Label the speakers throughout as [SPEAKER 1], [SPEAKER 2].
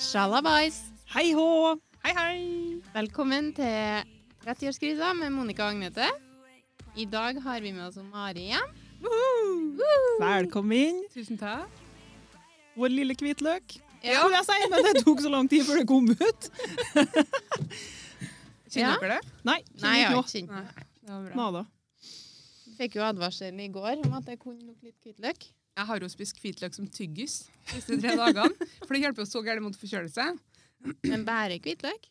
[SPEAKER 1] Sjalabais!
[SPEAKER 2] Hei hå! Hei, hei!
[SPEAKER 1] Velkommen til 30-årskrisa med Monica og Agnete. I dag har vi med oss Mari igjen.
[SPEAKER 2] Velkommen inn,
[SPEAKER 3] Tusen takk.
[SPEAKER 2] vår lille hvitløk.
[SPEAKER 1] Ja.
[SPEAKER 2] Skulle jeg si, men det tok så lang tid før det kom ut.
[SPEAKER 1] Ja.
[SPEAKER 3] Kjenner dere det?
[SPEAKER 2] Nei,
[SPEAKER 1] Nei, jeg
[SPEAKER 2] ikke
[SPEAKER 1] har
[SPEAKER 2] nå.
[SPEAKER 1] ikke kjent den.
[SPEAKER 3] Det var bra.
[SPEAKER 2] Nada.
[SPEAKER 1] Vi Fikk jo advarsel i går om at det kunne lukte litt hvitløk.
[SPEAKER 3] Jeg har jo spist hvitløk som tyggis de siste tre dagene, for det hjelper jo så gærent mot forkjølelse.
[SPEAKER 1] Men bare hvitløk?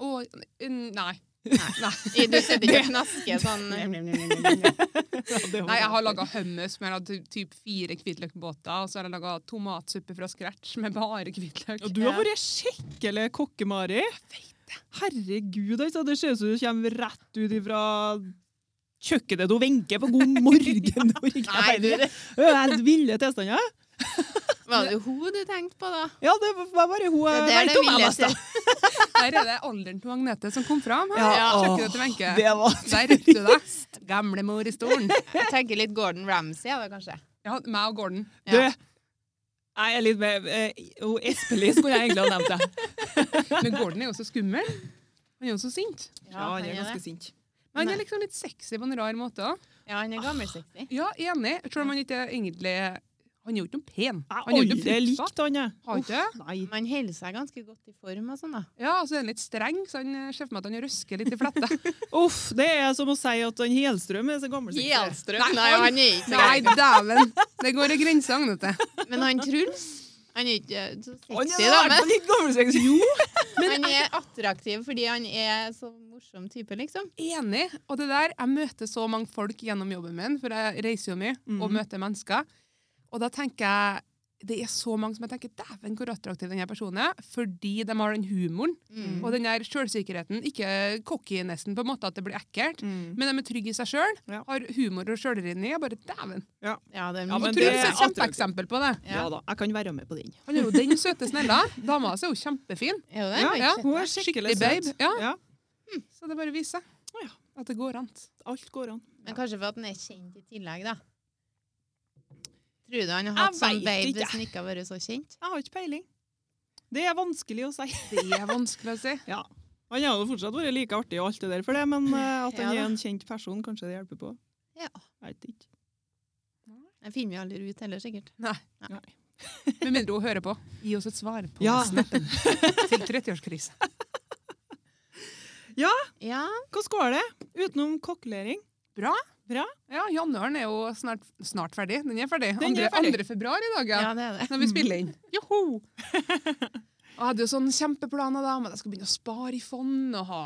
[SPEAKER 3] Og n- nei.
[SPEAKER 1] I- Du sitter ikke og knasker sånn
[SPEAKER 2] Ja, det var
[SPEAKER 3] nei, jeg har
[SPEAKER 2] bra.
[SPEAKER 3] laga hummus med hadde typ fire hvitløkbåter, og så har jeg laga tomatsuppe fra scratch med bare hvitløk.
[SPEAKER 2] Og du har
[SPEAKER 1] Ja.
[SPEAKER 2] vært skikkelig kokke-Mari. Herregud, altså. Det ser ut som du kommer rett ut ifra kjøkkenet til Wenche på God morgen Norge.
[SPEAKER 1] Nei, du, det-
[SPEAKER 2] Det er Helt ville tilstander.
[SPEAKER 1] Var det hun du tenkte på, da?
[SPEAKER 2] Ja, det var bare hun
[SPEAKER 1] Det er det
[SPEAKER 2] jeg vet om
[SPEAKER 1] ville
[SPEAKER 2] hennes, da.
[SPEAKER 1] til.
[SPEAKER 3] Der er det alderen til Agnete som kom fram. her.
[SPEAKER 2] Ja,
[SPEAKER 3] Kjøkkenet til Wenche.
[SPEAKER 2] Det var
[SPEAKER 3] Der røpte du deg. Gamlemor i stolen.
[SPEAKER 1] Jeg tenker litt Gordon Ramsay, da, kanskje.
[SPEAKER 3] Ja, meg og Gordon.
[SPEAKER 2] Du,
[SPEAKER 1] Ja.
[SPEAKER 2] jeg er litt med eh, hun Espelid skulle jeg egentlig ha nevnt deg.
[SPEAKER 3] Men Gordon er jo så skummel. Han er jo så sint.
[SPEAKER 1] Ja, han er det.
[SPEAKER 2] sint.
[SPEAKER 3] Men han er liksom litt sexy på en rar måte òg.
[SPEAKER 1] Ja, han er gammelsexy.
[SPEAKER 3] Ja, enig. Selv om han ikke er egentlig Han er jo ikke noe pen.
[SPEAKER 2] Jeg
[SPEAKER 3] Han er
[SPEAKER 2] har
[SPEAKER 3] jo ikke
[SPEAKER 2] aldri
[SPEAKER 3] noe fruktsatt.
[SPEAKER 2] likt han, jeg.
[SPEAKER 3] Har ikke det?
[SPEAKER 2] Uff, Nei.
[SPEAKER 1] Man holder seg ganske godt i form og sånn, da.
[SPEAKER 3] Ja, og så er han litt streng, så han eh, ser for meg at han røsker litt i fletta.
[SPEAKER 2] Uff, det er som å si at han Helstrøm er så gammel. som ikke er.
[SPEAKER 1] Nei, han er ikke så
[SPEAKER 3] Nei, dæven! Det går i grensa, Agnete.
[SPEAKER 1] Men han Truls han er ikke eh, så
[SPEAKER 2] Han
[SPEAKER 1] sexy,
[SPEAKER 2] er
[SPEAKER 1] da,
[SPEAKER 2] i hvert
[SPEAKER 1] men
[SPEAKER 2] fall litt gammel. som jeg- Jo,
[SPEAKER 1] han er attraktiv fordi han er så morsom type, liksom.
[SPEAKER 3] Enig. Og det der, jeg møter så mange folk gjennom jobben min, for jeg reiser jo mye og
[SPEAKER 2] Mhm.
[SPEAKER 3] møter mennesker. Og da tenker jeg det er så mange som jeg tenker dæven, hvor attraktiv denne personen er. Fordi de har den humoren
[SPEAKER 2] Mhm.
[SPEAKER 1] Mm.
[SPEAKER 3] og den der sjølsikkerheten. Ikke cockinessen på en måte at det blir ekkelt,
[SPEAKER 1] Mm.
[SPEAKER 3] men de er trygge i seg sjøl.
[SPEAKER 2] Ja.
[SPEAKER 3] Har humor og sjølrenni. Jeg bare dæven.
[SPEAKER 1] Ja, det er
[SPEAKER 2] Ja,
[SPEAKER 1] mye. altså.
[SPEAKER 2] men
[SPEAKER 3] Truls
[SPEAKER 2] det er
[SPEAKER 3] er et kjempeeksempel på det.
[SPEAKER 1] Ja.
[SPEAKER 2] Ja da, jeg kan være med på den.
[SPEAKER 3] Han er jo den søte snella. Dama hans er jo kjempefin.
[SPEAKER 1] Er jo det?
[SPEAKER 2] Ja,
[SPEAKER 1] Har ikke
[SPEAKER 3] ja,
[SPEAKER 1] sett
[SPEAKER 2] Hun
[SPEAKER 1] det.
[SPEAKER 2] er skikkelig
[SPEAKER 3] Skikkelig
[SPEAKER 2] søt.
[SPEAKER 3] babe. Ja.
[SPEAKER 2] Ja,
[SPEAKER 3] Så det bare viser
[SPEAKER 2] Å ja.
[SPEAKER 3] at det går an.
[SPEAKER 2] alt går an.
[SPEAKER 1] Men kanskje for at han er kjent i tillegg, da. Tror du han har hatt
[SPEAKER 2] Jeg
[SPEAKER 1] sånn
[SPEAKER 2] vet
[SPEAKER 1] babe
[SPEAKER 2] ikke.
[SPEAKER 1] hvis han ikke har vært så kjent?
[SPEAKER 2] Jeg har ikke peiling. Det er vanskelig å si.
[SPEAKER 3] Det er vanskelig å si.
[SPEAKER 2] Han har jo fortsatt vært like artig og alt det der for det, men eh, at han
[SPEAKER 1] Ja da.
[SPEAKER 2] er en kjent person, kanskje det hjelper på.
[SPEAKER 1] Ja.
[SPEAKER 2] Jeg vet ikke.
[SPEAKER 1] Den finner vi aldri ut heller, sikkert.
[SPEAKER 3] Med mindre hun hører på. Gi oss et svar på
[SPEAKER 2] Ja.
[SPEAKER 3] snappen til 30-årskrisa.
[SPEAKER 1] Ja,
[SPEAKER 2] Hvordan går det utenom kokkelering?
[SPEAKER 3] Ja, januaren er jo snart, snart ferdig. Den er ferdig.
[SPEAKER 2] Den er
[SPEAKER 3] 2.
[SPEAKER 2] ferdig.
[SPEAKER 3] februar i dag,
[SPEAKER 1] ja.
[SPEAKER 3] ja.
[SPEAKER 1] det er det.
[SPEAKER 3] Når vi spiller inn. Joho! Jeg hadde jo sånn sånne kjempeplaner da, men jeg skal begynne å spare i fond og ha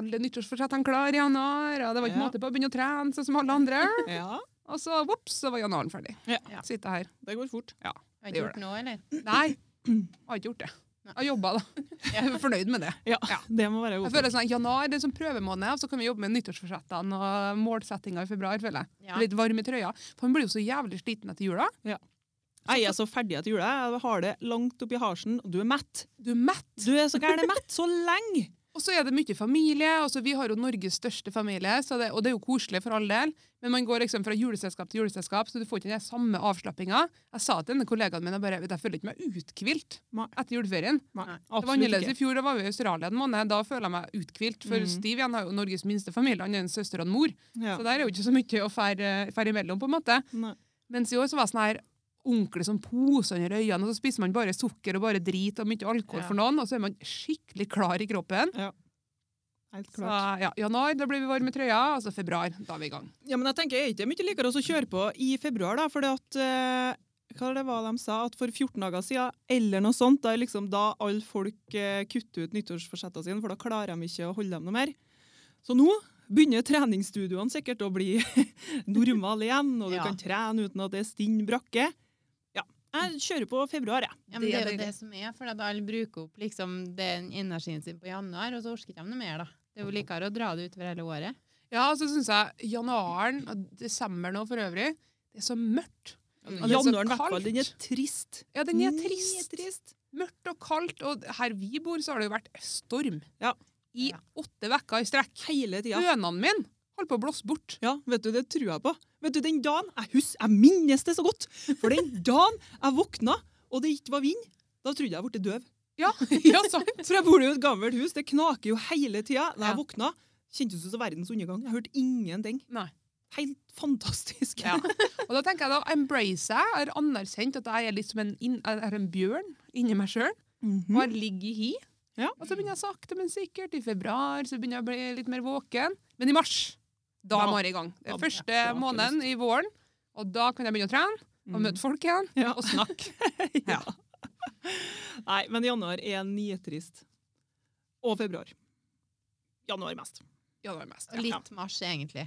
[SPEAKER 3] alle nyttårsforsettene klare i januar. Og det var ikke
[SPEAKER 2] Ja.
[SPEAKER 3] måte på å begynne å trene sånn som alle andre.
[SPEAKER 2] Ja,
[SPEAKER 3] Og så, vops, så var januaren ferdig.
[SPEAKER 2] Ja.
[SPEAKER 1] Ja.
[SPEAKER 3] Sitter her.
[SPEAKER 2] det går fort.
[SPEAKER 1] Har
[SPEAKER 3] det
[SPEAKER 1] ikke
[SPEAKER 3] gjør
[SPEAKER 1] gjort noe, eller?
[SPEAKER 3] Nei, jeg har ikke gjort det. Jeg har jobba, da. Jeg er fornøyd med det.
[SPEAKER 2] Ja,
[SPEAKER 3] Ja.
[SPEAKER 2] det må være
[SPEAKER 3] Jeg
[SPEAKER 2] godt.
[SPEAKER 3] føler sånn, at Januar det er som prøvemåned, og så kan vi jobbe med nyttårsforsettene og målsettinga i februar. føler jeg.
[SPEAKER 1] Ja.
[SPEAKER 3] Litt varm i trøya. For man blir jo så jævlig sliten etter jula.
[SPEAKER 2] Jeg er så ferdig etter jula. Jeg har det langt oppi harsen, og du er mett.
[SPEAKER 3] Du er mett.
[SPEAKER 2] Du er så gæren mett så lenge!
[SPEAKER 3] Og så er det mye familie. altså Vi har jo Norges største familie, så det, og det er jo koselig for all del. Men man går liksom fra juleselskap til juleselskap, så du får ikke den samme avslappinga. Jeg sa til denne kollegaen min jeg bare, vet du, jeg føler ikke meg uthvilt
[SPEAKER 2] Nei.
[SPEAKER 3] etter juleferien.
[SPEAKER 1] Nei.
[SPEAKER 3] Det var annerledes i fjor. Da var vi i Australia en måned. Da føler jeg meg uthvilt. For
[SPEAKER 2] Mhm.
[SPEAKER 3] Steve igjen har jo Norges minste familie. Han er en søster og en mor.
[SPEAKER 2] Ja.
[SPEAKER 3] Så der er jo ikke så mye å fære fære imellom, på en måte.
[SPEAKER 2] Nei.
[SPEAKER 3] Mens i år så var jeg sånn her onkel som poser under øynene, og så spiser man bare sukker og bare drit og mye alkohol
[SPEAKER 2] Ja.
[SPEAKER 3] for noen, og så er man skikkelig klar i kroppen.
[SPEAKER 2] Helt
[SPEAKER 3] Så
[SPEAKER 2] klart.
[SPEAKER 3] ja, januar, da blir vi varme i trøya, altså februar, da er vi i gang.
[SPEAKER 2] Ja, men jeg tenker, er ikke det mye likere også å kjøre på i februar, da? Fordi at eh, Hva det var de sa? At for 14 dager siden, eller noe sånt, da er liksom da alle folk eh, kutter ut nyttårsforsettene sine, for da klarer de ikke å holde dem noe mer. Så nå begynner treningsstudioene sikkert å bli normale igjen, og du
[SPEAKER 1] Ja.
[SPEAKER 2] kan trene uten at det er stinn brakke. Ja, jeg kjører på februar, jeg.
[SPEAKER 1] Ja, men det er jo
[SPEAKER 3] det-
[SPEAKER 1] det som er, for at alle bruker opp liksom den energien sin på januar, og så orker ikke de noe mer, da. Det er jo likere å dra det utover hele året.
[SPEAKER 3] Ja, så syns jeg januaren og desember nå for øvrig, det er så mørkt.
[SPEAKER 1] Mm.
[SPEAKER 3] Og det er så
[SPEAKER 2] Januaren, i hvert fall, den er
[SPEAKER 3] kaldt.
[SPEAKER 2] trist.
[SPEAKER 3] Ja, den er
[SPEAKER 2] Den er
[SPEAKER 3] trist.
[SPEAKER 2] trist.
[SPEAKER 3] Mørkt og kaldt, og her vi bor, så har det jo vært storm.
[SPEAKER 2] Ja.
[SPEAKER 3] I
[SPEAKER 1] Ja.
[SPEAKER 3] åtte uker i strekk.
[SPEAKER 2] Hele tida.
[SPEAKER 3] Hønene mine holdt på å blåse bort.
[SPEAKER 2] Ja, vet du, det tror jeg på. Vet du, Den dagen jeg hus, jeg minnes det så godt, for den dagen jeg våkna og det ikke var vind, da trodde jeg jeg ble døv.
[SPEAKER 3] Ja, ja sant.
[SPEAKER 2] For jeg bor jo i et gammelt hus, det knaker jo hele tida. Da jeg
[SPEAKER 1] Ja.
[SPEAKER 2] våkna, kjentes det som verdens undergang. Jeg hørte ingenting.
[SPEAKER 3] Nei.
[SPEAKER 2] Helt fantastisk.
[SPEAKER 3] Ja. Og da tenker jeg da embrace jeg, har anerkjent at jeg er litt som en, inn- jeg er en bjørn inni meg sjøl. Og
[SPEAKER 2] Mhm.
[SPEAKER 3] jeg ligger i hi.
[SPEAKER 2] Ja.
[SPEAKER 3] Og så begynner jeg sakte, men sikkert. I februar så begynner jeg å bli litt mer våken. Men i mars, da
[SPEAKER 2] Da-
[SPEAKER 3] er Mari i gang. Det
[SPEAKER 2] da-
[SPEAKER 3] er første
[SPEAKER 2] ja, da har jeg
[SPEAKER 3] måneden i våren. Og da kan jeg begynne å trene og
[SPEAKER 2] Mm.
[SPEAKER 3] møte folk igjen.
[SPEAKER 2] Ja.
[SPEAKER 3] Og snakke.
[SPEAKER 2] ja. Nei, men januar er nitrist. Og februar. Januar mest.
[SPEAKER 3] Ja, det var mest.
[SPEAKER 1] Og litt mars, egentlig.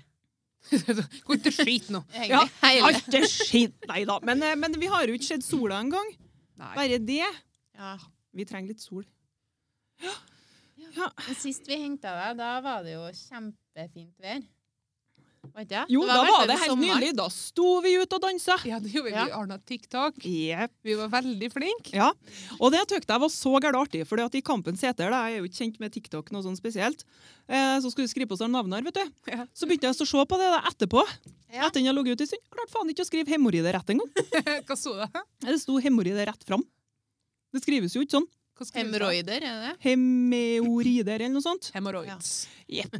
[SPEAKER 3] Gå ikke til skit nå.
[SPEAKER 1] egentlig.
[SPEAKER 2] Ja,
[SPEAKER 1] Hele.
[SPEAKER 2] Alt er skitt! Nei da. Men, eh, men vi har jo ikke sett sola engang.
[SPEAKER 3] Nei.
[SPEAKER 2] Bare det.
[SPEAKER 1] Ja.
[SPEAKER 2] Vi trenger litt sol.
[SPEAKER 1] Men sist vi henta deg, da var det jo kjempefint vær. Var ikke det?
[SPEAKER 2] Jo,
[SPEAKER 1] det
[SPEAKER 2] da
[SPEAKER 1] i hvert
[SPEAKER 2] var
[SPEAKER 1] fall
[SPEAKER 2] det helt
[SPEAKER 1] sommer.
[SPEAKER 2] nydelig. Da sto vi ute og dansa.
[SPEAKER 3] Ja, det gjorde vi. Vi
[SPEAKER 1] Ja.
[SPEAKER 3] ordna TikTok.
[SPEAKER 2] Yep.
[SPEAKER 3] Vi var veldig flinke.
[SPEAKER 2] Ja, og det tøkte jeg var så gærent artig, for i kampens heter, da, jeg er jo ikke kjent med TikTok noe sånn spesielt, eh, så skulle vi skrive på oss noen navn her, vet du.
[SPEAKER 3] Ja.
[SPEAKER 2] Så begynte jeg så å se på det da, etterpå,
[SPEAKER 1] Ja.
[SPEAKER 2] etter den jeg lå ute i stund. Klart faen ikke å skrive hemorrider rett engang.
[SPEAKER 3] Hva så du?
[SPEAKER 2] Det sto hemorrider rett fram. Det skrives jo ikke sånn.
[SPEAKER 3] Hva skrev du?
[SPEAKER 1] Hemoroider, er det det?
[SPEAKER 2] Hemeorider eller noe sånt.
[SPEAKER 3] Hemoroids.
[SPEAKER 2] Jepp.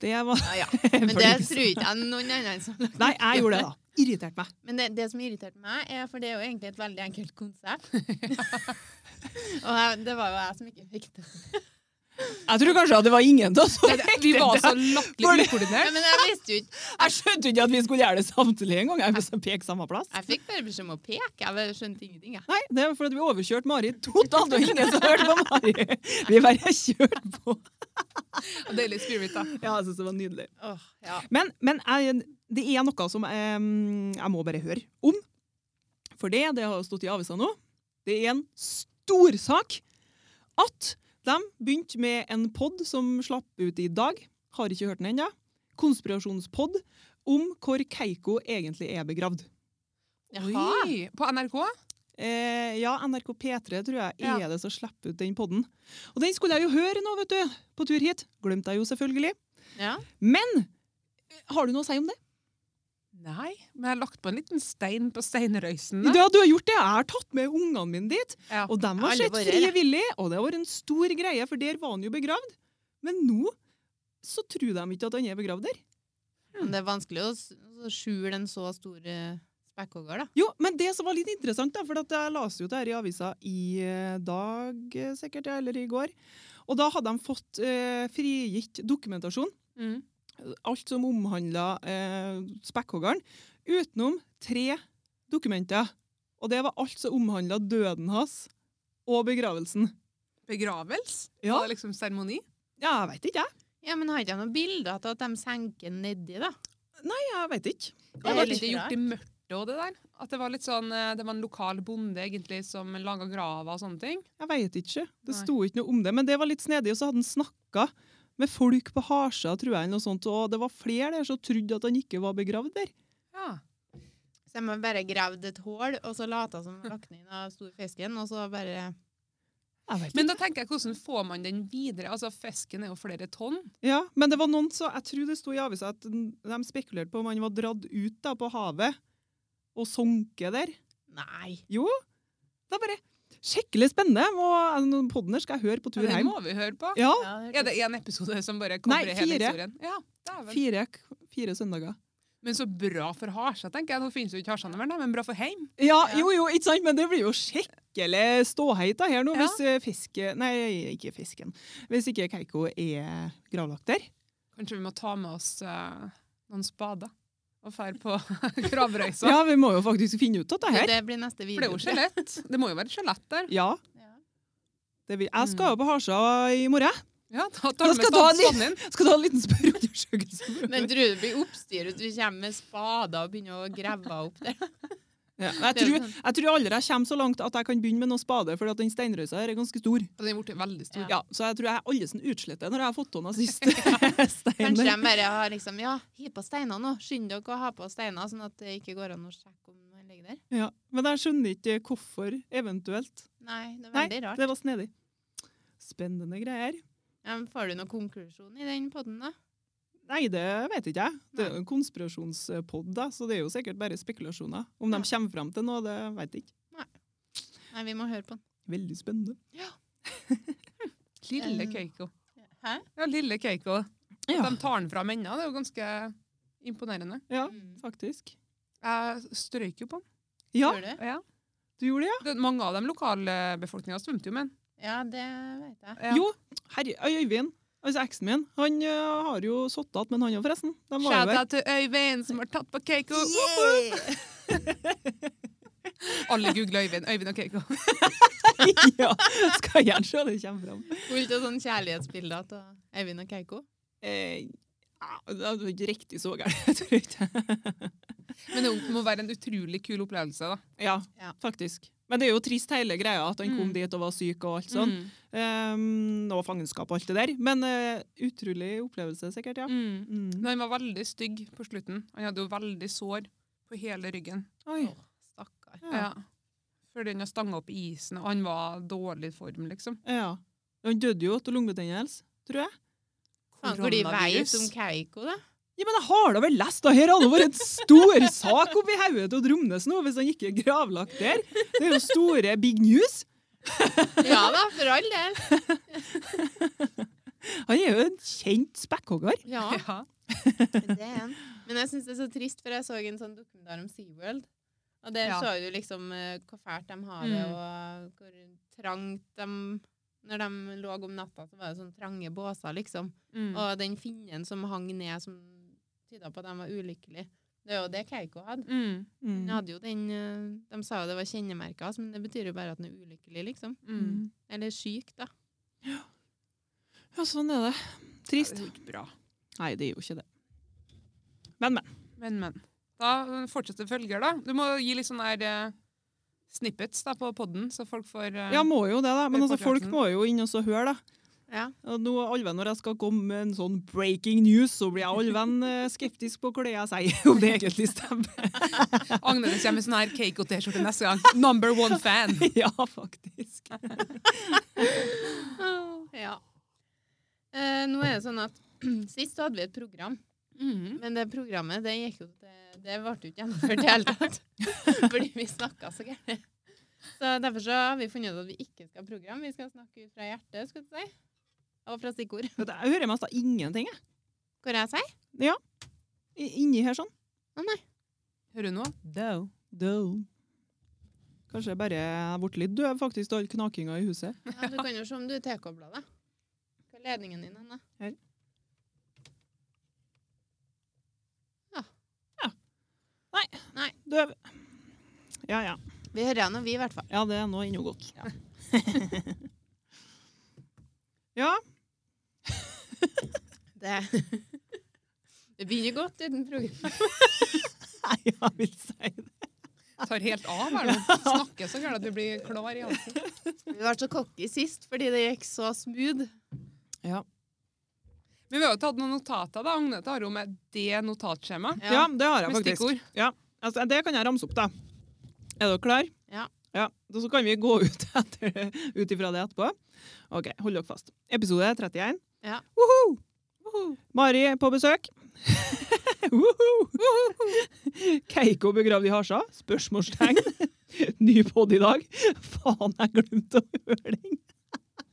[SPEAKER 2] Det var
[SPEAKER 1] Ja, ja. Men det tror ikke jeg noen andre som
[SPEAKER 2] Nei, jeg gjorde det, da. Irriterte meg.
[SPEAKER 1] Men det, det som irriterte meg, er, for det er jo egentlig et veldig enkelt konsept Og jeg, det var jo jeg som ikke fikk det.
[SPEAKER 2] Jeg tror kanskje at det var ingen av oss som
[SPEAKER 3] Det- Vi var så latterlig
[SPEAKER 1] Ja,
[SPEAKER 3] ukoordinert.
[SPEAKER 1] men jeg visste jo ikke
[SPEAKER 2] Jeg skjønte ikke at vi skulle gjøre det samtidig engang. Jeg vil peke samme plass.
[SPEAKER 1] Jeg fikk bare beskjed om å peke. Jeg bare skjønte ingenting, jeg.
[SPEAKER 2] Nei, det var fordi vi overkjørte Mari totalt, og ingen som hørte på Mari. Vi bare kjørte på.
[SPEAKER 3] Og Deilig spirit, da.
[SPEAKER 2] Ja, jeg synes det var nydelig.
[SPEAKER 1] Åh, ja.
[SPEAKER 2] Men, men jeg, det er noe som eh, jeg må bare høre om. For det, det har jo stått i avisa nå, det er en stor sak at de begynte med en pod som slapp ut i dag. Har ikke hørt den ennå. Konspirasjonspod om hvor Keiko egentlig er begravd.
[SPEAKER 1] Jaha.
[SPEAKER 3] Oi, På NRK?
[SPEAKER 2] Eh, ja, NRK P3 tror jeg
[SPEAKER 3] Ja.
[SPEAKER 2] er det som slipper ut den podden. Og den skulle jeg jo høre nå, vet du, på tur hit. Glemte jeg jo selvfølgelig.
[SPEAKER 1] Ja.
[SPEAKER 2] Men har du noe å si om det?
[SPEAKER 3] Nei, men jeg har lagt på en liten stein på steinrøysen. da.
[SPEAKER 2] Ja, du har gjort det. Jeg har tatt med ungene mine dit,
[SPEAKER 3] Ja.
[SPEAKER 2] og de har
[SPEAKER 1] Alle
[SPEAKER 2] sett
[SPEAKER 1] våre,
[SPEAKER 2] Frie
[SPEAKER 1] da.
[SPEAKER 2] Willy, og det har vært en stor greie, for der var han jo begravd. Men nå så tror de ikke at han er begravd der.
[SPEAKER 1] Men det er vanskelig å s- å skjule en så stor eh, spekkhogger, da.
[SPEAKER 2] Jo, men det som var litt interessant, da, for at jeg leste jo det her i avisa i eh, dag, eh, sikkert, ja, eller i går, og da hadde de fått eh, frigitt dokumentasjon
[SPEAKER 3] Mm.
[SPEAKER 2] alt som omhandla eh, spekkhoggeren, utenom tre dokumenter. Og det var alt som omhandla døden hans og begravelsen.
[SPEAKER 3] Begravels?
[SPEAKER 2] Ja.
[SPEAKER 3] Var det liksom seremoni?
[SPEAKER 2] Ja, jeg veit ikke, jeg.
[SPEAKER 1] Ja, Men har ikke jeg noen bilder av at de senker nedi, da?
[SPEAKER 2] Jeg vet ikke.
[SPEAKER 1] Det
[SPEAKER 3] Det
[SPEAKER 1] er
[SPEAKER 3] var
[SPEAKER 1] litt
[SPEAKER 3] litt gjort
[SPEAKER 1] rart.
[SPEAKER 3] i mørket og det der. At det var litt sånn, eh, det var en lokal bonde egentlig som laga grava og sånne ting.
[SPEAKER 2] Jeg vet ikke. Det
[SPEAKER 3] Nei.
[SPEAKER 2] sto ikke noe om det. Men det var litt snedig, og så hadde han snakka med folk på Harstad, tror jeg, eller noe sånt, og det var flere der som trodde at han ikke var begravd der.
[SPEAKER 3] Ja.
[SPEAKER 1] Så de har bare gravd et hull, og så lata som de lagt ned den stor fisken, og så bare
[SPEAKER 2] Jeg vet
[SPEAKER 3] Men
[SPEAKER 2] ikke.
[SPEAKER 3] da tenker jeg, hvordan får man den videre? Altså, Fisken er jo flere tonn.
[SPEAKER 2] Ja, men det var noen som, jeg tror det sto i avisa at de spekulerte på om han var dratt ut da, på havet og sunket der.
[SPEAKER 1] Nei.
[SPEAKER 2] Jo, det er bare skikkelig spennende. Og podden her skal jeg høre på tur
[SPEAKER 3] Ja, det
[SPEAKER 2] hjem.
[SPEAKER 3] må vi høre på.
[SPEAKER 2] Ja,
[SPEAKER 1] Ja, det
[SPEAKER 3] Er det
[SPEAKER 1] hørtes-
[SPEAKER 3] én episode som bare
[SPEAKER 2] Nei,
[SPEAKER 3] kommer i hele
[SPEAKER 2] fire.
[SPEAKER 3] historien? Ja, dæven.
[SPEAKER 2] fire, fire søndager.
[SPEAKER 3] Men så bra for Harsa, tenker jeg. Nå finnes jo ikke Harsa mer, da, men bra for heim.
[SPEAKER 2] Ja,
[SPEAKER 1] Ja.
[SPEAKER 2] jo, jo, ikke sant, men det blir jo skikkelig ståheit da her nå,
[SPEAKER 3] Ja.
[SPEAKER 2] hvis eh, fiske... Nei, ikke fisken. Hvis ikke Keiko er gravlagt der.
[SPEAKER 3] Kanskje vi må ta med oss eh, noen spader og fære på gravrøysa.
[SPEAKER 2] Ja, vi må jo faktisk finne ut av det
[SPEAKER 1] Så
[SPEAKER 2] her.
[SPEAKER 1] det blir neste
[SPEAKER 3] For det
[SPEAKER 1] video.
[SPEAKER 3] er jo skjelett. Det må jo være et skjelett der.
[SPEAKER 2] Ja,
[SPEAKER 1] Ja.
[SPEAKER 2] det vil. jeg skal jo på Harsa i morgen.
[SPEAKER 3] Ja, da tar
[SPEAKER 2] Da
[SPEAKER 3] du
[SPEAKER 2] skal
[SPEAKER 3] med
[SPEAKER 2] ta
[SPEAKER 3] spa-
[SPEAKER 2] de-
[SPEAKER 3] spaden din.
[SPEAKER 2] Skal du ha en liten spørreundersøkelse?
[SPEAKER 1] Men tror du det blir oppstyr hvis vi kommer med spader og begynner å grave opp der?
[SPEAKER 2] Ja, men jeg,
[SPEAKER 1] Det er jo
[SPEAKER 2] tror, jeg tror aldri jeg kommer så langt at jeg kan begynne med noen spade, for den steinrøysa her er ganske stor.
[SPEAKER 3] Og den er blitt veldig stor.
[SPEAKER 1] Ja.
[SPEAKER 2] Ja, så jeg tror jeg er alles en utslette når jeg har fått hånda sist. Stein
[SPEAKER 1] Kanskje de
[SPEAKER 2] der.
[SPEAKER 1] bare har liksom Ja, hi på steiner nå. Skynd dere å ha på steiner, sånn at det ikke går an å sjekke om den ligger der.
[SPEAKER 2] Ja, men jeg skjønner ikke hvorfor, eventuelt.
[SPEAKER 1] Nei, det er
[SPEAKER 2] Nei,
[SPEAKER 1] veldig rart.
[SPEAKER 2] det var snedig. Spennende greier.
[SPEAKER 1] Ja, men får du noen konklusjon i den podden, da?
[SPEAKER 2] Nei, det vet ikke jeg. Det er jo en konspirasjonspod, da, så det er jo sikkert bare spekulasjoner. Om
[SPEAKER 1] Ja.
[SPEAKER 2] de kommer fram til noe, det vet jeg ikke.
[SPEAKER 1] Nei, vi må høre på den.
[SPEAKER 2] Veldig spennende.
[SPEAKER 1] Ja.
[SPEAKER 3] Lille
[SPEAKER 1] Um,
[SPEAKER 3] Keiko.
[SPEAKER 1] Hæ?
[SPEAKER 3] Ja, lille Keiko.
[SPEAKER 2] Eh. Ja.
[SPEAKER 3] De tar den fra mennene. Det er jo ganske imponerende.
[SPEAKER 2] ja,
[SPEAKER 1] Mm.
[SPEAKER 2] faktisk.
[SPEAKER 3] Jeg strøyk jo på den.
[SPEAKER 2] Ja,
[SPEAKER 1] Gjør du?
[SPEAKER 3] Ja.
[SPEAKER 2] du gjorde det,
[SPEAKER 3] Det, mange av dem lokalbefolkninga svømte jo med den.
[SPEAKER 1] Ja, det vet jeg.
[SPEAKER 2] ja? Jo, herre, Øyvind, altså eksen min, han ø, har jo satt igjen, men han òg, forresten. De var jo der.
[SPEAKER 3] Shout-out til Øyvind som har tatt på Keiko! Alle googler Øyvind. Øyvind og Keiko.
[SPEAKER 2] ja, skal gjerne se det kommer fram.
[SPEAKER 1] Fullt av sånne kjærlighetsbilder til Eivind og Keiko.
[SPEAKER 2] Eh, ja, det er ikke riktig så gærent, tror jeg ikke.
[SPEAKER 3] Men det må være en utrolig kul opplevelse, da.
[SPEAKER 2] Ja,
[SPEAKER 1] Ja.
[SPEAKER 2] faktisk. Men det er jo trist hele greia, at han
[SPEAKER 3] Mm.
[SPEAKER 2] kom dit og var syk og alt sånn.
[SPEAKER 3] Mm.
[SPEAKER 2] Ehm, og fangenskap og alt det der. Men eh, utrolig opplevelse, sikkert, ja.
[SPEAKER 3] Mm.
[SPEAKER 2] Mm.
[SPEAKER 3] Men han var veldig stygg på slutten. Han hadde jo veldig sår på hele ryggen.
[SPEAKER 2] Oi.
[SPEAKER 1] Åh, stakkar.
[SPEAKER 2] Ja.
[SPEAKER 3] Ja. Fordi han hadde stanga opp i isen, og han var dårlig form, liksom.
[SPEAKER 2] ja. Han døde jo av lungebetennelse, tror jeg.
[SPEAKER 1] Faen, hvor de
[SPEAKER 3] Koronavirus.
[SPEAKER 1] vet om Keiko, da?
[SPEAKER 2] Ja, men jeg har da vel lest, da! Her hadde det vært en stor sak oppi hodet til Dromnes nå, hvis han ikke er gravlagt der. Det er jo store big news.
[SPEAKER 1] Ja da, for all del.
[SPEAKER 2] Han er jo en kjent spekkhogger.
[SPEAKER 1] Ja,
[SPEAKER 3] Ja.
[SPEAKER 1] det er han. Men jeg syns det er så trist, for jeg så en sånn dokumentar om SeaWorld. Og der
[SPEAKER 3] Ja.
[SPEAKER 1] så du liksom eh, hvor fælt de har det,
[SPEAKER 3] Mm.
[SPEAKER 1] og hvor trangt de Når de lå om natta, så var det sånn trange båser, liksom.
[SPEAKER 3] Mm.
[SPEAKER 1] Og den finnen som hang ned, som tyda på at de var ulykkelige. Det er jo det Keiko hadde.
[SPEAKER 3] Mm.
[SPEAKER 1] Hun hadde jo den, eh, de sa jo det var kjennemerket hans, men det betyr jo bare at han er ulykkelig, liksom.
[SPEAKER 3] Mm.
[SPEAKER 1] Eller syk, da.
[SPEAKER 2] Ja, sånn er det.
[SPEAKER 3] Ja,
[SPEAKER 2] Trist.
[SPEAKER 3] Det er jo ikke bra.
[SPEAKER 2] Nei, det er jo ikke det. Men, men.
[SPEAKER 3] Men, men. Da fortsetter følger, da. Du må gi litt sånne her, eh, snippets da, på podden, så folk får eh,
[SPEAKER 2] Ja, må jo det, da. Men altså, folk
[SPEAKER 3] Reportasjen.
[SPEAKER 2] må jo inn og så høre, da.
[SPEAKER 1] Ja.
[SPEAKER 2] Og nå, Alven, når jeg skal komme med en sånn breaking news, så blir jeg Alven eh, skeptisk på hva det er jeg sier, om det egentlig stemmer.
[SPEAKER 3] Agnes kommer med sånn her Keiko-T-skjorte neste gang. Number one fan!
[SPEAKER 2] ja, faktisk.
[SPEAKER 1] ja. Eh, nå er det sånn at Sist så hadde vi et program, men det programmet det gikk jo til Det ble jo ikke gjennomført i det hele tatt. Fordi vi snakka så gærent. Så derfor så har vi funnet ut at vi ikke skal ha program. Vi skal snakke ut fra hjertet, skulle du si. Og fra stikkord.
[SPEAKER 2] Vet du, Jeg hører mest av ingenting, jeg.
[SPEAKER 1] Hvor jeg sier?
[SPEAKER 2] I- Inni her sånn.
[SPEAKER 3] Hører du nå?
[SPEAKER 2] Do. Kanskje jeg bare er blitt litt døv, faktisk, til all knakinga i huset.
[SPEAKER 1] Ja, du kan jo se om du er tilkobla deg. Hvor er ledningen din hen, da?
[SPEAKER 2] Her.
[SPEAKER 1] Ja.
[SPEAKER 2] Ja. Nei.
[SPEAKER 1] Nei.
[SPEAKER 2] Døv. Ja, ja.
[SPEAKER 1] Vi hører henne, vi, i hvert fall.
[SPEAKER 2] Ja, det er nå ennå godt. Ja. ja.
[SPEAKER 1] Det, det begynner godt uten program.
[SPEAKER 2] Nei, jeg vil si det.
[SPEAKER 3] Tar helt av, er det? Snakker så gærent at vi blir klar i halsen.
[SPEAKER 1] Vi var så cocky sist fordi det gikk så smooth.
[SPEAKER 2] Ja.
[SPEAKER 3] Men vi har jo tatt noen notater, da. Agnete har jo med det notatskjemaet.
[SPEAKER 2] Ja. det har jeg
[SPEAKER 3] Med
[SPEAKER 2] faktisk.
[SPEAKER 3] stikkord.
[SPEAKER 2] Altså, det kan jeg ramse opp, da. Er dere klar?
[SPEAKER 1] Ja.
[SPEAKER 2] Ja, da så kan vi gå ut, etter, ut ifra det etterpå. OK, hold dere fast. Episode 31.
[SPEAKER 1] Ja.
[SPEAKER 2] Woho! Mari på besøk. Woho! Keiko begravd i hasja? Spørsmålstegn. Ny podd i dag. Faen, jeg glemte å høre den.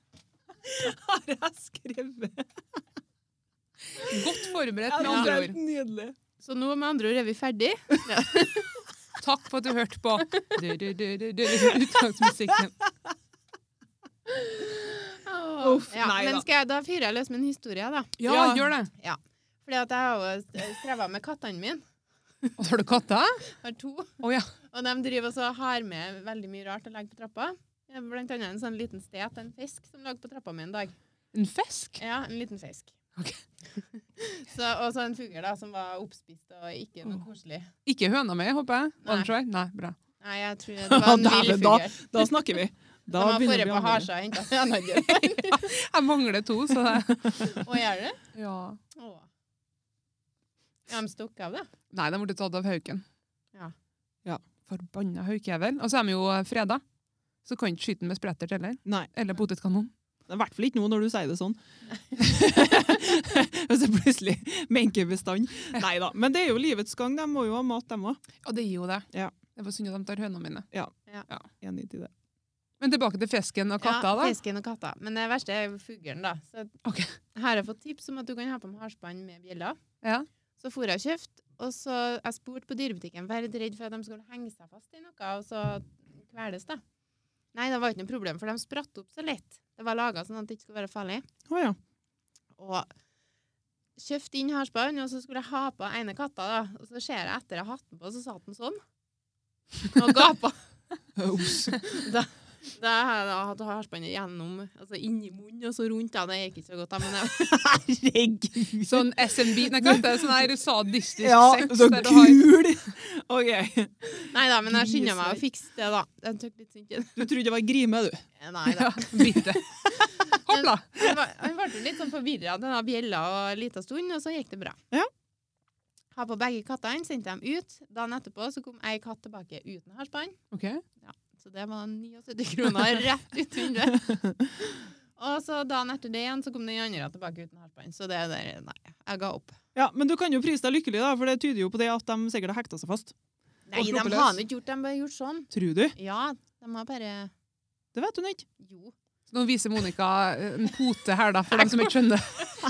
[SPEAKER 2] Har jeg skrevet?
[SPEAKER 3] Godt forberedt,
[SPEAKER 2] Ja,
[SPEAKER 3] med
[SPEAKER 2] det
[SPEAKER 3] andre
[SPEAKER 2] er
[SPEAKER 3] ord.
[SPEAKER 2] nydelig.
[SPEAKER 1] Så nå med andre ord er vi ferdig.
[SPEAKER 3] Takk for at du hørte på. Du, du, du, du, du, Utgangsmusikken.
[SPEAKER 2] Uff,
[SPEAKER 1] ja,
[SPEAKER 2] nei
[SPEAKER 1] men
[SPEAKER 2] da.
[SPEAKER 1] skal jeg, da fyrer jeg løs med en historie, da.
[SPEAKER 3] Ja,
[SPEAKER 2] Ja.
[SPEAKER 3] gjør det.
[SPEAKER 1] Fordi at jeg har jo streva med kattene mine.
[SPEAKER 3] Og så har du katter?
[SPEAKER 1] Jeg har to.
[SPEAKER 3] Å ja.
[SPEAKER 1] Og de driver også og har med veldig mye rart å legge på trappa. Blant annet en sånn liten stet, en fisk, som lå på trappa mi en dag.
[SPEAKER 3] En fisk?
[SPEAKER 1] Ja, en liten fisk.
[SPEAKER 3] Ok.
[SPEAKER 1] så, og så en fugl da, som var oppspist og ikke noe
[SPEAKER 3] Åh.
[SPEAKER 1] koselig.
[SPEAKER 3] Ikke høna mi, håper jeg? Var den
[SPEAKER 1] Nei.
[SPEAKER 3] svær? Nei, bra.
[SPEAKER 1] Nei, jeg tror det var en vill
[SPEAKER 2] Dæven,
[SPEAKER 1] fugl.
[SPEAKER 2] Da snakker vi.
[SPEAKER 1] De
[SPEAKER 2] Da
[SPEAKER 1] har
[SPEAKER 2] begynner
[SPEAKER 1] vært
[SPEAKER 2] vi
[SPEAKER 1] på
[SPEAKER 2] andre.
[SPEAKER 1] Harsa og henta en annen.
[SPEAKER 3] Jeg mangler to, så det
[SPEAKER 1] Å, gjør det?
[SPEAKER 3] ja.
[SPEAKER 1] Å. Ja, de stukk av, da.
[SPEAKER 3] Nei, de ble tatt av hauken.
[SPEAKER 1] Ja.
[SPEAKER 2] Ja.
[SPEAKER 3] Forbanna haukjevel. Og så er de jo freda. Så kan ikke skyte den med sprettert heller.
[SPEAKER 2] Nei.
[SPEAKER 3] Eller potetkanon.
[SPEAKER 2] I hvert fall ikke nå når du sier det sånn. Hvis det plutselig menkebestand. Nei da. Men det er jo livets gang. De må jo ha mat, de òg.
[SPEAKER 3] Ja, det gir jo det.
[SPEAKER 2] Ja.
[SPEAKER 3] Det var synd at de tar høna mine.
[SPEAKER 2] Enig til det.
[SPEAKER 3] Men tilbake til fisken og katta,
[SPEAKER 1] ja,
[SPEAKER 3] da.
[SPEAKER 1] fisken og katta. Men det verste er fuglen, da. Så
[SPEAKER 3] Ok.
[SPEAKER 1] her har jeg fått tips om at du kan ha på med halsbånd med bjeller.
[SPEAKER 3] Ja.
[SPEAKER 1] Så for jeg og kjøpte, og så jeg spurte på dyrebutikken, var jeg litt redd for at de skulle henge seg fast i noe, og så kveles, da. Nei, det var ikke noe problem, for de spratt opp så lett. Det var laga sånn at det ikke skulle være farlig.
[SPEAKER 2] Å ja.
[SPEAKER 1] Og kjøpte inn halsbånd, og så skulle jeg ha på ene katta, da. Og så ser jeg etter jeg har hatt den på, så satt den sånn. Og gapa.
[SPEAKER 3] Ops.
[SPEAKER 1] Da har jeg da hatt halsbåndet gjennom, altså inni munnen og så rundt. da, Det gikk ikke så godt, da, men jeg
[SPEAKER 2] Herregud!
[SPEAKER 3] Sånn SMB Nei, hva heter det? Sånn her sadistisk
[SPEAKER 2] ja,
[SPEAKER 3] sex
[SPEAKER 2] så
[SPEAKER 3] der du har
[SPEAKER 2] gul! OK.
[SPEAKER 1] Nei da, men jeg skynder meg å
[SPEAKER 3] Grisevei.
[SPEAKER 1] fikse det, da. Jeg tok litt sånn synd i det.
[SPEAKER 2] Du trodde det var grime, du.
[SPEAKER 1] Nei da.
[SPEAKER 3] bitte. Hopp da.
[SPEAKER 1] Han var- han ble litt sånn forvirra av denne bjella og en liten stund, og så gikk det bra.
[SPEAKER 2] Ja.
[SPEAKER 1] Ha på begge kattene, sendte dem ut. Dagen etterpå så kom ei katt tilbake uten halsbånd.
[SPEAKER 3] Ok.
[SPEAKER 1] Så det var 79 kroner rett ut vinduet. Og så dagen etter det igjen så kom den andre tilbake uten halsbånd. Så det der, nei, jeg ga opp.
[SPEAKER 2] Ja, Men du kan jo prise deg lykkelig, da, for det tyder jo på det at de sikkert har hekta seg fast.
[SPEAKER 1] Nei, de
[SPEAKER 3] slo på løs.
[SPEAKER 1] har nå ikke gjort det, de bare gjort sånn.
[SPEAKER 2] Tror du?
[SPEAKER 1] Ja, de har bare
[SPEAKER 2] Det vet hun ikke.
[SPEAKER 1] Jo.
[SPEAKER 3] Så nå viser Monica eh, en pote her, da, for dem som ikke skjønner.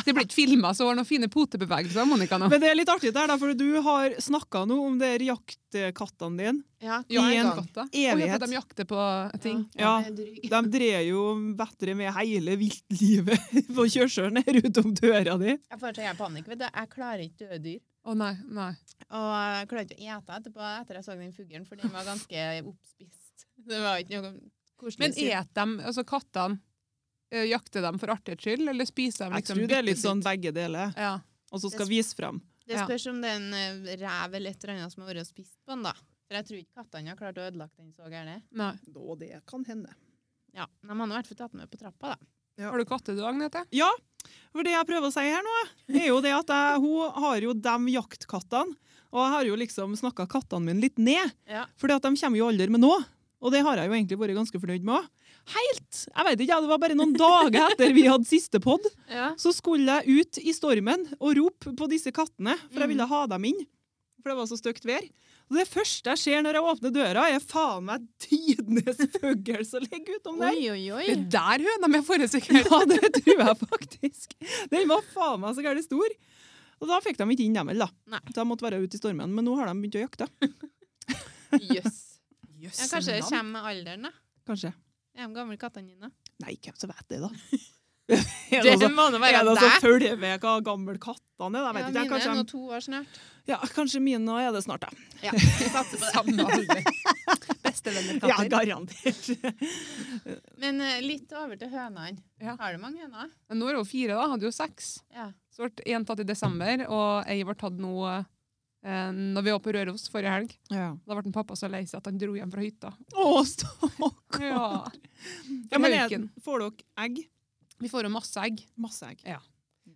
[SPEAKER 3] Det blir ikke filma, så hun har noen fine potebevegelser av Monica nå.
[SPEAKER 2] Men det er litt artig, det her, da, for du har snakka nå om det her jaktkattene dine.
[SPEAKER 1] Ja,
[SPEAKER 3] Ja,
[SPEAKER 2] I
[SPEAKER 3] en
[SPEAKER 2] en
[SPEAKER 3] katt, da.
[SPEAKER 2] evighet.
[SPEAKER 3] Å, ja, for De jakter på ting.
[SPEAKER 2] Ja.
[SPEAKER 1] det er dryg.
[SPEAKER 2] De drev jo bedre med hele viltlivet på kjørselen her utom døra di.
[SPEAKER 1] Jeg får så jeg panikk, vet du. Jeg klarer ikke døde dyr.
[SPEAKER 3] Å nei, nei.
[SPEAKER 1] Og jeg klarte ikke å ete etterpå etter jeg så den fuglen, for den var ganske oppspist. Det var ikke noe koselig.
[SPEAKER 3] Men et dem, altså kattene, eh, jakter dem for artighets skyld, eller spiser dem
[SPEAKER 2] Jeg
[SPEAKER 3] liksom
[SPEAKER 2] tror det er litt
[SPEAKER 3] byttet
[SPEAKER 2] sånn
[SPEAKER 3] sitt?
[SPEAKER 2] begge deler,
[SPEAKER 3] Ja.
[SPEAKER 2] og så skal vise frem.
[SPEAKER 1] Det
[SPEAKER 3] ja.
[SPEAKER 1] spørs om det er en eh, rev eller et eller annet som har vært og spist på den, da. For jeg tror ikke kattene har klart å ødelegge den så gærent.
[SPEAKER 3] Nei.
[SPEAKER 2] Og det kan hende.
[SPEAKER 1] Ja, de har nå i hvert fall tatt den med på trappa, da.
[SPEAKER 3] Har du katte du, Agnete?
[SPEAKER 2] Ja, for det jeg prøver å si her nå, er jo det at jeg, hun har jo de jaktkattene, og jeg har jo liksom snakka kattene mine litt ned,
[SPEAKER 1] Ja.
[SPEAKER 2] fordi at de kommer jo aldri med nå. Og det har jeg jo egentlig vært ganske fornøyd med òg. Helt! Jeg vet ikke, ja, det var bare noen dager etter vi hadde siste pod, så skulle jeg ut i stormen og rope på disse kattene, for
[SPEAKER 1] Mm.
[SPEAKER 2] jeg ville ha dem inn. For det var så stygt vær. Og det første jeg ser når jeg åpner døra, er faen meg tidenes fugl som ligger utom der.
[SPEAKER 1] Oi, oi, oi.
[SPEAKER 3] Det er der høna mi er forrige sekund!
[SPEAKER 2] Ja, det tror jeg faktisk. Den var faen meg så gærent stor. Og da fikk de ikke inn dem heller, da.
[SPEAKER 1] Nei.
[SPEAKER 2] Så de måtte være ute i stormen. Men nå har de begynt å jakte.
[SPEAKER 1] Jøss. Ja, kanskje det
[SPEAKER 3] Jøssenavn.
[SPEAKER 1] kommer med alderen, da.
[SPEAKER 2] Kanskje.
[SPEAKER 1] Er de gamle kattene dine?
[SPEAKER 2] Nei, hvem som vet det, da? Er
[SPEAKER 1] Det
[SPEAKER 2] det altså-
[SPEAKER 1] må nå
[SPEAKER 2] er
[SPEAKER 1] være
[SPEAKER 2] det altså
[SPEAKER 1] deg.
[SPEAKER 2] følge med hva gammel kattene er? da? Jeg
[SPEAKER 1] Ja,
[SPEAKER 2] vet
[SPEAKER 1] mine
[SPEAKER 2] ikke.
[SPEAKER 1] er nå
[SPEAKER 2] Kanskje,
[SPEAKER 1] to år snart.
[SPEAKER 2] de- ja, kanskje mine nå er det snart, da.
[SPEAKER 1] Ja, vi satser på det.
[SPEAKER 3] Samme alder. Bestevennerkatter.
[SPEAKER 2] Ja, garantert.
[SPEAKER 1] Men eh, litt over til hønene.
[SPEAKER 3] Ja.
[SPEAKER 1] Har du mange høner?
[SPEAKER 3] Men Nå er hun fire, da. Hadde jo seks.
[SPEAKER 1] Ja.
[SPEAKER 3] Så ble én tatt i desember, og ei ble tatt nå eh, når vi var på Røros forrige helg.
[SPEAKER 2] Ja.
[SPEAKER 3] Da ble den pappa så lei seg at han dro hjem fra hytta.
[SPEAKER 2] Å, stakkar.
[SPEAKER 3] Ja.
[SPEAKER 2] Ja, men er-
[SPEAKER 3] Røyken.
[SPEAKER 2] får dere egg?
[SPEAKER 3] Vi får jo masse egg.
[SPEAKER 2] Masse egg.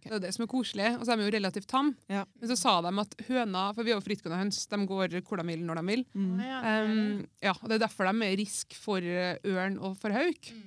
[SPEAKER 3] Det er det som er koselig. Og så er de jo relativt tam.
[SPEAKER 2] Ja.
[SPEAKER 3] Men så sa de at høna For vi har jo frittgående høns. De går hvor de vil, når de vil.
[SPEAKER 2] Mm.
[SPEAKER 1] Ja, det er det.
[SPEAKER 3] Um, ja, og Det er derfor de er i risk for eh, ørn og for hauk.
[SPEAKER 1] Mm.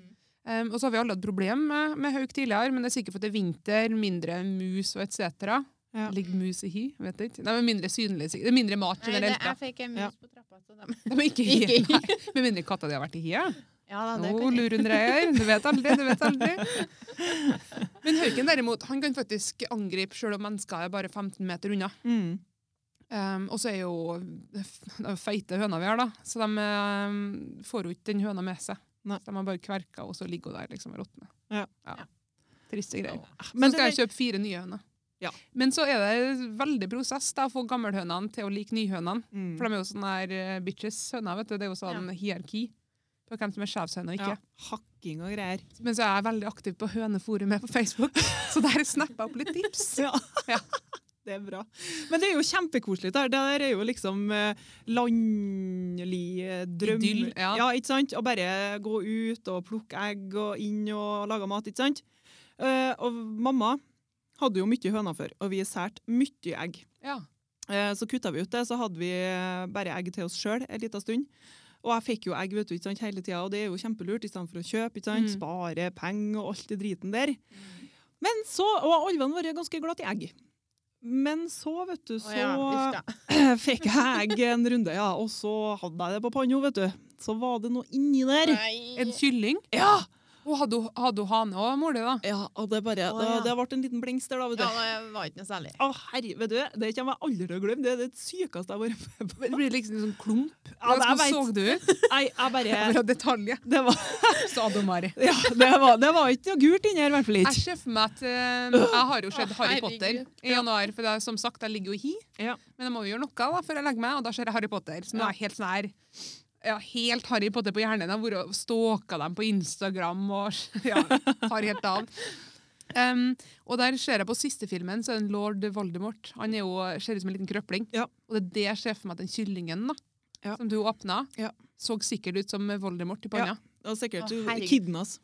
[SPEAKER 3] Um, og så har vi alle hatt problem med, med hauk tidligere, men det er sikkert for at det er vinter, mindre mus og etc.
[SPEAKER 2] Ja.
[SPEAKER 3] Ligger mus i hi? Vet jeg ikke. Nei, men mindre synlig. sikkert. Det er mindre mat
[SPEAKER 1] Nei, det,
[SPEAKER 3] generelt. da.
[SPEAKER 1] jeg fikk en mus
[SPEAKER 2] Ja.
[SPEAKER 1] på trappa. Så dem.
[SPEAKER 3] De er ikke i
[SPEAKER 1] Ikke i
[SPEAKER 3] hi.
[SPEAKER 1] hi.
[SPEAKER 3] Nei, Med mindre katta di har vært i hi. Ja.
[SPEAKER 1] Ja, da, det
[SPEAKER 3] Nå
[SPEAKER 1] kan jeg.
[SPEAKER 3] lurer hun dreier. Du vet aldri, du vet aldri. Men hauken derimot, han kan faktisk angripe selv om mennesker er bare 15 meter unna.
[SPEAKER 2] Mm.
[SPEAKER 3] Um, og så er jo det er jo feite høna vi har, da. Så de um, får jo ikke den høna med seg.
[SPEAKER 2] Nei.
[SPEAKER 3] Så de har bare kverka, og så ligger hun der liksom og råtner.
[SPEAKER 2] Ja.
[SPEAKER 1] Ja.
[SPEAKER 3] Triste greier.
[SPEAKER 2] Men Ah,
[SPEAKER 3] så skal
[SPEAKER 2] det-
[SPEAKER 3] jeg kjøpe fire nye høner.
[SPEAKER 2] Ja.
[SPEAKER 3] Men så er det veldig prosess da, å få gammelhønene til å like nyhønene.
[SPEAKER 2] Mm.
[SPEAKER 3] For de er jo sånne her eh, bitches høner, vet du. Det er jo sånn hierarki på hvem som er sjefshøne og ikke.
[SPEAKER 2] Ja, hakking og greier.
[SPEAKER 3] Men så er jeg veldig aktiv på høneforumet på Facebook, så der snapper jeg opp litt tips.
[SPEAKER 2] Ja.
[SPEAKER 3] Ja.
[SPEAKER 2] Det er bra. Men det er jo kjempekoselig. Det her. Det der er jo liksom eh, landlig eh, drøm.
[SPEAKER 3] Idyll, ja.
[SPEAKER 2] ikke sant? Å bare gå ut og plukke egg og inn og lage mat, ikke sant? Eh, og mamma hadde jo mye høner før, og vi særte mye egg.
[SPEAKER 3] Ja.
[SPEAKER 2] Eh, Så kutta vi ut det, så hadde vi eh, bare egg til oss sjøl en liten stund. Og jeg fikk jo egg vet du, ikke sant, hele tida, og det er jo kjempelurt istedenfor å kjøpe. ikke sant,
[SPEAKER 3] Mm.
[SPEAKER 2] Spare penger og alt det driten der. Men så, Og alvene våre er ganske glad i egg. Men så, vet du,
[SPEAKER 1] Å
[SPEAKER 2] så
[SPEAKER 1] ja, uff da.
[SPEAKER 2] fikk jeg en runde, ja, og så hadde jeg det på panna, vet du. Så var det noe inni der.
[SPEAKER 3] En
[SPEAKER 1] Nei.
[SPEAKER 3] kylling.
[SPEAKER 2] Ja!
[SPEAKER 3] Og hadde hun- hadde hun hane òg, mor di, da?
[SPEAKER 2] ja og det bare,
[SPEAKER 1] Å,
[SPEAKER 2] det,
[SPEAKER 1] ja.
[SPEAKER 2] det ble en liten blings der, da, vet du.
[SPEAKER 1] Ja, det var ikke noe særlig.
[SPEAKER 2] Å, herre, vet du, det kommer jeg aldri til å glemme. Det er det sykeste jeg har vært med på.
[SPEAKER 3] Det blir liksom en sånn
[SPEAKER 2] Ja,
[SPEAKER 3] klump.
[SPEAKER 2] det
[SPEAKER 3] Hvordan
[SPEAKER 2] jeg
[SPEAKER 3] så
[SPEAKER 2] vet.
[SPEAKER 3] du ut?
[SPEAKER 2] Nei, jeg bare
[SPEAKER 3] Fra detaljer.
[SPEAKER 2] Det var,
[SPEAKER 3] Sa du, Mari.
[SPEAKER 2] ja, det var, det var ikke noe gult inni her, i hvert fall
[SPEAKER 3] Jeg
[SPEAKER 2] ikke.
[SPEAKER 3] ser for meg at eh, Jeg har jo sett
[SPEAKER 1] Å,
[SPEAKER 3] Harry
[SPEAKER 1] herregud.
[SPEAKER 3] Potter i januar, for det, er- som sagt, jeg ligger jo i hi.
[SPEAKER 2] Ja.
[SPEAKER 3] Men jeg må jo gjøre noe da, før jeg legger meg, og da ser jeg Harry Potter. Så nå er jeg helt sånn her ja, helt Harry Potter på hjernen. Jeg har vært og stalka dem på Instagram og ja, tar helt av. Um, og der ser jeg på siste filmen, så er det en lord Voldemort. Han er jo, ser ut som en liten krøpling.
[SPEAKER 2] Ja.
[SPEAKER 3] Og det er det jeg ser for meg at den kyllingen da,
[SPEAKER 2] Ja.
[SPEAKER 3] som du åpna,
[SPEAKER 2] Ja.
[SPEAKER 3] så sikkert ut som Voldemort i panna.
[SPEAKER 2] Det var sikkert
[SPEAKER 1] Å, herregud.
[SPEAKER 2] kidnas.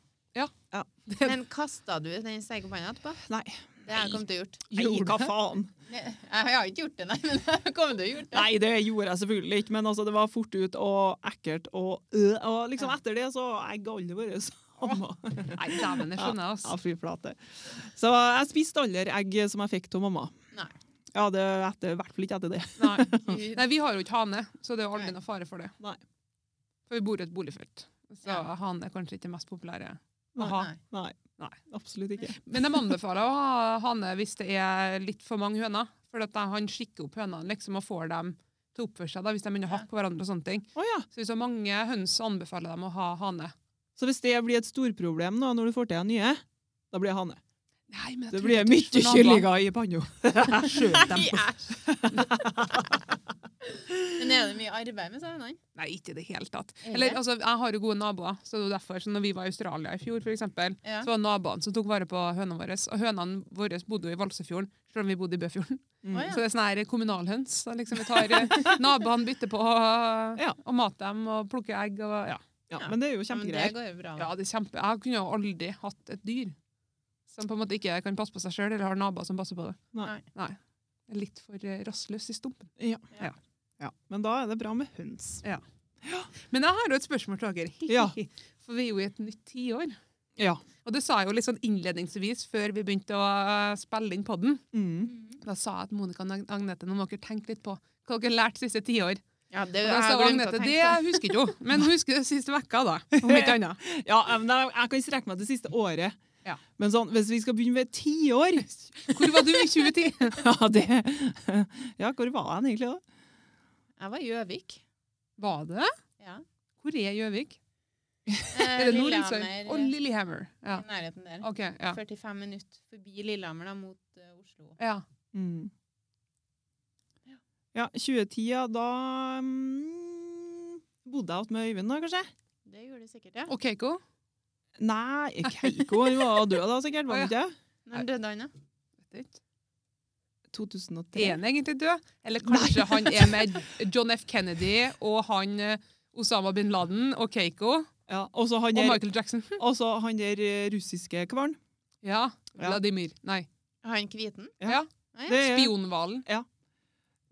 [SPEAKER 1] Men kasta du den steikepanna etterpå?
[SPEAKER 2] Nei.
[SPEAKER 1] Det har jeg kommet til å gjort.
[SPEAKER 2] Nei,
[SPEAKER 3] Gjorde
[SPEAKER 2] hva
[SPEAKER 3] det?
[SPEAKER 2] faen?
[SPEAKER 1] Jeg har ikke gjort det, nei, men jeg kommer til å gjort det.
[SPEAKER 2] Nei, det gjorde jeg selvfølgelig ikke, men altså, det var fort ut og ekkelt. Og, øh, og liksom
[SPEAKER 1] Ja.
[SPEAKER 2] etter det så Jeg ga aldri vært samme.
[SPEAKER 3] Nei, dæven, det skjønner jeg.
[SPEAKER 2] Ja,
[SPEAKER 3] Altså.
[SPEAKER 2] fy flate. Så jeg spiste aldri egg som jeg fikk av mamma.
[SPEAKER 1] Nei.
[SPEAKER 2] Ja, det etter, I hvert fall ikke etter det.
[SPEAKER 3] Nei.
[SPEAKER 1] Gud.
[SPEAKER 3] Nei, vi har jo ikke hane, så det er jo aldri
[SPEAKER 1] Nei.
[SPEAKER 3] noe fare for det.
[SPEAKER 2] Nei.
[SPEAKER 3] For vi bor i et boligfelt, så
[SPEAKER 1] Ja.
[SPEAKER 3] hane er kanskje ikke det mest populære.
[SPEAKER 2] Nei.
[SPEAKER 3] Aha.
[SPEAKER 1] Nei.
[SPEAKER 2] Nei.
[SPEAKER 3] Nei.
[SPEAKER 2] Absolutt ikke.
[SPEAKER 3] Men de anbefaler å ha hane hvis det er litt for mange høner, for at da han skikker opp hønene liksom, og får dem til å oppføre seg da, hvis de begynner å hakke på hverandre og sånne ting.
[SPEAKER 2] Å ja.
[SPEAKER 3] Så hvis det er mange høns, så anbefaler de å ha hane.
[SPEAKER 2] Så hvis det blir et storproblem nå, når du får til en nye, da blir jeg hane.
[SPEAKER 3] Nei, men jeg
[SPEAKER 2] Det
[SPEAKER 3] tror
[SPEAKER 2] blir
[SPEAKER 3] ikke
[SPEAKER 2] mye
[SPEAKER 3] tørt for naboene.
[SPEAKER 2] kyllinger i panna.
[SPEAKER 3] Skjøt dem på-
[SPEAKER 1] Æsj. Men er det mye arbeid med sauene?
[SPEAKER 3] Nei, ikke i det hele tatt.
[SPEAKER 1] Er det?
[SPEAKER 3] Eller, altså, jeg har jo gode naboer, så det er jo derfor så når vi var i Australia i fjor, for eksempel,
[SPEAKER 1] Ja.
[SPEAKER 3] så var det naboene som tok vare på hønene våre. Og hønene våre bodde jo i Valsefjorden, selv om vi bodde i Bøfjorden.
[SPEAKER 2] Mm.
[SPEAKER 1] Å, ja.
[SPEAKER 3] Så det er sånne her kommunalhøns. da Liksom vi tar naboene, bytter på og,
[SPEAKER 2] Ja.
[SPEAKER 3] og mater dem og plukker egg. Og, ja.
[SPEAKER 2] Ja,
[SPEAKER 1] Ja.
[SPEAKER 2] men det er jo
[SPEAKER 1] Ja, men det
[SPEAKER 2] kjempegreier.
[SPEAKER 1] går jo bra.
[SPEAKER 3] ja, det er kjempe. Jeg kunne jo aldri hatt et dyr som på en måte ikke kan passe på seg sjøl, eller har naboer som passer på det.
[SPEAKER 2] Nei.
[SPEAKER 3] Nei. Jeg er Litt for eh, rastløs i stumpen.
[SPEAKER 2] Ja. Men da er det bra med høns.
[SPEAKER 3] Men jeg har jo et spørsmål til dere.
[SPEAKER 2] Ja.
[SPEAKER 3] For vi er jo i et nytt tiår.
[SPEAKER 2] Ja.
[SPEAKER 3] Og det sa jeg jo litt sånn innledningsvis før vi begynte å eh, spille inn podden.
[SPEAKER 2] Mm.
[SPEAKER 3] Da sa jeg at Monica og Ag- Agnete, nå må dere tenke litt på hva dere har lært siste tiår.
[SPEAKER 1] Ja, det
[SPEAKER 3] Og
[SPEAKER 1] jeg
[SPEAKER 3] da sa
[SPEAKER 1] har glemt å
[SPEAKER 3] Agnete,
[SPEAKER 1] tenke
[SPEAKER 3] det
[SPEAKER 1] på.
[SPEAKER 3] husker ikke hun, men hun husker det siste vekka da, om ikke annet.
[SPEAKER 2] Ja, eh, men da, jeg kan strekke meg til siste året.
[SPEAKER 3] Ja.
[SPEAKER 2] Men sånn, hvis vi skal begynne med tiår
[SPEAKER 3] Hvor var du i 2010?
[SPEAKER 2] ja, det, ja, hvor var han egentlig da?
[SPEAKER 1] Jeg var i Gjøvik.
[SPEAKER 3] Var det?
[SPEAKER 1] Ja.
[SPEAKER 3] Hvor er Gjøvik?
[SPEAKER 1] Eh,
[SPEAKER 3] Er det Nordensøy?
[SPEAKER 1] Lillehammer.
[SPEAKER 3] Og Lillehammer. Ja.
[SPEAKER 1] I nærheten der.
[SPEAKER 3] Ok, ja.
[SPEAKER 1] 45 minutter forbi Lillehammer da, mot eh, Oslo.
[SPEAKER 3] ja.
[SPEAKER 2] Mm. Ja, 2010, ja, da mm, bodde jeg åt med Øyvind da, kanskje?
[SPEAKER 1] Det gjorde det sikkert, ja.
[SPEAKER 3] Og Keiko?
[SPEAKER 2] Nei, Keiko hun var død da, sikkert, var
[SPEAKER 3] Å,
[SPEAKER 2] hun ikke? det?
[SPEAKER 1] Når døde han, da?
[SPEAKER 3] Vet ikke.
[SPEAKER 2] 2003.
[SPEAKER 3] Er han egentlig død? Eller kanskje han er med John F. Kennedy og han eh, Osama bin Laden og Keiko
[SPEAKER 2] Ja, og så han
[SPEAKER 3] og
[SPEAKER 2] der,
[SPEAKER 3] Michael Jackson?
[SPEAKER 2] og så han der eh, russiske kvarn.
[SPEAKER 3] Ja.
[SPEAKER 2] Ja.
[SPEAKER 3] Vladimir. Nei.
[SPEAKER 1] Han hviten?
[SPEAKER 2] Ja.
[SPEAKER 3] Ja.
[SPEAKER 1] Nei,
[SPEAKER 2] Det er-
[SPEAKER 3] Spionhvalen.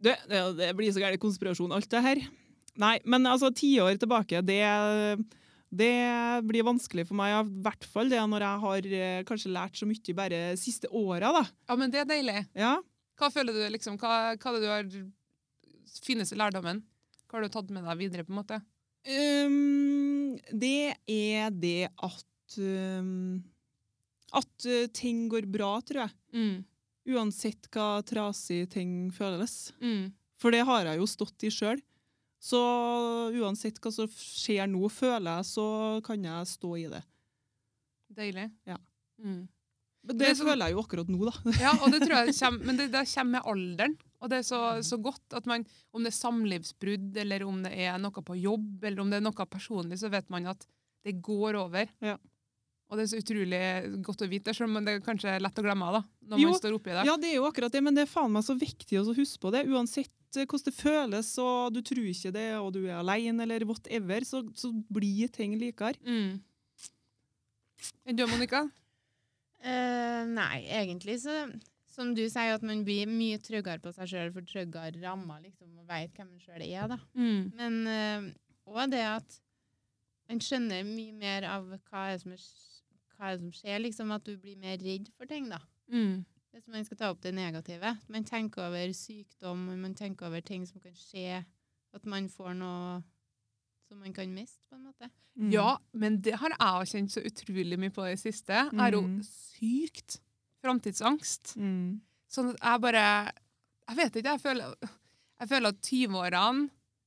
[SPEAKER 2] Det, det, det blir så gærent konspirasjon, alt det her. Nei, men altså, tiår tilbake, det, det blir vanskelig for meg. I hvert fall det når jeg har eh, kanskje lært så mye bare siste åra, da.
[SPEAKER 3] Ja, men det er deilig.
[SPEAKER 2] Ja.
[SPEAKER 3] Hva føler du, liksom? Hva, hva er det du har finnes i lærdommen? Hva har du tatt med deg videre, på en måte?
[SPEAKER 2] Um, det er det at um, At eh, ting går bra, tror jeg.
[SPEAKER 3] Mm.
[SPEAKER 2] Uansett hva trasig ting føles.
[SPEAKER 3] Mm.
[SPEAKER 2] For det har jeg jo stått i sjøl. Så uansett hva som skjer nå, føler jeg, så kan jeg stå i det.
[SPEAKER 3] Deilig.
[SPEAKER 2] Ja.
[SPEAKER 3] Mm.
[SPEAKER 2] Men
[SPEAKER 3] Men
[SPEAKER 2] det
[SPEAKER 3] sånn-
[SPEAKER 2] føler jeg jo akkurat nå, da.
[SPEAKER 3] Ja, og det tror jeg kommer, men det, det kommer med alderen. Og det er så, så godt at man, om det er samlivsbrudd, eller om det er noe på jobb, eller om det er noe personlig, så vet man at det går over.
[SPEAKER 2] Ja.
[SPEAKER 3] Og det er så utrolig godt å vite, selv om det er kanskje er lett å glemme da, når
[SPEAKER 2] Jo.
[SPEAKER 3] man står oppi det.
[SPEAKER 2] Ja, det er jo akkurat det, men det er faen meg så viktig å så huske på det. Uansett eh, hvordan det føles, og du tror ikke det, og du er alene, eller whatever, så, så blir ting likere.
[SPEAKER 3] Mm. Enn du, Monica?
[SPEAKER 1] Eh, nei, egentlig så Som du sier, at man blir mye tryggere på seg sjøl, for tryggere rammer, liksom, og veit hvem man sjøl er, da.
[SPEAKER 3] Mm.
[SPEAKER 1] Men òg det at man skjønner mye mer av hva er som, er, hva er som skjer, liksom at du blir mer redd for ting, da.
[SPEAKER 3] Mm.
[SPEAKER 1] Hvis man skal ta opp det negative. at Man tenker over sykdom, man tenker over ting som kan skje. At man får noe som man kan miste, på en måte.
[SPEAKER 2] Mm.
[SPEAKER 3] Ja, men det har jeg også kjent så utrolig mye på i det siste. Jeg har jo
[SPEAKER 2] Mhm.
[SPEAKER 3] sykt framtidsangst.
[SPEAKER 2] Mm.
[SPEAKER 3] Sånn at jeg bare Jeg vet ikke. Jeg føler, jeg føler at 20-årene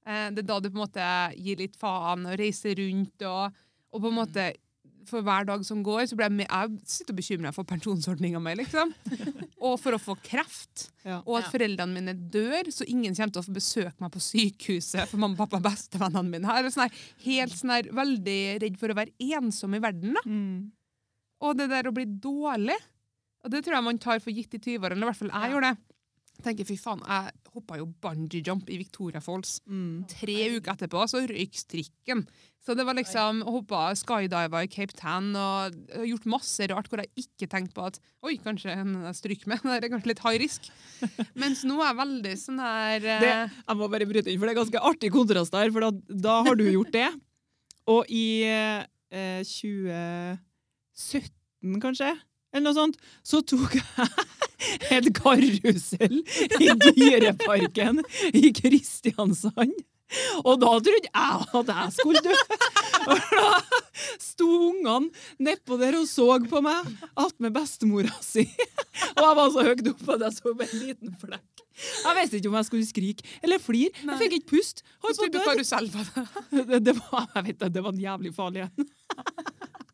[SPEAKER 3] eh, Det er da du på en måte gir litt faen og reiser rundt og, og på en måte For hver dag som går, så blir jeg, mer- jeg sitter og bekymrer meg for pensjonsordninga mi, liksom. og for å få kreft.
[SPEAKER 2] Ja.
[SPEAKER 3] Og at
[SPEAKER 1] Ja.
[SPEAKER 3] foreldrene mine dør, så ingen kommer til å få besøke meg på sykehuset. For mamma og pappa er bestevennene mine her. Og Sånn her, helt sånn her, veldig redd for å være ensom i verden. Da.
[SPEAKER 2] Mm.
[SPEAKER 3] Og det der å bli dårlig. Og det tror jeg man tar for gitt i 20-årene. Eller i hvert fall jeg
[SPEAKER 1] Ja.
[SPEAKER 3] gjorde det. Jeg tenker, fy faen, jeg hoppa jo bungee jump i Victoria Falls.
[SPEAKER 2] Mm.
[SPEAKER 3] Tre uker etterpå så røyk strikken. Så det var liksom hoppa skydiva i Cape Town og jeg har gjort masse rart hvor jeg ikke tenkte på at oi, kanskje en jeg stryker med. Det er kanskje litt high risk. Mens nå er jeg veldig sånn her eh,
[SPEAKER 2] Det- Jeg må bare bryte inn, for det er ganske artig kontrast der, for da, da har du gjort det. Og i eh, 2017, kanskje, eller noe sånt, så tok jeg et karusell i Dyreparken i Kristiansand. Og da trodde jeg at jeg skulle dø. Og da sto ungene nedpå der og så på meg attmed bestemora si. Og jeg var så høyt oppe at jeg så bare en liten flekk. Jeg visste ikke om jeg skulle skrike eller flire.
[SPEAKER 3] Nei.
[SPEAKER 2] Jeg fikk ikke pust.
[SPEAKER 3] Hva
[SPEAKER 2] Holdt på å
[SPEAKER 3] type
[SPEAKER 2] dø.
[SPEAKER 3] karusell var det?
[SPEAKER 2] Det, det, var, jeg vet, det, det var en jævlig farlig en.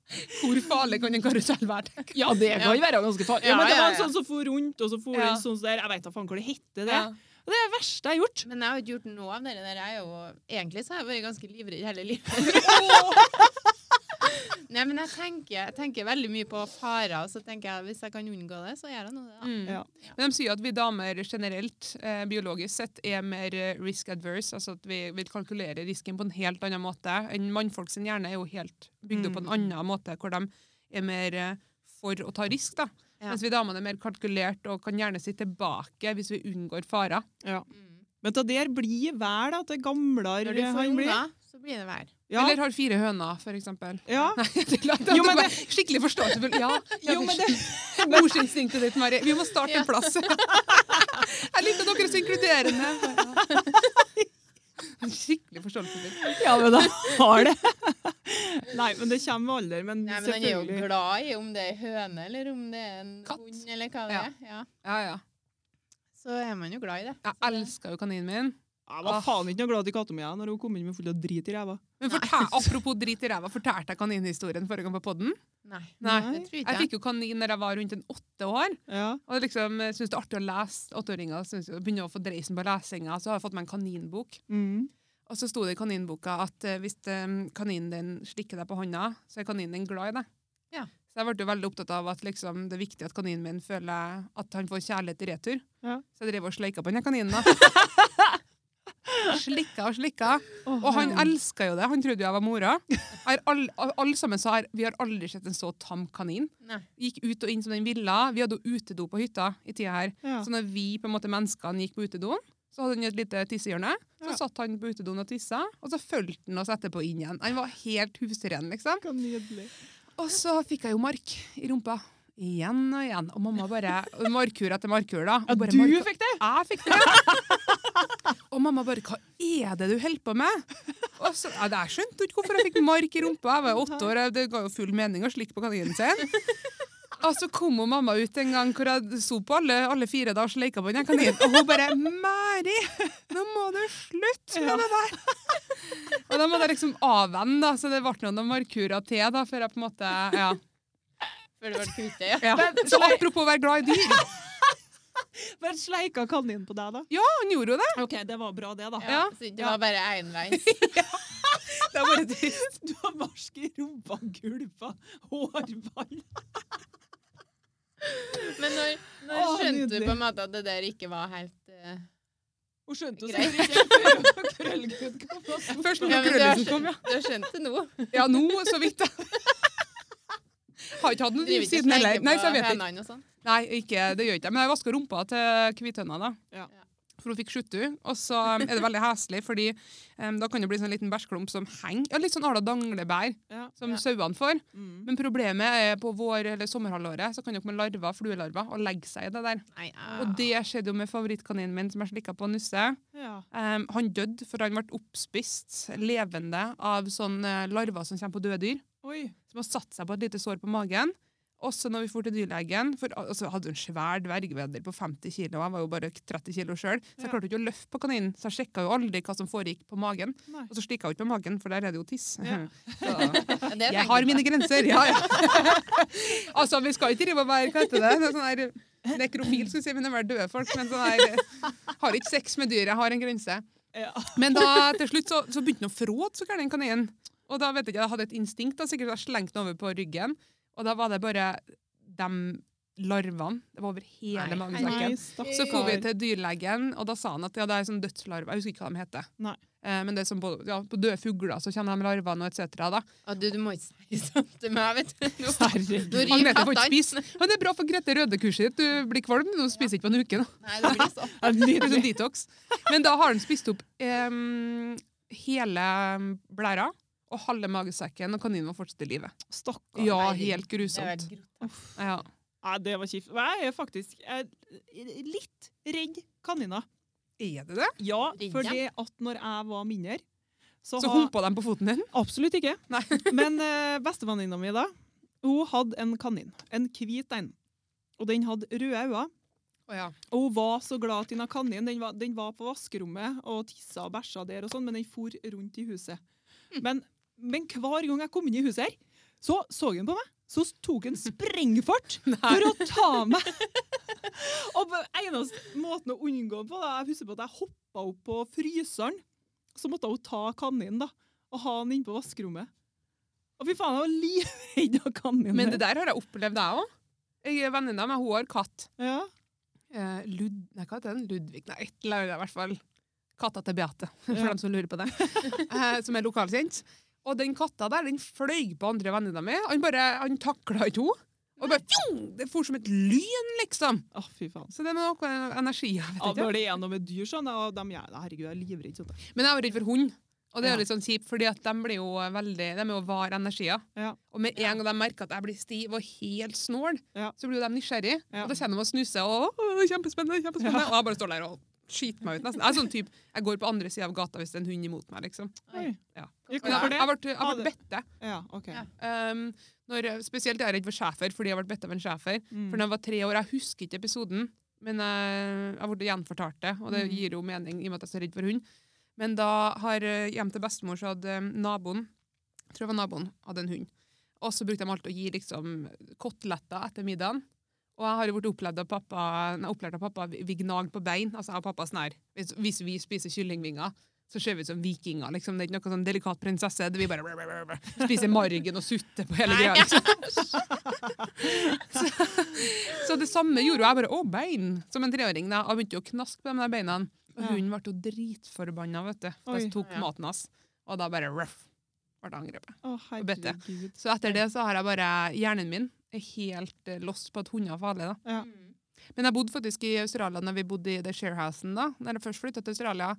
[SPEAKER 3] Hvor farlig kan en karusell være? tenker jeg?
[SPEAKER 2] Ja, det kan jo være ganske farlig. Ja,
[SPEAKER 1] Ja,
[SPEAKER 2] men det
[SPEAKER 1] ja,
[SPEAKER 2] var en
[SPEAKER 1] ja.
[SPEAKER 2] sånn som for rundt, og så for
[SPEAKER 3] Ja.
[SPEAKER 2] en sånn der. Jeg vet da faen hva det heter, det.
[SPEAKER 3] Ja.
[SPEAKER 2] Og Det er det verste jeg har gjort.
[SPEAKER 1] Men jeg har ikke gjort noe av det der. Jeg er jo, egentlig så har jeg vært ganske livredd hele livet. Nei, men jeg tenker, jeg tenker veldig mye på farer, og så tenker jeg hvis jeg kan unngå det, så gjør jeg nå det. da.
[SPEAKER 3] Mm.
[SPEAKER 2] Ja.
[SPEAKER 3] Men de sier at vi damer generelt, eh, biologisk sett, er mer eh, risk adverse. Altså at vi, vi kalkulerer risken på en helt annen måte. En mannfolk sin hjerne er jo helt bygd opp på en annen måte, hvor de er mer eh, for å ta risk. da.
[SPEAKER 1] Ja.
[SPEAKER 3] Mens vi damene er mer kalkulert og kan gjerne si tilbake hvis vi unngår farer.
[SPEAKER 1] Mm.
[SPEAKER 2] Men det der blir vær, da, til gamlere
[SPEAKER 1] Når du får
[SPEAKER 2] han blir.
[SPEAKER 1] unger, så blir det vær.
[SPEAKER 2] Ja.
[SPEAKER 3] Eller har fire høner, for eksempel.
[SPEAKER 2] ja.
[SPEAKER 3] Nei, det er klart at
[SPEAKER 2] Jo,
[SPEAKER 3] du
[SPEAKER 2] men
[SPEAKER 3] bare Skikkelig forståelsesfull. Ja, ja,
[SPEAKER 2] Jo, men
[SPEAKER 3] det Morsinstinktet ditt, Mari. Vi må starte en plass. Jeg liker dere er så inkluderende. Skikkelig forståelsesfull.
[SPEAKER 2] ja, men jeg har det. Nei, men det kommer med alder. Men
[SPEAKER 1] Nei, men han er jo
[SPEAKER 2] selvfølgelig.
[SPEAKER 1] glad i om det er høne, eller om det er en
[SPEAKER 3] Katt.
[SPEAKER 1] hund, eller hva det
[SPEAKER 3] Ja.
[SPEAKER 1] er. Ja.
[SPEAKER 3] Ja, ja.
[SPEAKER 1] Så er man jo glad i det.
[SPEAKER 3] Jeg elsker jo kaninen min.
[SPEAKER 2] Jeg var faen ikke noe glad i katta mi jeg, når hun kom inn med full av drit i ræva.
[SPEAKER 3] Men fortel, apropos drit i ræva, fortalte jeg kaninhistorien forrige gang på podden?
[SPEAKER 1] Nei,
[SPEAKER 3] Nei.
[SPEAKER 1] det tror
[SPEAKER 3] Jeg
[SPEAKER 1] ikke jeg.
[SPEAKER 3] fikk jo kanin når jeg var rundt en åtte år.
[SPEAKER 2] Ja.
[SPEAKER 3] Og jeg liksom eh, synes det er artig å lese. Åtteåringer synes jo- begynner å få dreisen på lesinga. Så har jeg fått meg en kaninbok.
[SPEAKER 2] Mm.
[SPEAKER 3] Og så sto det i kaninboka at eh, hvis eh, kaninen din slikker deg på hånda, så er kaninen din glad i deg.
[SPEAKER 1] Ja.
[SPEAKER 3] Så jeg ble jo veldig opptatt av at liksom, det er viktig at kaninen min føler at han får kjærlighet i retur.
[SPEAKER 2] Ja.
[SPEAKER 3] Så jeg drev og sleika på den her kaninen. da. slikka og slikka. Og han elska jo det. Han trodde jo jeg var mora. Jeg har all, alle sammen sa her, vi har aldri sett en så tam kanin.
[SPEAKER 1] Nei.
[SPEAKER 3] Gikk ut og inn som den ville. Vi hadde jo utedo på hytta i tida her.
[SPEAKER 2] ja.
[SPEAKER 3] Så når vi på en måte menneskene gikk på utedoen, så hadde han et lite tissehjørne. Så
[SPEAKER 2] Ja.
[SPEAKER 3] satt han på utedoen og tissa, og så fulgte han oss etterpå inn igjen. Han var helt husren, liksom.
[SPEAKER 2] Så nydelig.
[SPEAKER 3] Og så fikk jeg jo mark i rumpa. Igjen og igjen. Og mamma bare og Markur etter markur, da. Og
[SPEAKER 2] Ja,
[SPEAKER 3] bare
[SPEAKER 2] du
[SPEAKER 3] marka-
[SPEAKER 2] fikk det!
[SPEAKER 3] Jeg fikk det. Og mamma bare 'Hva er det du holder på med?' Og så, ja, Jeg skjønte jo ikke hvorfor jeg fikk mark i rumpa. Jeg var jo åtte år, og det ga jo full mening å slikke på kaninen sin. Og så kom hun mamma ut en gang hvor jeg sto på alle, alle fire da og sleika på den kaninen. Og hun bare 'Mari, nå må du slutte med det der'. Og da måtte jeg liksom avvenne, da, så det ble noen markurer til da, før jeg på en måte Ja.
[SPEAKER 1] Før det ble kuttet, ja.
[SPEAKER 3] ja. Så apropos å være glad i dyr.
[SPEAKER 2] Men sleika kaninen på deg, da?
[SPEAKER 3] Ja, han gjorde jo det.
[SPEAKER 2] OK, det var bra, det, da.
[SPEAKER 1] ja. Så det
[SPEAKER 2] Ja.
[SPEAKER 1] var bare enveis.
[SPEAKER 2] Det er bare trist. Du har marsk i rumpa, gulpa, hårball
[SPEAKER 1] Men når, når
[SPEAKER 2] Å,
[SPEAKER 1] skjønte
[SPEAKER 2] nydelig.
[SPEAKER 1] du på en måte at det der ikke var helt eh,
[SPEAKER 2] Hun skjønte jo
[SPEAKER 1] Greit.
[SPEAKER 2] sikkert ikke før krøllgutt kom og sto på.
[SPEAKER 3] Først når
[SPEAKER 1] Ja, men du har
[SPEAKER 3] krøllesen kom, ja.
[SPEAKER 1] skjønt, du har skjønt det nå.
[SPEAKER 3] Ja, nå, så vidt. da. Har ikke hatt noe
[SPEAKER 1] Driver
[SPEAKER 3] liv
[SPEAKER 1] ikke
[SPEAKER 3] siden
[SPEAKER 1] og
[SPEAKER 3] heller.
[SPEAKER 1] slenger
[SPEAKER 3] Nei, så
[SPEAKER 1] på
[SPEAKER 3] jeg vet ikke.
[SPEAKER 1] hendene og sånn.
[SPEAKER 3] Nei, ikke, det gjør ikke jeg. Men jeg vasker rumpa til hvithøna, da.
[SPEAKER 2] Ja.
[SPEAKER 3] for hun fikk skjuttu. Og så um, er det veldig heslig, fordi em, da kan det bli sånn liten bæsjklump som henger. Ja, litt sånn Arla Danglebær
[SPEAKER 2] Ja.
[SPEAKER 3] som
[SPEAKER 1] Ja.
[SPEAKER 3] sauene får.
[SPEAKER 2] Mm.
[SPEAKER 3] Men problemet er på vår- eller sommerhalvåret så kan det komme larver, fluelarver, og legge seg i det der.
[SPEAKER 1] Nei,
[SPEAKER 3] Og det skjedde jo med favorittkaninen min som jeg slikka på Nusse.
[SPEAKER 2] ja.
[SPEAKER 3] Em, han døde, for han ble oppspist levende av sånne larver som kommer på døde dyr
[SPEAKER 2] Oi.
[SPEAKER 3] som har satt seg på et lite sår på magen. Også når vi for til dyrlegen, for al- altså, jeg hadde jo en svær dvergvedder på 50 kilo, og jeg var jo bare 30 kilo selv, så jeg
[SPEAKER 2] Ja.
[SPEAKER 3] klarte jo ikke å løfte på kaninen, så jeg sjekket jo aldri hva som foregikk på magen.
[SPEAKER 2] Nei.
[SPEAKER 3] Og så slikket jeg jo ikke på magen, for der er det jo tiss.
[SPEAKER 2] Ja.
[SPEAKER 3] Så,
[SPEAKER 1] Ja, det
[SPEAKER 3] jeg
[SPEAKER 1] tenker
[SPEAKER 3] har mine grenser, ja, ja. altså, vi skal ikke drive og være, hva heter det? Det er sånn der, nekrofil, skulle jeg si, men det er vel døde folk, men sånn der, har ikke sex med dyr, jeg har en grense.
[SPEAKER 2] Ja.
[SPEAKER 3] Men da, til slutt så, så begynte han å fråte så gæren den kaninen. Og da vet jeg ikke, jeg hadde et instinkt, da, sikkert så jeg slengte den over på ryggen. Og da var det bare de larvene. Det var over hele
[SPEAKER 1] Nei,
[SPEAKER 3] magesekken.
[SPEAKER 2] stakkar.
[SPEAKER 3] Så kom vi til dyrlegen, og da sa han at ja, det er sånn dødslarver. Jeg husker ikke hva de heter.
[SPEAKER 2] Nei.
[SPEAKER 3] Eh, men det er sånn på, ja, på døde fugler så kjenner de larvene og et cetera. da.
[SPEAKER 1] Å, du, du må ikke si sånt til meg, vet du. Nå, nå
[SPEAKER 2] Herregud.
[SPEAKER 1] ryker
[SPEAKER 3] Agnete får ikke
[SPEAKER 1] kattene.
[SPEAKER 3] spise. Men det er bra for Grete Røde-kurset ditt. Du blir kvalm, du spiser ikke på en uke. nå.
[SPEAKER 1] Nei, det blir sånn.
[SPEAKER 3] Det er sånn detox. Men da har han spist opp em, hele blæra og halve magesekken, og kaninen var fortsatt i live.
[SPEAKER 2] Stakkar.
[SPEAKER 3] Ja,
[SPEAKER 1] herregud.
[SPEAKER 3] helt
[SPEAKER 1] Det er
[SPEAKER 3] grusomt.
[SPEAKER 1] helt grått.
[SPEAKER 3] Ja.
[SPEAKER 2] Nei, det var kjipt. Jeg er faktisk jeg er litt redd kaniner.
[SPEAKER 3] Er det det?
[SPEAKER 2] Ja,
[SPEAKER 1] Redd
[SPEAKER 2] for det at når jeg var mindre
[SPEAKER 3] Så
[SPEAKER 2] har-
[SPEAKER 3] humpa de på foten din?
[SPEAKER 2] Absolutt ikke.
[SPEAKER 3] Nei.
[SPEAKER 2] Men uh, bestevenninna mi da, hun hadde en kanin. En hvit en. Og den hadde røde øyne.
[SPEAKER 3] Å ja.
[SPEAKER 2] Og hun var så glad at denne kaninen den var, den var på vaskerommet og tissa og bæsja der, og sånn, men den for rundt i huset.
[SPEAKER 3] Mm.
[SPEAKER 2] Men, men hver gang jeg kom inn i huset her, så så han på meg. Så tok han sprengfart for å ta meg. Og på eneste måten å unngå på, da, jeg husker på at jeg hoppa opp på fryseren. Så måtte hun ta kaninen da, og ha den inne på vaskerommet. Og fy faen, jeg var livredd av kaninen.
[SPEAKER 3] Men det der har jeg opplevd, jeg òg. Jeg er venninna med hun har katt.
[SPEAKER 2] Ja.
[SPEAKER 3] Eh, Lud... Nei, hva heter den? Ludvig? Nei, et eller annet i hvert fall. Katta til Beate, for
[SPEAKER 2] Ja.
[SPEAKER 3] dem som lurer på det. Eh, som er lokalkjent. Og den katta der, den fløy på andre venninna mi. Han bare, han takla ikke henne. Og bare, fjong! Det for som et lyn, liksom.
[SPEAKER 2] Å, fy faen.
[SPEAKER 3] Så det er noe energi, jeg
[SPEAKER 2] Ja,
[SPEAKER 3] vet ikke.
[SPEAKER 2] når det er noe med dyr sånn, og de gjør det. Herregud, jeg er livredd. Sånn.
[SPEAKER 3] Men jeg er jo redd for hund. Og det er
[SPEAKER 2] Ja.
[SPEAKER 3] jo litt sånn kjipt, fordi at de blir jo veldig, de er jo var energier.
[SPEAKER 2] Ja.
[SPEAKER 3] Og med en gang de merker at jeg blir stiv og helt snål,
[SPEAKER 2] Ja.
[SPEAKER 3] så blir jo de nysgjerrig.
[SPEAKER 2] Ja.
[SPEAKER 3] Og da kjenner de og snuser, og «Å, kjempespennende, kjempespennende.
[SPEAKER 2] Ja.
[SPEAKER 3] Og jeg bare står der og skiter meg ut nesten. Jeg er sånn typ, jeg går på andre siden av gata hvis det er en hund imot meg, liksom.
[SPEAKER 2] Oi.
[SPEAKER 3] Ja.
[SPEAKER 2] Ja,
[SPEAKER 3] Men jeg,
[SPEAKER 2] hvorfor det?
[SPEAKER 3] jeg ble, jeg
[SPEAKER 2] Ha
[SPEAKER 3] ble
[SPEAKER 2] det.
[SPEAKER 3] bette.
[SPEAKER 2] Ja, ok.
[SPEAKER 1] Ja.
[SPEAKER 3] Um, når, spesielt er jeg redd for sjefer, fordi jeg ble bedt av en sjefer.
[SPEAKER 2] Mm.
[SPEAKER 3] For da jeg var tre år, jeg husker ikke episoden, men jeg, jeg ble gjenfortalt det, og det
[SPEAKER 2] Mm.
[SPEAKER 3] gir jo mening i og med at jeg er så redd for hund. Men da har eh, hjem til bestemor så hadde eh, naboen, jeg tror jeg var naboen, hadde en hund. Og så brukte de alltid å gi liksom koteletter etter middagen. Og jeg har jo blitt opplevd av pappa, nei, opplært av pappa, vi vi gnager på bein, altså jeg og pappa sånn her. Hvis, hvis vi spiser kyllingvinger, så ser vi ut som vikinger, liksom. Det er ikke noe sånn delikat prinsesse, det blir bare spiser margen og sutter på hele greia, liksom. Så det samme gjorde jo jeg bare, å, bein, som en treåring. da, Jeg begynte jo å knaske på de der beina. Og
[SPEAKER 2] Ja.
[SPEAKER 3] hunden ble jo dritforbanna, vet du. for
[SPEAKER 2] Oi.
[SPEAKER 3] Jeg tok
[SPEAKER 1] Ja.
[SPEAKER 3] maten hans. Og da bare ruff, ble jeg angrepet.
[SPEAKER 2] Å,
[SPEAKER 3] Bette.
[SPEAKER 2] herregud.
[SPEAKER 3] Så etter det så har jeg bare Hjernen min er helt eh, lost på at hunder er farlige, da.
[SPEAKER 2] Ja.
[SPEAKER 1] Mm.
[SPEAKER 3] Men jeg bodde faktisk i Australia når vi bodde i The Sharehousen. da. Når jeg først flytta til Australia,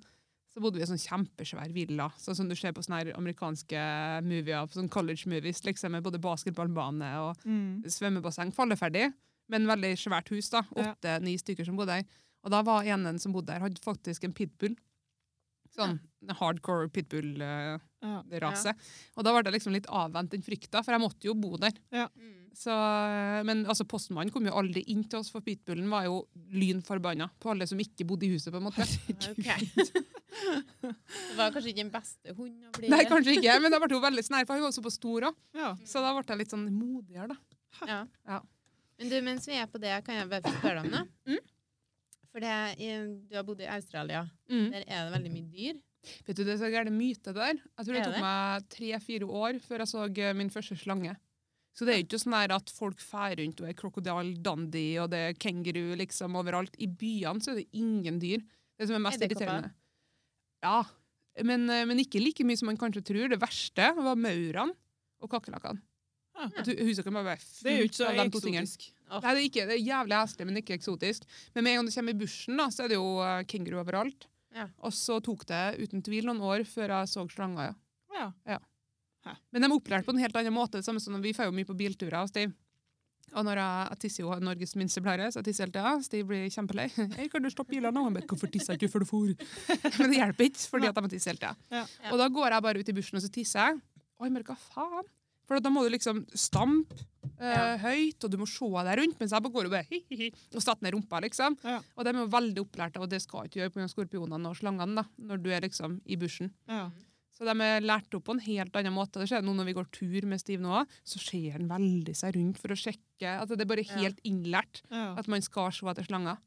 [SPEAKER 3] så bodde vi i en sånn kjempesvær villa, sånn som du ser på sånne her amerikanske movier, på sånn college-movies, liksom, med både basketballbane og
[SPEAKER 2] Mm.
[SPEAKER 3] svømmebasseng, falleferdig, men veldig svært hus. da,
[SPEAKER 2] Ja.
[SPEAKER 3] Åtte-ni stykker som bodde der. Og da var enen som bodde der, hadde faktisk en pitbull. Sånn en hardcore pitbull-rase.
[SPEAKER 2] Ja.
[SPEAKER 3] Og da ble det liksom litt avvent den frykta, for jeg måtte jo bo der.
[SPEAKER 1] Mm.
[SPEAKER 3] Så, men altså, postmannen kom jo aldri inn til oss, for pitbullen var jo lynforbanna på alle som ikke bodde i huset. på en måte.
[SPEAKER 1] Ok. Det var kanskje ikke den beste hunden å bli.
[SPEAKER 3] Nei, kanskje ikke, men jeg ble jo veldig snær, for han var jo såpass stor òg.
[SPEAKER 2] Ja.
[SPEAKER 3] Så da ble jeg litt sånn modigere, da.
[SPEAKER 1] Ja.
[SPEAKER 3] Ja.
[SPEAKER 1] Men du, mens vi er på det, kan jeg bare få spørre deg om noe? For det, i- du har bodd i Australia.
[SPEAKER 3] Mm.
[SPEAKER 1] Der er det veldig mye dyr.
[SPEAKER 3] Vet du, Det er så gæren myte det der. Jeg tror det
[SPEAKER 1] Er
[SPEAKER 3] tok
[SPEAKER 1] det?
[SPEAKER 3] meg tre-fire år før jeg så eh, min første slange. Så det er jo ikke sånn her at folk fer rundt og er krokodille dandy og det er kenguru liksom overalt. I byene så er det ingen dyr. Det som er mest
[SPEAKER 1] Edderkopper?
[SPEAKER 3] irriterende. Ja, men, eh, men ikke like mye som man kanskje tror. Det verste var maurene og kakerlakkene.
[SPEAKER 2] Ja.
[SPEAKER 3] At hu- huset kan bare være
[SPEAKER 2] Det er jo ikke
[SPEAKER 3] fullt
[SPEAKER 2] så
[SPEAKER 3] av de to tingene.
[SPEAKER 2] eksotisk.
[SPEAKER 3] Nei, det er, ikke, det er jævlig heslig, men ikke eksotisk. Men med en gang du kommer i bushen, da, så er det jo eh, kenguru overalt.
[SPEAKER 1] Ja.
[SPEAKER 3] Og så tok det uten tvil noen år før jeg så slanga, ja.
[SPEAKER 2] Ja.
[SPEAKER 3] Men de er opplært på en helt annen måte. Det samme som når vi får jo mye på bilturer. Og Steve. Og når jeg, jeg tisser jo Norges minste blære, så jeg tisser hele tida. Steve blir kjempelei. «Hei, kan du stoppe bilene nå?» Han bare 'Hvorfor tisser jeg ikke før du for?' Men det hjelper ikke, fordi at de må tisse hele tida.
[SPEAKER 2] Ja.
[SPEAKER 3] Og da går jeg bare ut i bushen og så tisser jeg. Oi, men hva faen? For da må du liksom stampe eh, høyt, og du må se deg rundt, mens jeg bare går og bare hi, hi, hi, og setter ned rumpa, liksom.
[SPEAKER 2] Ja.
[SPEAKER 3] Og de er jo veldig opplært av, og det skal du ikke gjøre pga. skorpionene og slangene, da, når du er liksom i bushen.
[SPEAKER 2] Ja.
[SPEAKER 3] Så de er lært opp på en helt annen måte. Det skjer nå når vi går tur med Steve nå, så ser han veldig seg rundt for å sjekke. Altså, det er bare
[SPEAKER 1] Ja.
[SPEAKER 3] helt innlært
[SPEAKER 2] Ja.
[SPEAKER 3] at man skal se etter slanger.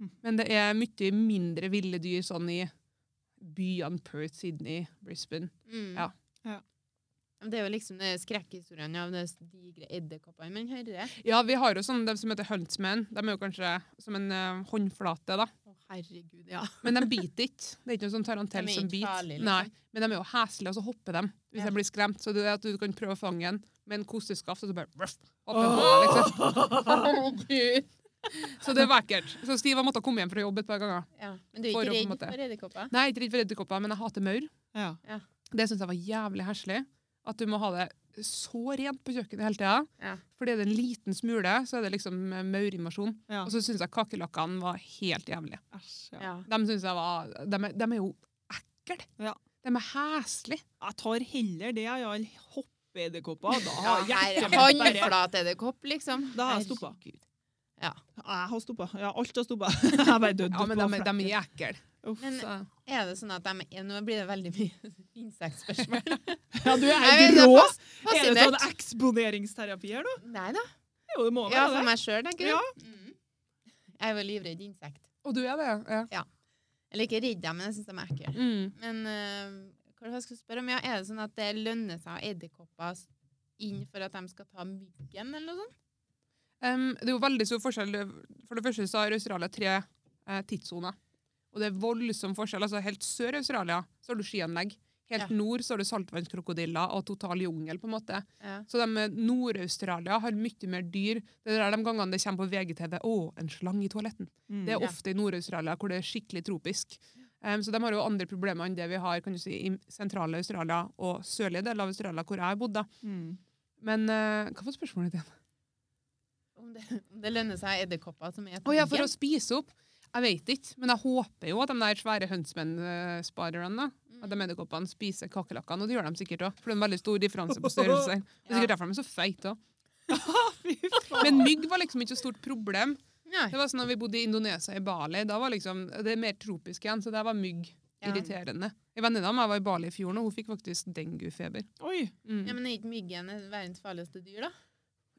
[SPEAKER 2] Mm.
[SPEAKER 3] Men det er mye mindre ville dyr sånn i byene Perth, Sydney, Brisbane.
[SPEAKER 1] Mm.
[SPEAKER 3] Ja.
[SPEAKER 2] Ja.
[SPEAKER 1] Men Det er jo liksom det skrekkhistorien av de digre edderkoppene man hører.
[SPEAKER 3] Ja, vi har jo sånn, de som heter huntsmen. De er jo kanskje som en eh, håndflate, da.
[SPEAKER 1] Å, herregud, ja.
[SPEAKER 3] Men de biter ikke. Det er ikke noen sånn tarantell
[SPEAKER 1] De er
[SPEAKER 3] som
[SPEAKER 1] ikke
[SPEAKER 3] biter.
[SPEAKER 1] farlige, liksom.
[SPEAKER 3] Nei, men de er jo heslige, og så hopper de hvis
[SPEAKER 1] Ja.
[SPEAKER 3] de blir skremt. Så det er at du kan prøve å fange en med en kosteskaft, og så bare ruff, hopper de på deg, liksom.
[SPEAKER 1] Herregud.
[SPEAKER 3] Så det er vakkert. Så Steve har måttet komme hjem fra jobb et par ganger.
[SPEAKER 1] Ja. Men du er
[SPEAKER 3] For å
[SPEAKER 1] ikke
[SPEAKER 3] på en
[SPEAKER 1] redd
[SPEAKER 3] måte-
[SPEAKER 1] for edderkopper?
[SPEAKER 3] Nei, jeg er ikke redd for edderkopper, men jeg hater maur.
[SPEAKER 2] Ja.
[SPEAKER 3] Det syns jeg var jævlig heslig. At du må ha det så rent på kjøkkenet hele tida.
[SPEAKER 1] Ja.
[SPEAKER 3] For er det en liten smule, så er det liksom eh, maurinvasjon.
[SPEAKER 2] Ja.
[SPEAKER 3] Og så syns jeg kakerlakkene var helt jævlige.
[SPEAKER 2] Æsj, ja.
[SPEAKER 1] Ja.
[SPEAKER 3] De synes jeg var De er, dem er jo ekle.
[SPEAKER 2] Ja.
[SPEAKER 3] De er heslige.
[SPEAKER 2] Jeg tar heller det jeg gjør, hoppeedderkopper. Da
[SPEAKER 1] ja
[SPEAKER 2] har
[SPEAKER 1] her
[SPEAKER 2] hjertet
[SPEAKER 1] er
[SPEAKER 2] mitt bare
[SPEAKER 1] håndflateedderkopp, liksom.
[SPEAKER 2] Da har jeg stoppa.
[SPEAKER 1] Herregud.
[SPEAKER 2] Jeg har stoppa. Ja, alt har stoppa. Jeg har bare dødd
[SPEAKER 3] Ja, men de,
[SPEAKER 2] på
[SPEAKER 3] er- de er ekle.
[SPEAKER 2] Uff.
[SPEAKER 1] Men-
[SPEAKER 3] Så-
[SPEAKER 1] Er det sånn at de Nå blir det veldig mye insektspørsmål.
[SPEAKER 2] Ja, du er
[SPEAKER 1] Nei, men det
[SPEAKER 2] helt
[SPEAKER 1] er
[SPEAKER 2] rå!
[SPEAKER 1] fas-
[SPEAKER 2] Er det sånn
[SPEAKER 1] Fascinert.
[SPEAKER 2] eksponeringsterapi her, da?
[SPEAKER 1] Nei da.
[SPEAKER 2] Jo, det må
[SPEAKER 1] Ja,
[SPEAKER 2] være
[SPEAKER 1] for
[SPEAKER 2] det.
[SPEAKER 1] meg sjøl, tenker du.
[SPEAKER 2] Ja.
[SPEAKER 1] Mm. Jeg er jo livredd insekt.
[SPEAKER 3] Og du er det, ja.
[SPEAKER 1] Eller ikke redd dem, men jeg syns de er ekle.
[SPEAKER 3] Mm.
[SPEAKER 1] Men eh, hva skal jeg skulle spørre om? Ja, er det sånn at det lønner seg å ha edderkopper s- inn for at de skal ta myggen, eller noe sånt?
[SPEAKER 3] Em, det er jo veldig stor forskjell. For det første så har Australia tre eh, tidssoner. Og det er voldsom forskjell. Altså Helt sør i Australia så har du skianlegg. Helt
[SPEAKER 1] Ja.
[SPEAKER 3] nord så har du saltvannskrokodiller og total jungel. på en måte.
[SPEAKER 1] Ja.
[SPEAKER 3] Så de eh, Nord-Australia har mye mer dyr. Det er der de gangene det kommer på VGTV 'Å, en slange i toaletten'.
[SPEAKER 2] Mm.
[SPEAKER 3] Det er
[SPEAKER 1] Ja.
[SPEAKER 3] ofte i Nord-Australia hvor det er skikkelig tropisk. Em, så de har jo andre problemer enn det vi har kan du si, i sentrale Australia og sørlige deler av Australia, hvor jeg har bodd. da.
[SPEAKER 2] Mm.
[SPEAKER 3] Men eh, hva var spørsmålet ditt? igjen?
[SPEAKER 1] Om det, om det lønner seg å ha edderkopper som er
[SPEAKER 3] Å ja, for å spise opp. Jeg vet ikke, men jeg håper jo at de der svære hønsmenn-sparerne at de edderkoppene spiser kakerlakkene, og det gjør de sikkert òg. For det er en veldig stor differanse på størrelse. Det er sikkert derfor de er så feite òg. Men mygg var liksom ikke så stort problem.
[SPEAKER 1] Nei.
[SPEAKER 3] Det var sånn når vi bodde i Indonesia, i Bali, da var liksom, det er mer tropisk igjen, så der var mygg
[SPEAKER 1] Ja.
[SPEAKER 3] irriterende. En venninne av meg var i Bali i fjor, og hun fikk faktisk denguefeber.
[SPEAKER 2] Oi.
[SPEAKER 3] Mm.
[SPEAKER 1] Ja, men er ikke myggen verdens farligste dyr, da?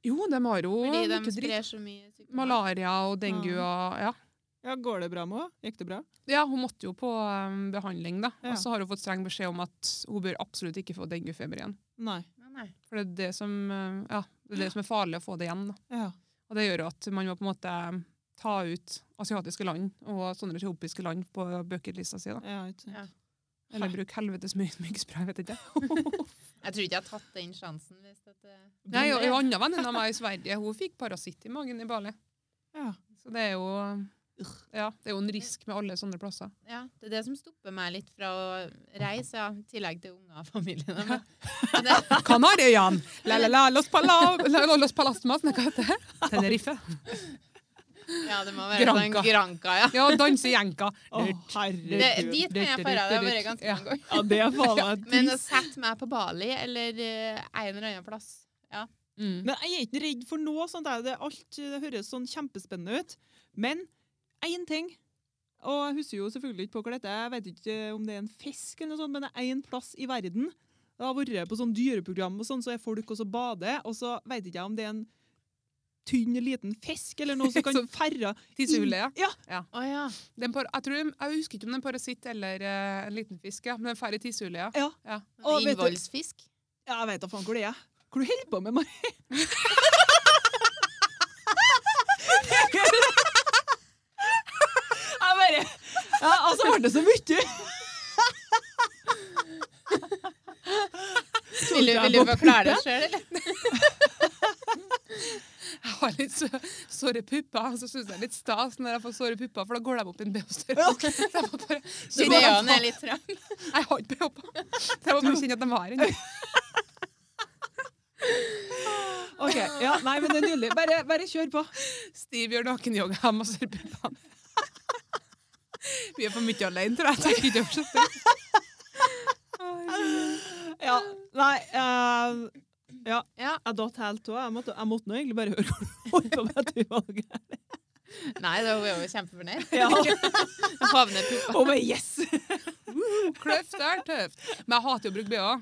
[SPEAKER 3] Jo, de har jo
[SPEAKER 1] Fordi
[SPEAKER 3] mye
[SPEAKER 1] de
[SPEAKER 3] dritt.
[SPEAKER 1] sprer så mye sykdommer.
[SPEAKER 3] Malaria og dengue og ja.
[SPEAKER 2] Ja, går det bra med henne? Gikk det bra?
[SPEAKER 3] Ja, hun måtte jo på um, behandling, da.
[SPEAKER 2] Ja.
[SPEAKER 3] Og så har hun fått streng beskjed om at hun bør absolutt ikke få denguefeber igjen.
[SPEAKER 2] Nei.
[SPEAKER 1] Nei, nei.
[SPEAKER 3] For det er det som, uh, ja, det er det som er farlig å få det igjen. Da.
[SPEAKER 2] Ja.
[SPEAKER 3] Og det gjør jo at man må på en måte um, ta ut asiatiske land og sånne etiopiske land på bucketlista si. Da.
[SPEAKER 2] ja ikke sant.
[SPEAKER 1] Ja.
[SPEAKER 3] Eller bruke helvetes mye myggspray, vet jeg ikke.
[SPEAKER 1] Jeg tror ikke jeg har tatt den sjansen. Hvis at det-
[SPEAKER 3] Nei, og En annen venninne av meg i Sverige hun fikk parasitt i magen i Bali.
[SPEAKER 2] Ja.
[SPEAKER 3] Så det er jo um, ja, det er jo en risk med alle sånne plasser.
[SPEAKER 1] ja, det er det som stopper meg litt fra å reise, ja, i tillegg til unger og familien. Men, men det,
[SPEAKER 3] Kanariøyene! La-la-la, Los Pala- la- la- Los Palastmas, nei, hva heter det? Tenerife.
[SPEAKER 1] ja, det må være
[SPEAKER 3] Granka.
[SPEAKER 1] sånn Granka, ja.
[SPEAKER 3] Ja, danse i jenka.
[SPEAKER 2] Å, herregud.
[SPEAKER 1] Det, dit kan jeg
[SPEAKER 3] Dyrt, dyrt,
[SPEAKER 1] fara. Det har vært
[SPEAKER 3] dyrt, dyrt.
[SPEAKER 1] ganske
[SPEAKER 3] Ja.
[SPEAKER 1] mange ganger.
[SPEAKER 2] Ja, det er faen
[SPEAKER 1] Men å
[SPEAKER 2] meg
[SPEAKER 3] altså-
[SPEAKER 2] trist.
[SPEAKER 1] sette meg på Bali eller eh, en eller annen plass
[SPEAKER 3] Mm.
[SPEAKER 2] Men jeg er ikke redd for noe sånt. jeg. Det, er alt, det høres sånn kjempespennende ut. Men én ting Og jeg husker jo selvfølgelig ikke på hva dette er. Jeg vet ikke om det er en fisk eller noe sånt, men det er én plass i verden. Jeg har vært på sånn dyreprogram, og sånn, så er folk også bader. Og så vet ikke jeg om det er en tynn, liten fisk eller noe som kan
[SPEAKER 3] Som
[SPEAKER 2] ferde
[SPEAKER 3] Tissehullet, ja.
[SPEAKER 2] Ja,
[SPEAKER 1] Å ja.
[SPEAKER 3] Den par, jeg, tror, jeg husker ikke om det er en parasitt eller eh, en liten fisk, ja. men den færre tissehullet, ja.
[SPEAKER 2] ja. Å, vet du-
[SPEAKER 1] Innvollsfisk.
[SPEAKER 2] Ja, jeg vet da faen hvor det er. Hva du holder på med, Mari? jeg bare ja, Altså, ble det så mye?
[SPEAKER 1] Vil du, vil du forklare det sjøl, eller?
[SPEAKER 3] har litt så, såre pupper, så syns jeg det er litt stas når jeg får såre pupper, for da går de opp i en BH-størrelse. Så jeg må bare-
[SPEAKER 1] Så
[SPEAKER 3] går de
[SPEAKER 1] BH-en er litt trang.
[SPEAKER 3] Jeg har ikke BH på. Så jeg må bare kjenne at de har en.
[SPEAKER 2] Ok, ja, Nei, men det er nydelig. Bare, bare kjør på.
[SPEAKER 3] Stiv gjør nakenyoga, jeg masserer puppene. Vi er for mye alene, tror jeg. jeg. tenker ikke å fortsette.
[SPEAKER 2] Ja, nei eh,
[SPEAKER 1] Ja.
[SPEAKER 2] Jeg datt helt av. Jeg måtte, jeg måtte nå egentlig bare høre hvor du holdt på med etter valget.
[SPEAKER 1] Nei, da var jeg jo kjempefornøyd.
[SPEAKER 2] Ja.
[SPEAKER 1] Havner puppa.
[SPEAKER 2] Og bare yes!
[SPEAKER 3] Kløft er tøft. Men jeg hater jo å bruke BH.
[SPEAKER 2] Å,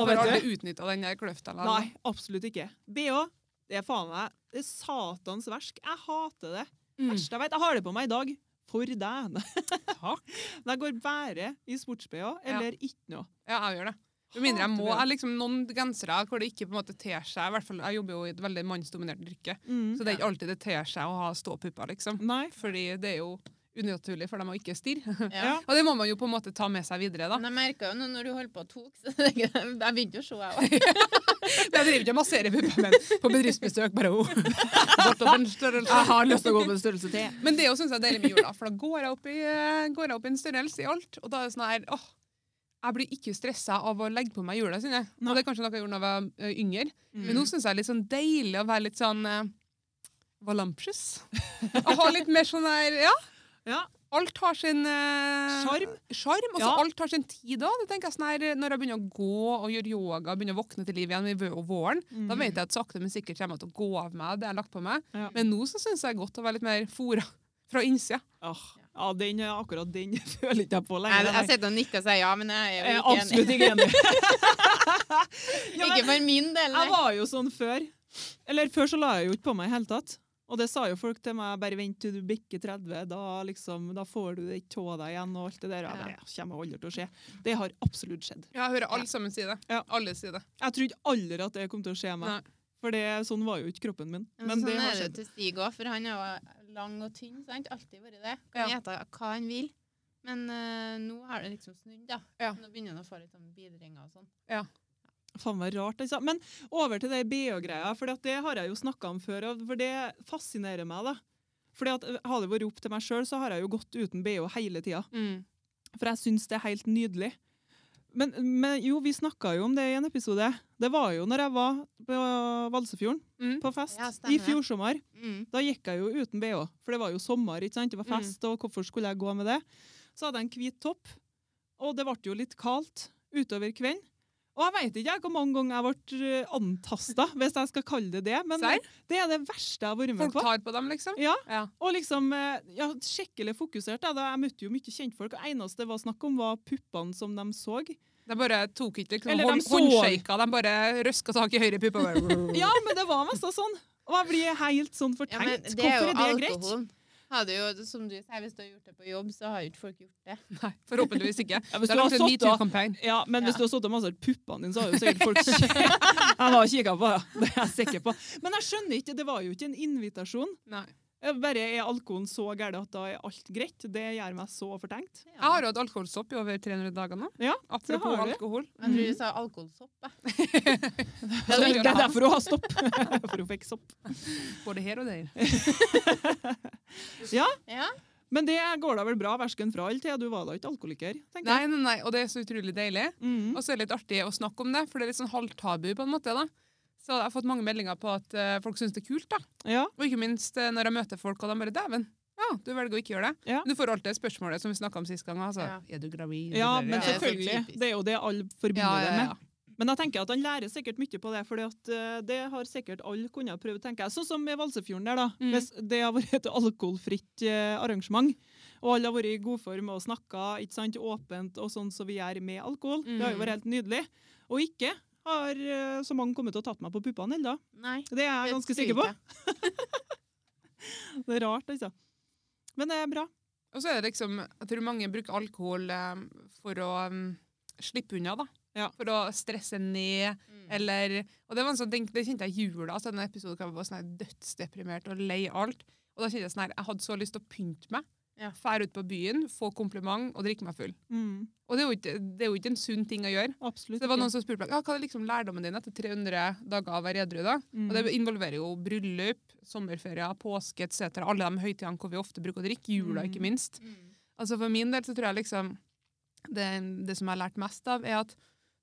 [SPEAKER 3] Jeg
[SPEAKER 2] vet
[SPEAKER 3] har
[SPEAKER 2] du.
[SPEAKER 3] aldri utnytta den der kløfta. eller noe.
[SPEAKER 2] Nei, absolutt ikke. BH, det er faen meg det er satans versk. Jeg hater det.
[SPEAKER 3] Mm.
[SPEAKER 2] Verst jeg vet. Jeg har det på meg i dag. For deg. Men jeg går bare i sports-BH, eller ikke noe.
[SPEAKER 3] Ja, jeg gjør det. Med mindre jeg
[SPEAKER 2] Hater
[SPEAKER 3] må.
[SPEAKER 2] BH.
[SPEAKER 3] Jeg har liksom noen gensere hvor det ikke på en måte ter seg. I hvert fall, Jeg jobber jo i et veldig mannsdominert yrke,
[SPEAKER 2] Mm.
[SPEAKER 3] så det er ikke alltid det ter seg å ha ståpupper, liksom.
[SPEAKER 2] Nei.
[SPEAKER 3] Fordi det er jo unaturlig for dem å ikke stirre.
[SPEAKER 1] Ja.
[SPEAKER 3] Og det må man jo på en måte ta med seg videre, da.
[SPEAKER 1] Men jeg merka jo nå når du holdt på å tok, så jeg begynte jo å se, jeg òg.
[SPEAKER 3] Men jeg driver ikke og masserer puppene men på bedriftsbesøk, bare oh. Gått opp en størrelse.
[SPEAKER 2] har lyst til å gå på en størrelse til.
[SPEAKER 3] Men det er jo synes jeg deilig med jula, for da går jeg opp i, eh, går jeg opp i en størrelse i alt. Og da er det sånn her åh, jeg blir ikke stressa av å legge på meg jula sine.
[SPEAKER 2] Nei.
[SPEAKER 3] Og det er kanskje noe jeg gjorde da jeg var eh, yngre.
[SPEAKER 2] Mm.
[SPEAKER 3] Men nå syns jeg det er litt sånn deilig å være litt sånn eh, Valamprus. Å ha litt mer sånn der Ja.
[SPEAKER 2] Ja.
[SPEAKER 3] Alt har sin eh,
[SPEAKER 2] Sjarm.
[SPEAKER 3] sjarm, og så
[SPEAKER 2] Ja.
[SPEAKER 3] alt har sin tid òg. Sånn her, når jeg begynner å gå og gjøre yoga og begynner å våkne til liv igjen i vø- og våren, da
[SPEAKER 2] Mm.
[SPEAKER 3] vet jeg at sakte, men sikkert kommer jeg til å gå av meg det jeg har lagt på meg.
[SPEAKER 2] Ja.
[SPEAKER 3] Men nå så syns jeg det er godt å være litt mer fora fra innsida.
[SPEAKER 2] Åh, ja, den, eh, akkurat den føler ikke jeg på
[SPEAKER 1] Jeg,
[SPEAKER 2] lenger.
[SPEAKER 1] jeg sitter og nikker og sier ja, men jeg er jo
[SPEAKER 2] Jeg er
[SPEAKER 1] ikke enig.
[SPEAKER 2] absolutt ikke enig. Ja, men-
[SPEAKER 1] Ikke for min del,
[SPEAKER 2] Jeg
[SPEAKER 1] nei.
[SPEAKER 2] var jo sånn før. Eller før så la jeg jo ikke på meg i hele tatt. Og det sa jo folk til meg, bare vent til du bikker 30, da, liksom, da får du det ikke av deg igjen og alt det der. Og jeg bare, det kommer aldri til å skje. Det har absolutt skjedd.
[SPEAKER 3] Ja, jeg hører alle sammen si det.
[SPEAKER 2] Ja.
[SPEAKER 3] Alle si det.
[SPEAKER 2] Jeg trodde aldri at det kom til å skje meg.
[SPEAKER 3] Nei.
[SPEAKER 2] For det, sånn var jo ikke kroppen min.
[SPEAKER 1] Men
[SPEAKER 2] Men
[SPEAKER 1] sånn
[SPEAKER 2] det har
[SPEAKER 1] er det
[SPEAKER 2] skjedd.
[SPEAKER 1] til Stig òg, for han er jo lang og tynn. sant? Alltid vært det. Kan
[SPEAKER 3] Ja.
[SPEAKER 1] ete hva han vil. Men eh, nå har det liksom snudd, da.
[SPEAKER 3] Ja.
[SPEAKER 1] Nå begynner han å få litt sånn bidringer og sånn.
[SPEAKER 2] Faen meg rart, altså. Men over til det BH-greia, for det har jeg jo snakka om før, og for det fascinerer meg, da. Fordi at eh, Hadde det vært opp til meg sjøl, så har jeg jo gått uten BH hele tida.
[SPEAKER 1] Mm.
[SPEAKER 2] For jeg syns det er helt nydelig. Men, men jo, vi snakka jo om det i en episode. Det var jo når jeg var på Valsefjorden,
[SPEAKER 3] Mm.
[SPEAKER 2] på fest,
[SPEAKER 1] Ja,
[SPEAKER 2] i
[SPEAKER 1] stemmer.
[SPEAKER 2] fjor sommer.
[SPEAKER 1] Mm.
[SPEAKER 2] Da gikk jeg jo uten bh, for det var jo sommer, ikke sant? Det var
[SPEAKER 3] Mm.
[SPEAKER 2] fest, og hvorfor skulle jeg gå med det? Så hadde jeg en hvit topp, og det ble jo litt kaldt utover kvelden. Og jeg veit ikke jeg hvor mange ganger jeg ble eh, antasta, hvis jeg skal kalle det det. Men
[SPEAKER 3] Serr?
[SPEAKER 2] det er det verste jeg har vært med
[SPEAKER 3] Folk
[SPEAKER 2] på.
[SPEAKER 3] tar på dem, liksom.
[SPEAKER 2] Ja.
[SPEAKER 3] ja.
[SPEAKER 2] Og liksom, eh, ja, skikkelig fokusert. Jeg, da. jeg møtte jo mye kjentfolk, og eneste det var snakk om, var puppene som de så.
[SPEAKER 3] De bare tok ikke liksom,
[SPEAKER 2] Eller de
[SPEAKER 3] hånd,
[SPEAKER 2] sov.
[SPEAKER 3] håndshaka, de bare røska tak i høyre puppe. og bare-
[SPEAKER 2] Ja, men det var mest sånn. Og jeg blir helt sånn
[SPEAKER 1] Ja, men
[SPEAKER 2] fortenkt.
[SPEAKER 1] det er jo
[SPEAKER 2] Hvorfor er det greit?
[SPEAKER 1] alkoholen. Hadde jo, som du sier, hvis du har gjort det på jobb, så har jo ikke folk gjort det.
[SPEAKER 3] Nei, forhåpentligvis ikke.
[SPEAKER 2] Ja,
[SPEAKER 3] Det
[SPEAKER 2] hvis
[SPEAKER 3] er
[SPEAKER 2] du har
[SPEAKER 3] lagt en
[SPEAKER 2] satt av
[SPEAKER 3] metoo-kampanje.
[SPEAKER 2] ja, men hvis
[SPEAKER 1] Ja.
[SPEAKER 2] du har sittet og massert puppene dine, så har jo sikkert folk kikket. Jeg var og kikka på det. Det er jeg sikker på. Men jeg skjønner ikke. Det var jo ikke en invitasjon.
[SPEAKER 3] Nei.
[SPEAKER 2] Jeg Bare er alkoholen så gæren at da er alt greit? Det gjør meg så fortenkt.
[SPEAKER 1] Ja.
[SPEAKER 3] Jeg har jo hatt alkoholsopp i over 300 dager nå.
[SPEAKER 2] Ja,
[SPEAKER 3] Apropos
[SPEAKER 2] har du.
[SPEAKER 3] alkohol.
[SPEAKER 1] Jeg tror du sa alkoholsopp. jeg.
[SPEAKER 2] Så det er derfor hun har stopp. For hun fikk sopp.
[SPEAKER 3] Både her og der.
[SPEAKER 1] Ja.
[SPEAKER 2] Men det går da vel bra, versken fra all tid. Du var da ikke alkoholiker, tenker jeg.
[SPEAKER 3] Nei, nei, nei, og det er så utrolig deilig.
[SPEAKER 2] Mhm.
[SPEAKER 3] Og så er det litt artig å snakke om det, for det er litt sånn halvtabu på en måte. da. Så jeg har fått mange meldinger på at eh, folk syns det er kult. da.
[SPEAKER 2] Ja.
[SPEAKER 3] Og ikke minst eh, når jeg møter folk, og de bare 'Dæven, ja, du velger å ikke gjøre det.'
[SPEAKER 2] Ja.
[SPEAKER 3] Men Du får alltid det spørsmålet som vi snakka om sist gang. altså, Er du gravid?
[SPEAKER 2] ja,
[SPEAKER 3] Eller,
[SPEAKER 2] men
[SPEAKER 1] det er så
[SPEAKER 2] selvfølgelig.
[SPEAKER 1] typisk.
[SPEAKER 2] Det er jo det alle
[SPEAKER 3] Ja,
[SPEAKER 2] forbinder
[SPEAKER 3] ja,
[SPEAKER 2] det
[SPEAKER 3] ja,
[SPEAKER 2] med.
[SPEAKER 3] ja.
[SPEAKER 2] Men jeg tenker at han lærer sikkert mye på det, for det har sikkert alle kunnet prøve. tenker jeg. Sånn som i Valsefjorden der, da.
[SPEAKER 3] Mm.
[SPEAKER 2] Hvis det har vært et alkoholfritt eh, arrangement, og alle har vært i god form og snakka ikke sant, åpent og sånn som vi gjør med alkohol, det har jo
[SPEAKER 3] Mm.
[SPEAKER 2] vært helt nydelig. Og ikke har eh, så mange kommet og tatt meg på puppene heller.
[SPEAKER 1] Nei.
[SPEAKER 2] Det er jeg ganske sikker på. Det er rart, altså. Men det er bra.
[SPEAKER 3] Og så er det liksom, jeg tror mange bruker alkohol eh, for å eh, slippe unna, da.
[SPEAKER 2] Ja.
[SPEAKER 3] For å stresse ned,
[SPEAKER 1] Mm.
[SPEAKER 3] eller Og det var en sånn ting, det kjente jeg i jula, altså denne episoden hvor jeg var sånn her dødsdeprimert og lei alt. Og da kjente jeg sånn her, jeg hadde så lyst til å pynte meg.
[SPEAKER 1] Ja.
[SPEAKER 3] Fær ut på byen, få kompliment og drikke meg full.
[SPEAKER 2] Mm,
[SPEAKER 3] Og det er jo ikke, det er jo ikke en sunn ting å gjøre.
[SPEAKER 2] absolutt.
[SPEAKER 3] Så det var
[SPEAKER 2] ikke.
[SPEAKER 3] noen som spurte meg, ja, hva er liksom lærdommen din etter 300 dager av å være edru. da?
[SPEAKER 2] Mm.
[SPEAKER 3] Og Det involverer jo bryllup, sommerferier, påske etc. Alle de høytidene hvor vi ofte bruker å drikke. Jula,
[SPEAKER 2] Mm.
[SPEAKER 3] ikke minst. Altså For min del så tror jeg liksom det, det som jeg har lært mest av, er at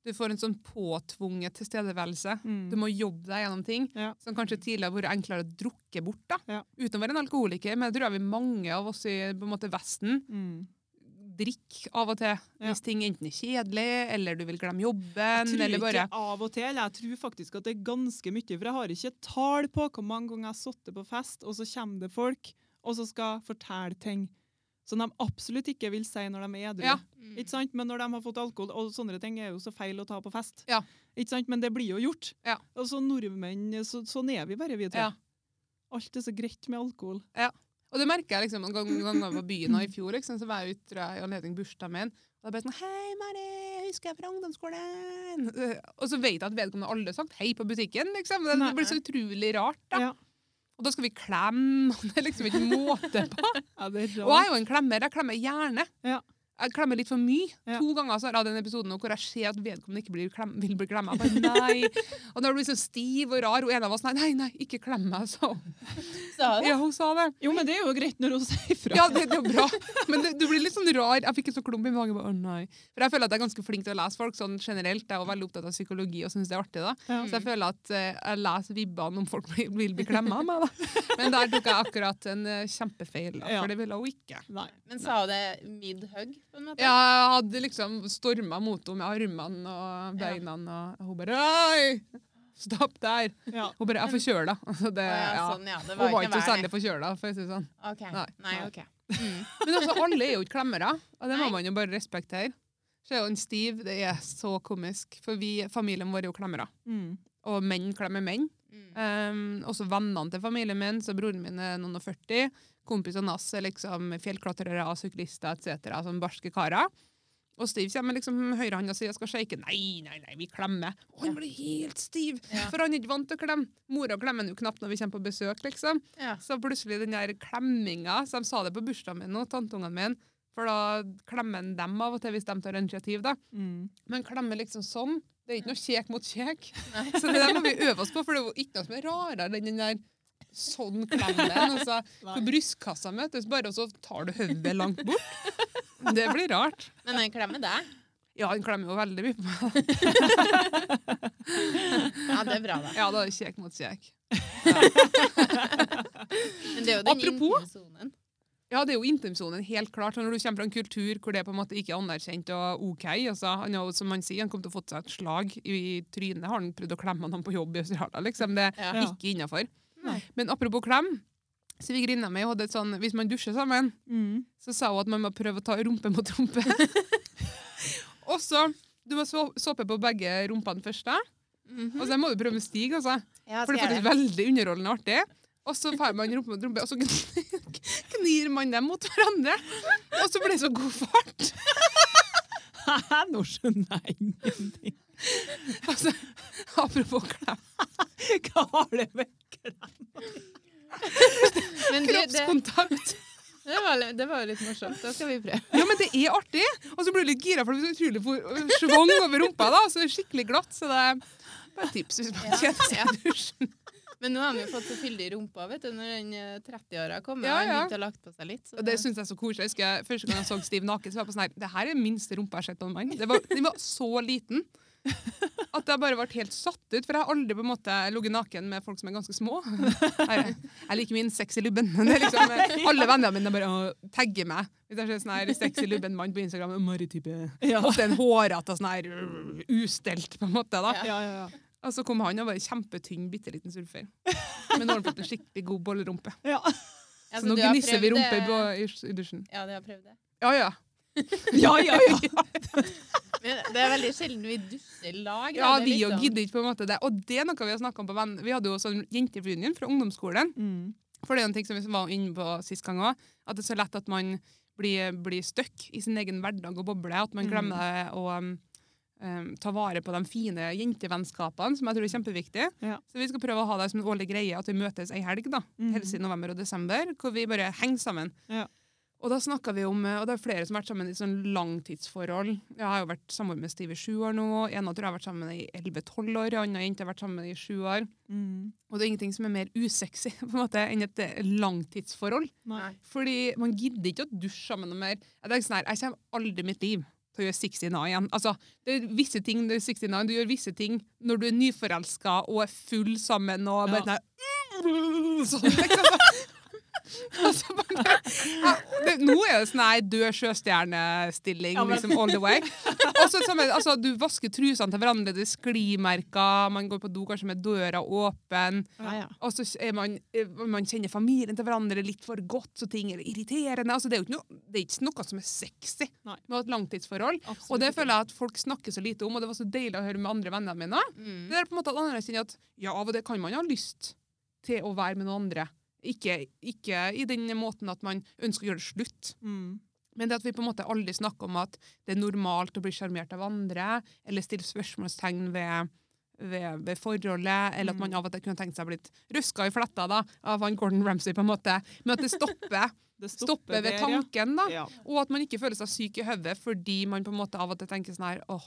[SPEAKER 3] du får en sånn påtvunget tilstedeværelse.
[SPEAKER 2] Mm.
[SPEAKER 3] Du må jobbe deg gjennom ting
[SPEAKER 2] Ja.
[SPEAKER 3] som kanskje tidligere har vært enklere å drukke bort. da.
[SPEAKER 2] Ja.
[SPEAKER 3] Uten å være en alkoholiker, men det tror jeg vi mange av oss i på en måte Vesten
[SPEAKER 2] mm.
[SPEAKER 3] drikker av og til.
[SPEAKER 2] Ja.
[SPEAKER 3] Hvis ting enten er kjedelig, eller du vil glemme
[SPEAKER 2] Jeg
[SPEAKER 3] jobben,
[SPEAKER 2] tror
[SPEAKER 3] eller bare
[SPEAKER 2] ikke av og til, eller jeg tror faktisk at det er ganske mye, for jeg har ikke tall på hvor mange ganger jeg har sittet på fest, og så kommer det folk, og så skal fortelle ting som de absolutt ikke vil si når de er edru.
[SPEAKER 3] Ja.
[SPEAKER 1] Mm.
[SPEAKER 2] Ikke sant? Men når de har fått alkohol, og sånne ting er jo så feil å ta på fest.
[SPEAKER 3] Ja.
[SPEAKER 2] Ikke sant? Men det blir jo gjort.
[SPEAKER 3] Ja.
[SPEAKER 2] Og så nordmenn, så, sånn er vi bare, vi tror
[SPEAKER 3] Ja.
[SPEAKER 2] jeg. Alt er så greit med alkohol.
[SPEAKER 3] Og det merker jeg liksom, en gang, en gang jeg var på byen og i fjor, liksom, så var jeg ute tror jeg, i anledning bursdagen min. Og da ble jeg sånn Hei, Mari, husker jeg fra ungdomsskolen? Eh, Og så vet jeg at vedkommende aldri har sagt hei på butikken. liksom. Det, det blir så utrolig rart. da.
[SPEAKER 2] Ja.
[SPEAKER 3] Og da skal vi klemme, og det er liksom ikke måte på.
[SPEAKER 2] Ja, det er
[SPEAKER 3] Og jeg
[SPEAKER 2] rart.
[SPEAKER 3] er jo en klemmer. Jeg klemmer gjerne.
[SPEAKER 2] Ja.
[SPEAKER 3] Jeg klemmer litt for mye.
[SPEAKER 2] Ja.
[SPEAKER 3] To ganger så har jeg hatt en episode nå hvor jeg ser at vedkommende ikke blir klem, vil bli klemma. Jeg bare, Nei. Og når du blir så stiv og rar, og en av oss sånn, nei, nei, nei, ikke klem meg, sa hun.
[SPEAKER 1] Sa det?
[SPEAKER 3] Ja, hun sa det.
[SPEAKER 2] Jo, men det er jo greit når hun sier fra.
[SPEAKER 3] Ja, det, det er bra. Men det, du blir litt sånn rar. Jeg fikk en sånn klump i magen. Bare, å nei. For jeg føler at jeg er ganske flink til å lese folk sånn generelt. Jeg er jo veldig opptatt av psykologi og syns det er artig. da.
[SPEAKER 2] Ja.
[SPEAKER 1] Mm.
[SPEAKER 3] Så jeg føler at eh, jeg leser vibbene om folk blir- vil bli klemma av meg. da. Men der tok jeg akkurat en eh, kjempefeil, da,
[SPEAKER 2] Ja.
[SPEAKER 3] for det ville hun ikke.
[SPEAKER 2] Nei.
[SPEAKER 1] Men sa hun det mid-hug, på en måte?
[SPEAKER 3] Ja, jeg hadde liksom storma mot henne med armene og beina, og hun bare Oi! Stopp der!
[SPEAKER 2] Ja.
[SPEAKER 3] Hun bare Jeg er forkjøla. Altså, det-
[SPEAKER 1] Å, ja,
[SPEAKER 3] ja.
[SPEAKER 1] sånn, ja. Det
[SPEAKER 3] Hun
[SPEAKER 1] var
[SPEAKER 3] var
[SPEAKER 1] ikke
[SPEAKER 3] ikke
[SPEAKER 1] verre.
[SPEAKER 3] særlig forkjøla, for å si det sånn.
[SPEAKER 1] Ok.
[SPEAKER 3] Nei.
[SPEAKER 1] Nei,
[SPEAKER 3] Nei.
[SPEAKER 1] ok. Mm.
[SPEAKER 3] Men altså, alle er jo ikke klemmere, og det må
[SPEAKER 1] Nei.
[SPEAKER 3] man jo bare respektere. Så er jo en Steve, det er så komisk, for vi, familien vår er jo klemmere.
[SPEAKER 2] Mm.
[SPEAKER 3] Og menn klemmer menn.
[SPEAKER 1] Mm.
[SPEAKER 3] Um, også vennene til familien min, så broren min er noen og 40. Kompisene hans er liksom fjellklatrere, syklister etc., som barske karer. Og Steve kommer liksom høyrehånda si og skal shake. Nei, nei, nei, vi klemmer. Og
[SPEAKER 1] Ja.
[SPEAKER 3] han blir helt stiv,
[SPEAKER 1] Ja.
[SPEAKER 3] for han er ikke vant til å klemme. Mora klemmer han jo knapt når vi kommer på besøk, liksom.
[SPEAKER 1] Ja.
[SPEAKER 3] Så plutselig den der klemminga, så de sa det på bursdagen min og tanteungene mine, for da klemmer han dem av og til hvis de tar initiativ, da.
[SPEAKER 2] Mm.
[SPEAKER 3] Men klemmer liksom sånn. Det er ikke noe kjek mot kjek.
[SPEAKER 1] Nei.
[SPEAKER 3] Så det der må vi øve oss på, for det er jo ikke noe som er rarere enn den der sånn klemmen. Altså,
[SPEAKER 2] Nei.
[SPEAKER 3] for brystkassa møtes bare, og så tar du hodet langt bort. Det blir rart.
[SPEAKER 1] Men den klemmer deg?
[SPEAKER 3] Ja, den klemmer jo veldig mye på meg.
[SPEAKER 1] Ja, det er bra, da.
[SPEAKER 3] Ja, da er det kjek mot kjek.
[SPEAKER 1] Men det er jo den
[SPEAKER 3] Apropos-
[SPEAKER 1] intime sonen.
[SPEAKER 3] Ja, det er jo intimsonen, helt klart. Og Når du kommer fra en kultur hvor det på en måte ikke er anerkjent og OK altså, han, har jo, Som han sier, han kom til å få seg et slag i trynet. Har han prøvd å klemme noen på jobb i Australia? Liksom. Det er
[SPEAKER 1] Ja.
[SPEAKER 3] ikke innafor.
[SPEAKER 2] Nei.
[SPEAKER 3] Men apropos klem. Svigerinna mi hadde et sånn Hvis man dusjer sammen,
[SPEAKER 2] Mm.
[SPEAKER 3] så sa hun at man må prøve å ta rumpe mot rumpe. og så Du må så- såpe på begge rumpene først, da. Og så må du prøve med Stig, altså.
[SPEAKER 1] Ja,
[SPEAKER 3] For det er faktisk veldig underholdende og artig. Og så får man rumpe mot rumpe, og så gn- gnir man dem mot hverandre. Og så blir det så god fart.
[SPEAKER 2] Nå skjønner jeg ingenting.
[SPEAKER 3] Altså, apropos klem.
[SPEAKER 2] Hva har det med
[SPEAKER 1] Men det, det,
[SPEAKER 3] sånn. Kroppskontakt.
[SPEAKER 1] det, var, litt- det var jo litt morsomt. Da skal vi prøve.
[SPEAKER 3] Ja, men det er artig. Og så blir du litt gira, for det blir så utrolig for- svong over rumpa. da, Så det er skikkelig glatt. Så det er bare et tips hvis man kjeder seg i dusjen.
[SPEAKER 1] Men nå har han jo fått så fyldig rumpa vet du, når den eh, 30-åra kommer. Ja,
[SPEAKER 3] Ja,
[SPEAKER 1] ja.
[SPEAKER 3] ja.
[SPEAKER 1] Han begynte å lagt på seg litt. Så
[SPEAKER 3] Og det syns jeg er så koselig. Jeg husker Første gang jeg så Steve naken, så var jeg på sånn her Det her er den minste rumpa jeg har sett på en mann. Det var, den var så liten at jeg bare ble helt satt ut. For jeg har aldri på en måte ligget naken med folk som er ganske små. Jeg, jeg liker min sexy lubben. Det er liksom, alle vennene mine bare å, tagger meg. Hvis jeg ser sånn her sexy lubben mann på Instagram, maritype
[SPEAKER 2] ja.
[SPEAKER 3] Ofte en hårete og sånn her øh, ustelt, på en måte. da.
[SPEAKER 1] Ja.
[SPEAKER 2] Ja, ja, ja.
[SPEAKER 3] Og så kom han og var en kjempetynn, bitte liten surfer. Men nå har han fått en skikkelig god bollerumpe.
[SPEAKER 2] ja.
[SPEAKER 1] Ja,
[SPEAKER 3] så nå
[SPEAKER 1] Altså, du har
[SPEAKER 3] gnisser vi
[SPEAKER 1] prøvd
[SPEAKER 3] rumpe
[SPEAKER 1] det-
[SPEAKER 3] på, i, i dusjen.
[SPEAKER 1] Ja, det har jeg prøvd det.
[SPEAKER 3] Ja, ja.
[SPEAKER 2] ja, ja, ja.
[SPEAKER 1] Men det er veldig sjelden vi dusjer i lag. da.
[SPEAKER 3] Ja,
[SPEAKER 1] Det er
[SPEAKER 3] vi jo
[SPEAKER 1] liksom-
[SPEAKER 3] gidder ikke på en måte det. Og det er noe vi har snakket om på venn. Vi hadde jo sånn jentereunion fra ungdomsskolen.
[SPEAKER 2] Mm.
[SPEAKER 3] For det er en ting som vi var inne på sist gang òg, at det er så lett at man blir, blir stuck i sin egen hverdag og boble. At man
[SPEAKER 2] Mm.
[SPEAKER 3] glemmer å um, um, ta vare på de fine jentevennskapene, som jeg tror er kjempeviktig.
[SPEAKER 2] Ja.
[SPEAKER 3] Så vi skal prøve å ha det som en årlig greie at vi møtes ei helg, da,
[SPEAKER 2] Mhm.
[SPEAKER 3] helst i november og desember, hvor vi bare henger sammen.
[SPEAKER 2] Ja.
[SPEAKER 3] Og da snakket vi om, eh, og det er flere som har vært sammen i sånn langtidsforhold. Jeg har jo vært samboer med Steve i sju år nå. En av tror jeg har vært sammen i 11-12 år, en annen jente har vært sammen i sju år.
[SPEAKER 2] Mm.
[SPEAKER 3] Og det er ingenting som er mer usexy på en måte, enn et eh, langtidsforhold.
[SPEAKER 1] Nei.
[SPEAKER 3] Fordi man gidder ikke å dusje sammen noe mer. Jeg tenker sånn her, jeg kommer aldri i mitt liv til å gjøre 69 igjen. Altså, det er visse ting det er 69, du gjør visse ting når du er nyforelska og er full sammen
[SPEAKER 2] Ja.
[SPEAKER 3] og bare sånn her, sånn, liksom. Altså, bare, ja, det, nå er det sånn her død sjøstjernestilling
[SPEAKER 2] Ja, men-
[SPEAKER 3] liksom all the way. Og så sammen, altså, Du vasker trusene til hverandre, det er sklimerker, man går på do kanskje med døra åpen.
[SPEAKER 1] Ja, ja.
[SPEAKER 3] Og så er man, eh, man kjenner familien til hverandre litt for godt, så ting er irriterende. Altså, det, er jo ikke noe, det er ikke noe som er sexy
[SPEAKER 2] Nei.
[SPEAKER 3] med et langtidsforhold.
[SPEAKER 2] Absolutt.
[SPEAKER 3] Og det føler jeg at folk snakker så lite om, og det var så deilig å høre med andre vennene mine.
[SPEAKER 1] Mm.
[SPEAKER 3] Det er på en måte at andre kjenner at ja, av og det kan man ha lyst til å være med noen andre. Ikke, ikke i den måten at man ønsker å gjøre det slutt.
[SPEAKER 2] Mm.
[SPEAKER 3] Men det at vi på en måte aldri snakker om at det er normalt å bli sjarmert av andre, eller stille spørsmålstegn ved, ved, ved forholdet, eller at
[SPEAKER 2] Mm.
[SPEAKER 3] man av og til kunne tenkt seg å bli litt røska i fletta da, av han Gordon Ramsay, på en måte. Men at det stopper,
[SPEAKER 2] Det
[SPEAKER 3] stopper ved
[SPEAKER 2] der,
[SPEAKER 3] tanken, da.
[SPEAKER 2] Ja.
[SPEAKER 3] Og at man ikke føler seg syk i hodet fordi man på en måte av og til tenker sånn her åh,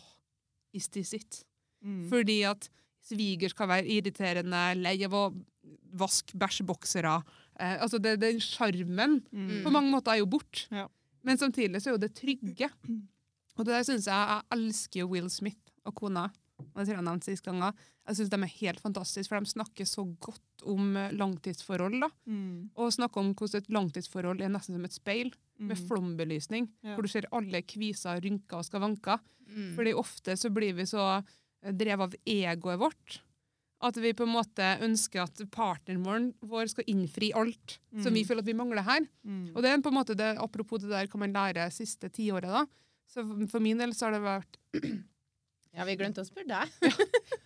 [SPEAKER 3] is this it?
[SPEAKER 2] Mm.
[SPEAKER 3] Fordi at sviger skal være irriterende, lei av å vaske bæsjeboksere. Eh, altså det, den sjarmen
[SPEAKER 2] Mm.
[SPEAKER 3] på mange måter er jo borte.
[SPEAKER 2] Ja. Mm.
[SPEAKER 3] Men samtidig så er jo det trygge. Og det der synes jeg jeg elsker jo Will Smith og kona. Og det tror jeg jeg nevnte sist gang. også. Jeg synes de er helt fantastiske, for de snakker så godt om eh, langtidsforhold. da.
[SPEAKER 2] Mm.
[SPEAKER 3] Og snakker om hvordan et langtidsforhold er nesten som et speil, med
[SPEAKER 2] Mm.
[SPEAKER 3] flombelysning.
[SPEAKER 2] Ja.
[SPEAKER 3] Hvor du ser alle kviser, rynker og skavanker.
[SPEAKER 1] Mm.
[SPEAKER 3] Fordi ofte så blir vi så eh, drevet av egoet vårt at vi på en måte ønsker at partneren vår- vår skal innfri alt som vi
[SPEAKER 2] Mm.
[SPEAKER 3] føler at vi mangler her.
[SPEAKER 2] Mm.
[SPEAKER 3] Og det er på en måte det, apropos det der hva man lærer siste tiåret, da. Så for min del så har det vært
[SPEAKER 1] ja, vi glemte å spørre deg.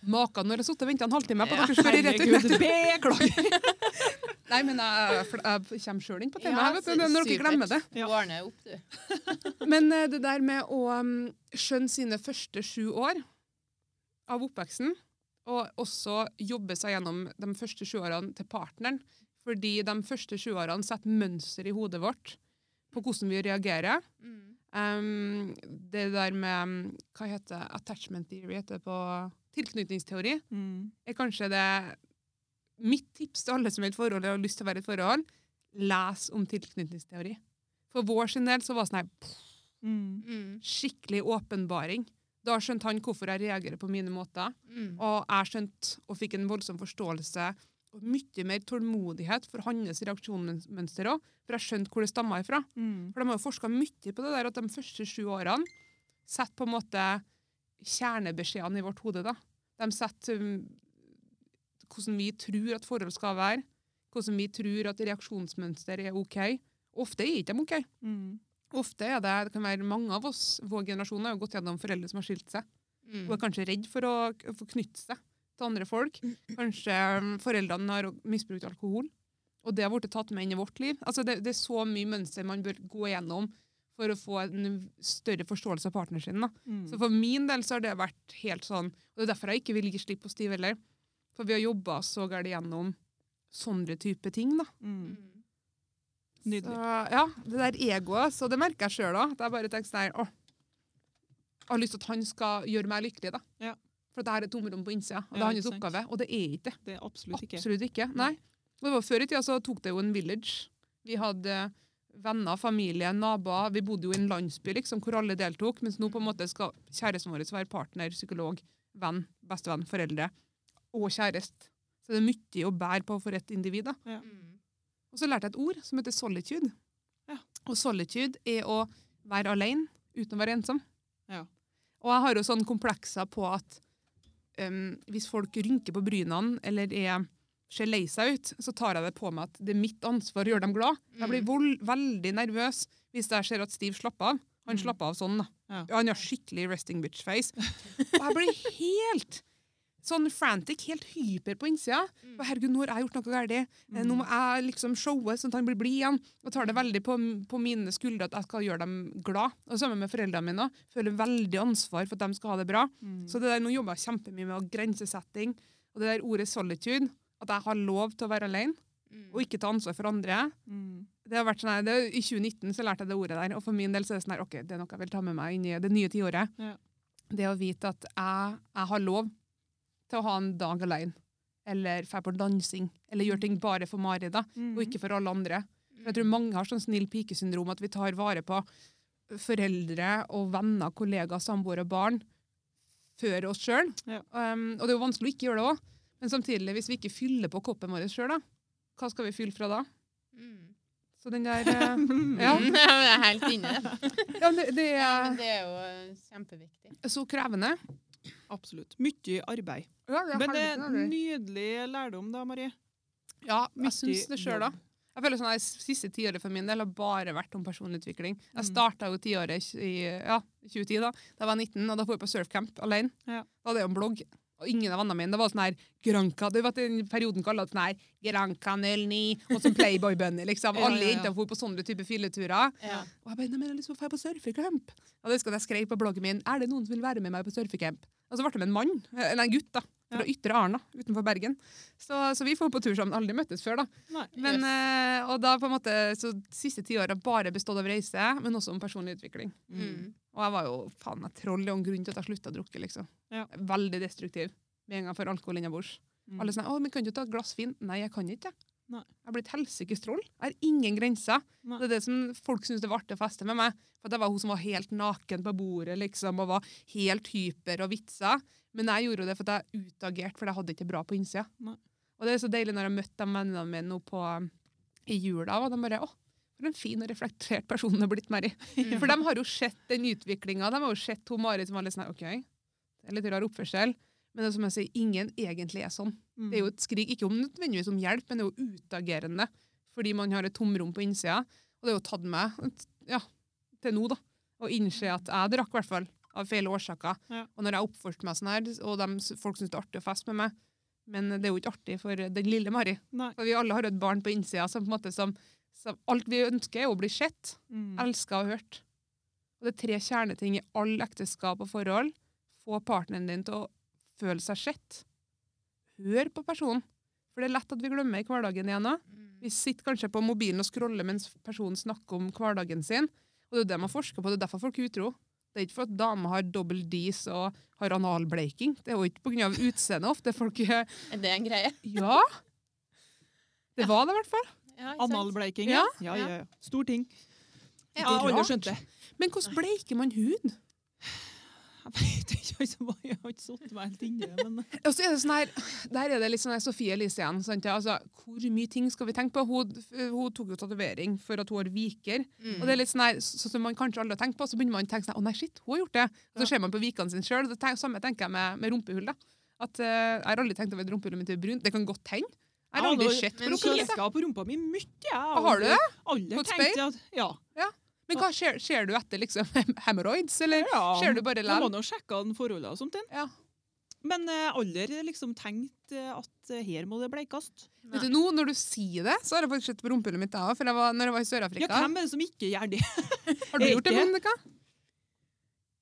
[SPEAKER 3] Maka når jeg har sittet og venta en halvtime på
[SPEAKER 1] Ja,
[SPEAKER 3] at dere spør i rett ut.
[SPEAKER 2] Herregud, beklager!
[SPEAKER 3] Nei, men jeg, fl- jeg kommer sjøl inn på temaet
[SPEAKER 1] Ja,
[SPEAKER 3] her, vet du, når dere
[SPEAKER 1] supert.
[SPEAKER 3] glemmer det.
[SPEAKER 2] Ja.
[SPEAKER 1] Du ordner opp, du.
[SPEAKER 3] Men eh, det der med å um, skjønne sine første sju år av oppveksten, og også jobbe seg gjennom de første sju årene til partneren, fordi de første sju årene setter mønster i hodet vårt på hvordan vi reagerer.
[SPEAKER 1] Mm.
[SPEAKER 3] Um, det der med um, Hva heter det? attachment theory? Heter det på tilknytningsteori?
[SPEAKER 2] Mm.
[SPEAKER 3] Er kanskje det Mitt tips til alle som er i et forhold og har lyst til å være i et forhold, les om tilknytningsteori. For vår sin del så var det sånn her
[SPEAKER 2] Mm.
[SPEAKER 1] Mm.
[SPEAKER 3] skikkelig åpenbaring. Da skjønte han hvorfor jeg reagerer på mine måter.
[SPEAKER 1] Mm.
[SPEAKER 3] Og jeg skjønte og fikk en voldsom forståelse og mye mer tålmodighet for hans reaksjonsmønster òg, for jeg skjønte hvor det stamma ifra.
[SPEAKER 2] Mm.
[SPEAKER 3] For de har jo forska mye på det der at de første sju årene setter på en måte kjernebeskjedene i vårt hode. da. De setter um, hvordan vi tror at forhold skal være, hvordan vi tror at reaksjonsmønster er OK. Ofte er ikke de OK.
[SPEAKER 2] Mm.
[SPEAKER 3] Ofte er det, det kan være mange av oss, vår generasjon har jo gått gjennom foreldre som har skilt seg,
[SPEAKER 1] Mm.
[SPEAKER 3] og er kanskje redd for å k- få knytte seg til andre folk. Kanskje um, foreldrene har misbrukt alkohol, og det har blitt tatt med inn i vårt liv. Altså det, det er så mye mønster man bør gå gjennom for å få en større forståelse av partneren sin. Da.
[SPEAKER 2] Mm.
[SPEAKER 3] Så for min del så har det vært helt sånn, og det er derfor jeg ikke vil gi slipp på Stiv heller, for vi har jobbet så galt gjennom sånne type ting da.
[SPEAKER 2] Mm.
[SPEAKER 1] Mm.
[SPEAKER 2] Nydelig.
[SPEAKER 3] Så, ja, det der egoet, så det merker jeg sjøl òg. Jeg bare tenker sånn her, «Åh, Jeg har lyst til at han skal gjøre meg lykkelig, da.
[SPEAKER 2] Ja.
[SPEAKER 3] For det er et tomrom på innsida, og det
[SPEAKER 2] Ja,
[SPEAKER 3] er hans
[SPEAKER 2] ikke sant.
[SPEAKER 3] oppgave. Og det er ikke det.
[SPEAKER 2] Det er absolutt ikke.
[SPEAKER 3] Absolutt ikke. Nei. Og Det var Før i tida så tok det jo en village. Vi hadde eh, venner, familie, naboer. Vi bodde jo i en landsby liksom, hvor alle deltok, mens nå på en måte skal kjæresten vår være partner, psykolog, venn, bestevenn, foreldre og kjæreste. Så det er mye å bære på for et individ. da.
[SPEAKER 1] Mm.
[SPEAKER 3] Og så lærte jeg et ord som heter solitude.
[SPEAKER 2] Ja.
[SPEAKER 3] Og solitude er å være alene uten å være ensom.
[SPEAKER 2] Ja.
[SPEAKER 3] Og jeg har jo sånne komplekser på at em, hvis folk rynker på brynene eller er, ser lei seg ut, så tar jeg det på meg at det er mitt ansvar å gjøre dem glad. Jeg
[SPEAKER 2] Mm.
[SPEAKER 3] blir vold, veldig nervøs hvis jeg ser at Steve slapper av. Han
[SPEAKER 2] Mm.
[SPEAKER 3] slapper av sånn, da.
[SPEAKER 2] Ja.
[SPEAKER 3] Han har skikkelig resting bitch face. Og jeg blir helt sånn frantic, helt hyper på innsida.
[SPEAKER 1] Mm.
[SPEAKER 3] Og herregud, nå har jeg gjort noe galt. Eh, Nå må
[SPEAKER 2] Mm.
[SPEAKER 3] jeg liksom showe sånn at han blir blid igjen. Og tar det veldig på, på mine skuldre at jeg skal gjøre dem glad. Og sammen med foreldrene mine. også. Føler veldig ansvar for at de skal ha det bra.
[SPEAKER 2] Mm.
[SPEAKER 3] Så det der, nå jobber jeg kjempemye med å grensesetting. Og det der ordet solitude, at jeg har lov til å være alene
[SPEAKER 1] Mm.
[SPEAKER 3] og ikke ta ansvar for andre,
[SPEAKER 2] Mm.
[SPEAKER 3] Det har vært sånn her, det, I 2019 så lærte jeg det ordet der, og for min del så er det sånn her, ok, det er noe jeg vil ta med meg inn i det nye tiåret.
[SPEAKER 2] Ja.
[SPEAKER 3] Det å vite at jeg, jeg har lov til å ha en dag alene, eller dra på dansing, eller gjøre ting bare for Mari, da,
[SPEAKER 2] mm.
[SPEAKER 3] og ikke for alle andre. For jeg tror mange har sånn snill pike-syndrom, at vi tar vare på foreldre og venner, kollegaer, samboere og barn før oss sjøl.
[SPEAKER 2] Ja.
[SPEAKER 3] Um, og det er jo vanskelig å ikke gjøre det òg, men samtidig, hvis vi ikke fyller på koppen vår sjøl, hva skal vi fylle fra da?
[SPEAKER 1] Mm.
[SPEAKER 3] Så den der eh, Ja,
[SPEAKER 1] Ja. men jeg er helt inne i det.
[SPEAKER 3] ja men det, det
[SPEAKER 1] Men
[SPEAKER 3] er
[SPEAKER 1] det er jo eh, kjempeviktig.
[SPEAKER 3] så krevende.
[SPEAKER 2] Absolutt. Mye arbeid.
[SPEAKER 3] Ja, det er
[SPEAKER 2] Men det
[SPEAKER 3] helvete,
[SPEAKER 2] er
[SPEAKER 3] det er det.
[SPEAKER 2] nydelig lærdom, da, Marie.
[SPEAKER 3] ja jeg
[SPEAKER 2] Mye
[SPEAKER 3] syns det sjøl, da.
[SPEAKER 2] jobb.
[SPEAKER 3] Jeg føler sånn at det Siste tiåret for min del har bare vært om personutvikling. Jeg
[SPEAKER 2] Mm.
[SPEAKER 3] starta jo tiåret i ja, 2010, da Da jeg var 19, og da dro jeg på surfcamp alene.
[SPEAKER 2] Ja.
[SPEAKER 3] Da hadde jeg jo en blogg. Og ingen av vennene mine. Det var sånn her Granca. Du vet den perioden kalte det sånn her Granca 09, og sånn Playboy Bunny, liksom.
[SPEAKER 2] Ja,
[SPEAKER 3] Alle
[SPEAKER 2] ja, ja.
[SPEAKER 3] jentene dro på sånne type fylleturer.
[SPEAKER 1] Ja.
[SPEAKER 3] Og jeg bare, «Nei, men jeg har lyst til å dra på surfecamp. Og det skal jeg skrev på bloggen min. Er det noen som vil være med meg på surfecamp? Og så ble det med en mann, eller en gutt da, fra Ytre Arna, utenfor Bergen. Så, så vi får på tur sammen. Aldri møttes før da.
[SPEAKER 2] Nei.
[SPEAKER 3] Men, eh, og da på en måte, så siste ti år har bare bestått av reise, men også om personlig utvikling.
[SPEAKER 1] Mm.
[SPEAKER 3] Og jeg var jo, faen, jeg troll om grunn til at jeg sluttet å drukke, liksom.
[SPEAKER 2] Ja.
[SPEAKER 3] Veldig destruktiv. Med en gang for alkohol innabords.
[SPEAKER 2] Mm.
[SPEAKER 3] Alle sånn, å, men kan du ta et glass vin? Nei, jeg kan ikke. jeg.
[SPEAKER 2] Nei.
[SPEAKER 3] Jeg har blitt helsikes troll. Jeg har ingen grenser.
[SPEAKER 2] Nei.
[SPEAKER 3] Det er det som folk syntes det var artig å feste med meg. For det var hun som var helt naken på bordet, liksom, og var helt hyper og vitsa. Men jeg gjorde jo det for at jeg utagerte, for jeg hadde det ikke bra på innsida.
[SPEAKER 2] Nei.
[SPEAKER 3] Og det er så deilig når jeg møtte de vennene mine nå på, um, i jula, og de bare, å, for en fin og reflektert person det har blitt Mary.
[SPEAKER 1] Mm.
[SPEAKER 3] For de har jo sett den utviklinga. De har jo sett hun Marit som var litt sånn her, OK, det er litt rar oppførsel. Men det er som jeg sier, ingen egentlig er sånn. Det er jo et skrik, ikke om nødvendigvis om hjelp, men det er jo utagerende. Fordi man har et tomrom på innsida. Og det har jo tatt meg ja, til nå, da. Å innse at jeg drakk, i hvert fall. Av feil årsaker.
[SPEAKER 2] Ja.
[SPEAKER 3] Og når jeg oppførte meg sånn her, og de, s- folk syntes det er artig å feste med meg Men det er jo ikke artig for den lille Mari.
[SPEAKER 2] mm. Nei.
[SPEAKER 3] For vi alle har jo et barn på innsida som på en måte som, som Alt vi ønsker, er jo å bli sett
[SPEAKER 2] Mm.
[SPEAKER 3] elska og hørt. Og det er tre kjerneting i all ekteskap og forhold. Få partneren din til å føle seg sett. Hør på personen. For det er lett at vi glemmer i hverdagen igjen òg. Vi sitter kanskje på mobilen og scroller mens personen snakker om hverdagen sin. Og det er jo det man forsker på, det er derfor folk er utro. Det er ikke for at damer har double D's og har analbleiking. Det er jo ikke pga. utseendet ofte. Folk er-
[SPEAKER 1] Er det en greie?
[SPEAKER 3] Ja! Det var det, i hvert fall.
[SPEAKER 1] Ja, ikke sant?
[SPEAKER 2] Analbleiking,
[SPEAKER 3] Ja.
[SPEAKER 1] Ja.
[SPEAKER 2] Ja, ja, ja. Stor ting.
[SPEAKER 1] Ja,
[SPEAKER 2] Det er
[SPEAKER 1] og-
[SPEAKER 2] rart. skjønte.
[SPEAKER 3] Men hvordan bleiker man hud?
[SPEAKER 2] Jeg vet ikke, altså, hva- jeg har ikke satt meg helt inni det, men
[SPEAKER 3] Og så er det sånn her, Der er det litt sånn her Sofie Elise igjen. Sant? Ja, altså, hvor mye ting skal vi tenke på? Hun, hun tok jo tatovering for at hun har viker.
[SPEAKER 1] Mm.
[SPEAKER 3] Og det er litt sånn her, så, som man kanskje aldri har tenkt på, så begynner man å tenke sånn, å nei, shit, hun har gjort det. Og
[SPEAKER 2] Ja.
[SPEAKER 3] så ser man på vikene sine sjøl. Det tenk- samme tenker jeg med, med rumpehull. da. At eh, Jeg har aldri tenkt over at rumpehullet mitt er brunt. Det kan godt hende. Jeg har
[SPEAKER 2] Ja,
[SPEAKER 3] aldri
[SPEAKER 2] da-
[SPEAKER 3] sett på
[SPEAKER 1] men
[SPEAKER 2] Nå
[SPEAKER 1] Sofie-
[SPEAKER 3] rumpehullet.
[SPEAKER 2] kikker jeg på rumpa mi mye. Ja,
[SPEAKER 3] Ah, Har du det?
[SPEAKER 2] Alle
[SPEAKER 3] På et
[SPEAKER 2] tenkte at Ja.
[SPEAKER 3] Men hva skjer, skjer du etter liksom hemoroids, eller
[SPEAKER 2] ja.
[SPEAKER 3] ser du bare
[SPEAKER 2] Jeg må
[SPEAKER 3] lem?
[SPEAKER 2] nå sjekke an forholdene og sånt. den.
[SPEAKER 3] Ja.
[SPEAKER 2] Men eh, aldri liksom tenkt eh, at eh, her må det bleikast.
[SPEAKER 3] Vet du, nå når du sier det, så har jeg faktisk sett på rumpehullet mitt, jeg òg. For jeg var, når jeg var i
[SPEAKER 2] Ja,
[SPEAKER 3] Sør-Afrika
[SPEAKER 2] hvem er det som ikke gjør det?
[SPEAKER 3] Har du
[SPEAKER 2] Jeg
[SPEAKER 3] gjort det,
[SPEAKER 2] ikke.
[SPEAKER 3] Monica?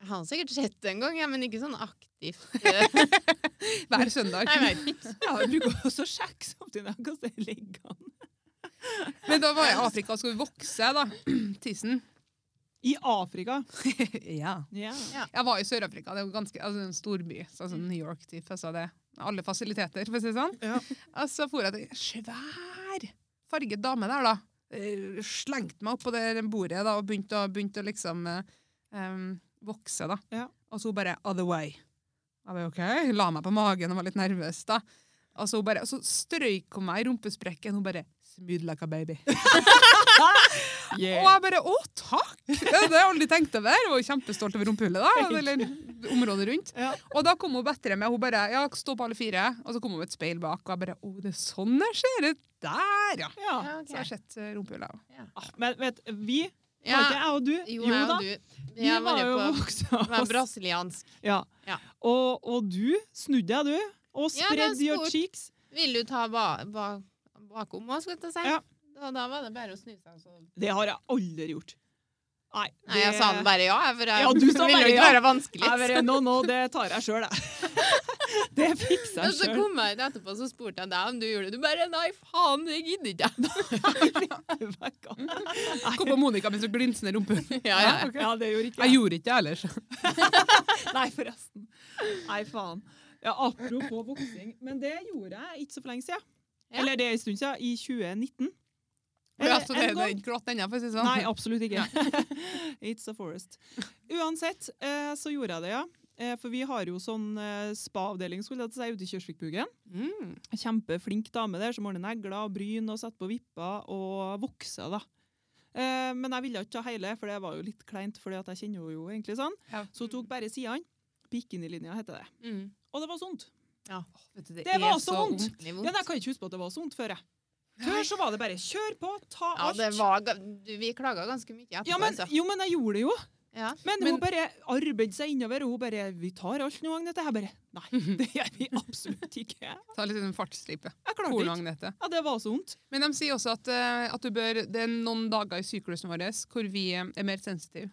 [SPEAKER 1] Jeg har sikkert sett det en gang, ja, men ikke sånn aktivt. Nei,
[SPEAKER 3] Hver søndag.
[SPEAKER 1] Jeg vet ikke.
[SPEAKER 2] Ja, jeg bruker også å sjekke samtidig jeg kaster leggene.
[SPEAKER 3] Men da var jeg i Afrika og skulle vokse, da. Tissen.
[SPEAKER 2] I Afrika.
[SPEAKER 3] ja.
[SPEAKER 2] Ja.
[SPEAKER 3] Jeg var i Sør-Afrika. Det er jo ganske, altså en storby. Sånn som New York, typ. Altså det. Alle fasiliteter, for å si det sånn.
[SPEAKER 2] Ja.
[SPEAKER 3] Og så for jeg til en svær farget dame der, da. Eh, Slengte meg opp på det bordet da, og begynte å, begynte å liksom eh, em, vokse, da.
[SPEAKER 2] Ja.
[SPEAKER 3] Og så hun bare 'other way'. Jeg bare, ok, La meg på magen og var litt nervøs, da. Og så, hun bare, og så strøyk hun meg i rumpesprekken. Hun bare 'smooth like a baby'. Og jeg bare 'å, takk'! Det har jeg aldri tenkt over. Jeg var jo kjempestolt over rumpehullet, da. Eller området rundt.
[SPEAKER 2] Ja.
[SPEAKER 3] Og da kom hun bedre med. Hun bare ja, 'stå på alle fire', og så kom hun med et speil bak. Og jeg bare 'å, det er sånn det ser ut'. Der, ja.
[SPEAKER 2] Ja.
[SPEAKER 1] Ja,
[SPEAKER 3] Så jeg har
[SPEAKER 1] ok.
[SPEAKER 3] jeg sett eh, rumpehullet òg.
[SPEAKER 2] Ah, Men vet vi,
[SPEAKER 1] ja.
[SPEAKER 2] var ikke jeg og du?
[SPEAKER 1] Jo, jeg og du. Vi har vært på
[SPEAKER 2] voksne.
[SPEAKER 1] var brasiliansk.
[SPEAKER 2] Ja.
[SPEAKER 1] Ja.
[SPEAKER 2] Og, og du snudde deg, du. Og
[SPEAKER 1] Ja, det er
[SPEAKER 2] spredde your
[SPEAKER 1] stort.
[SPEAKER 2] cheeks.
[SPEAKER 1] Vil du ta ba ba bakom oss, skulle jeg til å si?
[SPEAKER 2] Ja.
[SPEAKER 1] Da, da var det bare å snu seg. Så.
[SPEAKER 2] Det har jeg aldri gjort. Nei,
[SPEAKER 1] Nei, jeg sa det bare ja, jeg, for jeg
[SPEAKER 2] Ja, du sa
[SPEAKER 1] ville
[SPEAKER 2] bare
[SPEAKER 1] jo ikke
[SPEAKER 2] ja.
[SPEAKER 1] være vanskelig.
[SPEAKER 2] Jeg bare, no, no, det tar jeg sjøl, jeg. Det fikser
[SPEAKER 1] Men
[SPEAKER 2] jeg
[SPEAKER 1] så
[SPEAKER 2] sjøl.
[SPEAKER 1] kom jeg ut etterpå, så spurte jeg deg om du gjorde det. Du bare nei, faen, det gidder ikke jeg.
[SPEAKER 2] Vekk av.
[SPEAKER 3] Gå på Monica med så glinsende rumpe.
[SPEAKER 1] Ja, ja.
[SPEAKER 2] Ja, det gjorde ikke
[SPEAKER 3] Jeg gjorde ikke det ellers.
[SPEAKER 2] Nei, forresten. Nei, faen. Ja, apropos boksing. Men det gjorde jeg ikke så for lenge siden.
[SPEAKER 1] Ja.
[SPEAKER 2] Eller det er en stund siden. I 2019.
[SPEAKER 3] Ja, så det,
[SPEAKER 2] Eller en
[SPEAKER 3] det er
[SPEAKER 2] gang.
[SPEAKER 3] ikke glatt ennå, for å si det sånn.
[SPEAKER 2] Nei, absolutt ikke. It's a forest. Uansett, eh, så gjorde jeg det, ja. Eh, For vi har jo sånn eh, spa-avdeling skulle jeg til å si, ute i Kjørsvikbugen.
[SPEAKER 1] Mm.
[SPEAKER 2] Kjempeflink dame der som ordner negler og bryn og setter på vipper og vokser, da. Eh, Men jeg ville ikke ta hele, for det var jo litt kleint, for jeg kjenner henne jo egentlig sånn.
[SPEAKER 3] Ja.
[SPEAKER 2] Så hun tok bare sidene. Bikinilinja heter det.
[SPEAKER 1] Mm.
[SPEAKER 2] Og det var sånt.
[SPEAKER 3] Vet du,
[SPEAKER 2] Det var
[SPEAKER 3] er
[SPEAKER 2] så vondt.
[SPEAKER 1] Ordentlig vondt.
[SPEAKER 2] Ja, nei, jeg kan ikke huske på at det var så vondt før. jeg. Før så var det bare kjør på, ta
[SPEAKER 1] Ja,
[SPEAKER 2] alt.
[SPEAKER 1] det var, ga- du, vi klaga ganske mye etterpå.
[SPEAKER 2] ja, men,
[SPEAKER 1] altså.
[SPEAKER 2] jo, men jeg gjorde det jo.
[SPEAKER 1] ja.
[SPEAKER 2] Men,
[SPEAKER 3] Men-
[SPEAKER 2] hun bare arbeidet seg innover, og hun bare 'Vi tar alt noen gang, dette her.' Bare Nei, det gjør vi absolutt ikke. Jeg
[SPEAKER 3] Ta litt sånn fartstripe.
[SPEAKER 2] klarte det ikke.
[SPEAKER 3] Kornagnete.
[SPEAKER 2] Ja, det var så vondt.
[SPEAKER 3] Men de sier også at, eh, at du bør, det er noen dager i syklusen vår hvor vi eh, er mer sensitive.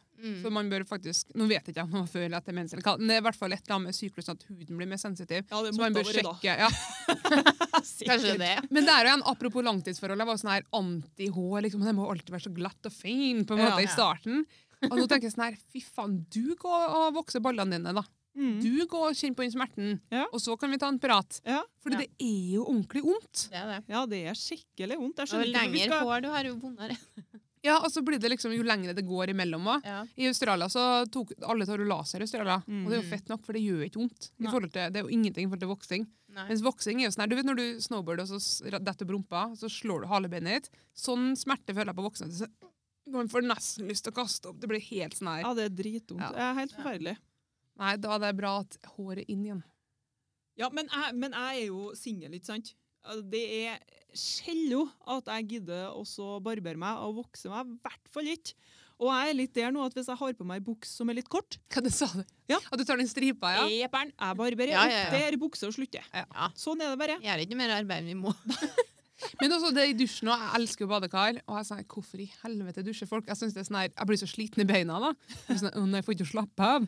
[SPEAKER 1] Mm.
[SPEAKER 3] Så man bør faktisk, nå vet jeg ikke om det var før eller etter mens, eller hva, men det er i hvert fall et eller annet med syklusen at huden blir mer sensitiv.
[SPEAKER 2] Ja, det
[SPEAKER 3] Så man bør sjekke. Ja.
[SPEAKER 1] Kanskje det. ja.
[SPEAKER 3] Men der og igjen, apropos langtidsforhold, jeg var sånn her anti-hår, liksom, det må alltid være så glatt og fin på en måte
[SPEAKER 2] Ja.
[SPEAKER 3] i starten. Og nå tenker jeg sånn her, fy faen, du går og vokser ballene dine da.
[SPEAKER 2] Mm.
[SPEAKER 3] Du går og kjenner på den smerten,
[SPEAKER 2] Ja.
[SPEAKER 3] og så kan vi ta en prat.
[SPEAKER 2] Ja.
[SPEAKER 3] For
[SPEAKER 1] Ja.
[SPEAKER 3] det er jo ordentlig vondt.
[SPEAKER 1] Det er det.
[SPEAKER 2] ja, det er skikkelig vondt. Jeg
[SPEAKER 1] Og
[SPEAKER 2] skjønner ikke hvorfor vi
[SPEAKER 1] lengre
[SPEAKER 2] skal
[SPEAKER 1] hår du har, jo vondere.
[SPEAKER 3] Ja, og så blir det liksom, jo lengre det går imellom også.
[SPEAKER 1] Ja.
[SPEAKER 3] I Australia så tok alle tar jo laser i Australia, og det er jo
[SPEAKER 1] Mm.
[SPEAKER 3] fett nok, for det gjør ikke vondt. I
[SPEAKER 2] Nei.
[SPEAKER 3] forhold til, det er jo ingenting i forhold til voksing.
[SPEAKER 1] Nei.
[SPEAKER 3] Mens voksing er jo sånn her, du vet når du snowboarder og så s- detter brumpa, så slår du halebeinet ditt. Sånn smerte føler jeg på voksne. Så man får nesten lyst til å kaste opp. Det blir helt sånn her.
[SPEAKER 2] Ja, det er dritvondt.
[SPEAKER 3] Ja.
[SPEAKER 2] Det er helt
[SPEAKER 1] Ja.
[SPEAKER 2] forferdelig.
[SPEAKER 3] Nei, da er det bra at håret er inn igjen.
[SPEAKER 2] Ja, men jeg, men jeg er jo singel, ikke sant? Altså, Det er sjelden at jeg gidder å så barbere meg og vokse meg, i hvert fall ikke. Og jeg er litt der nå at hvis jeg har på meg ei bukse som er litt kort,
[SPEAKER 3] Hva det sa du?
[SPEAKER 2] Ja.
[SPEAKER 3] At du tar den stripa, ja?
[SPEAKER 2] Eperen, jeg barberer
[SPEAKER 1] Ja, ja, ja.
[SPEAKER 2] opp der buksa slutter.
[SPEAKER 1] Ja.
[SPEAKER 2] Sånn er det bare.
[SPEAKER 1] Gjør ikke mer arbeid enn vi må.
[SPEAKER 3] Men også det i dusjen òg. Jeg elsker jo badekar. Og jeg sa hvorfor i helvete dusjer folk? Jeg synes det er sånn her, jeg blir så sliten i beina da. Jeg blir Sånn, «Å, nei, jeg får ikke slappe av.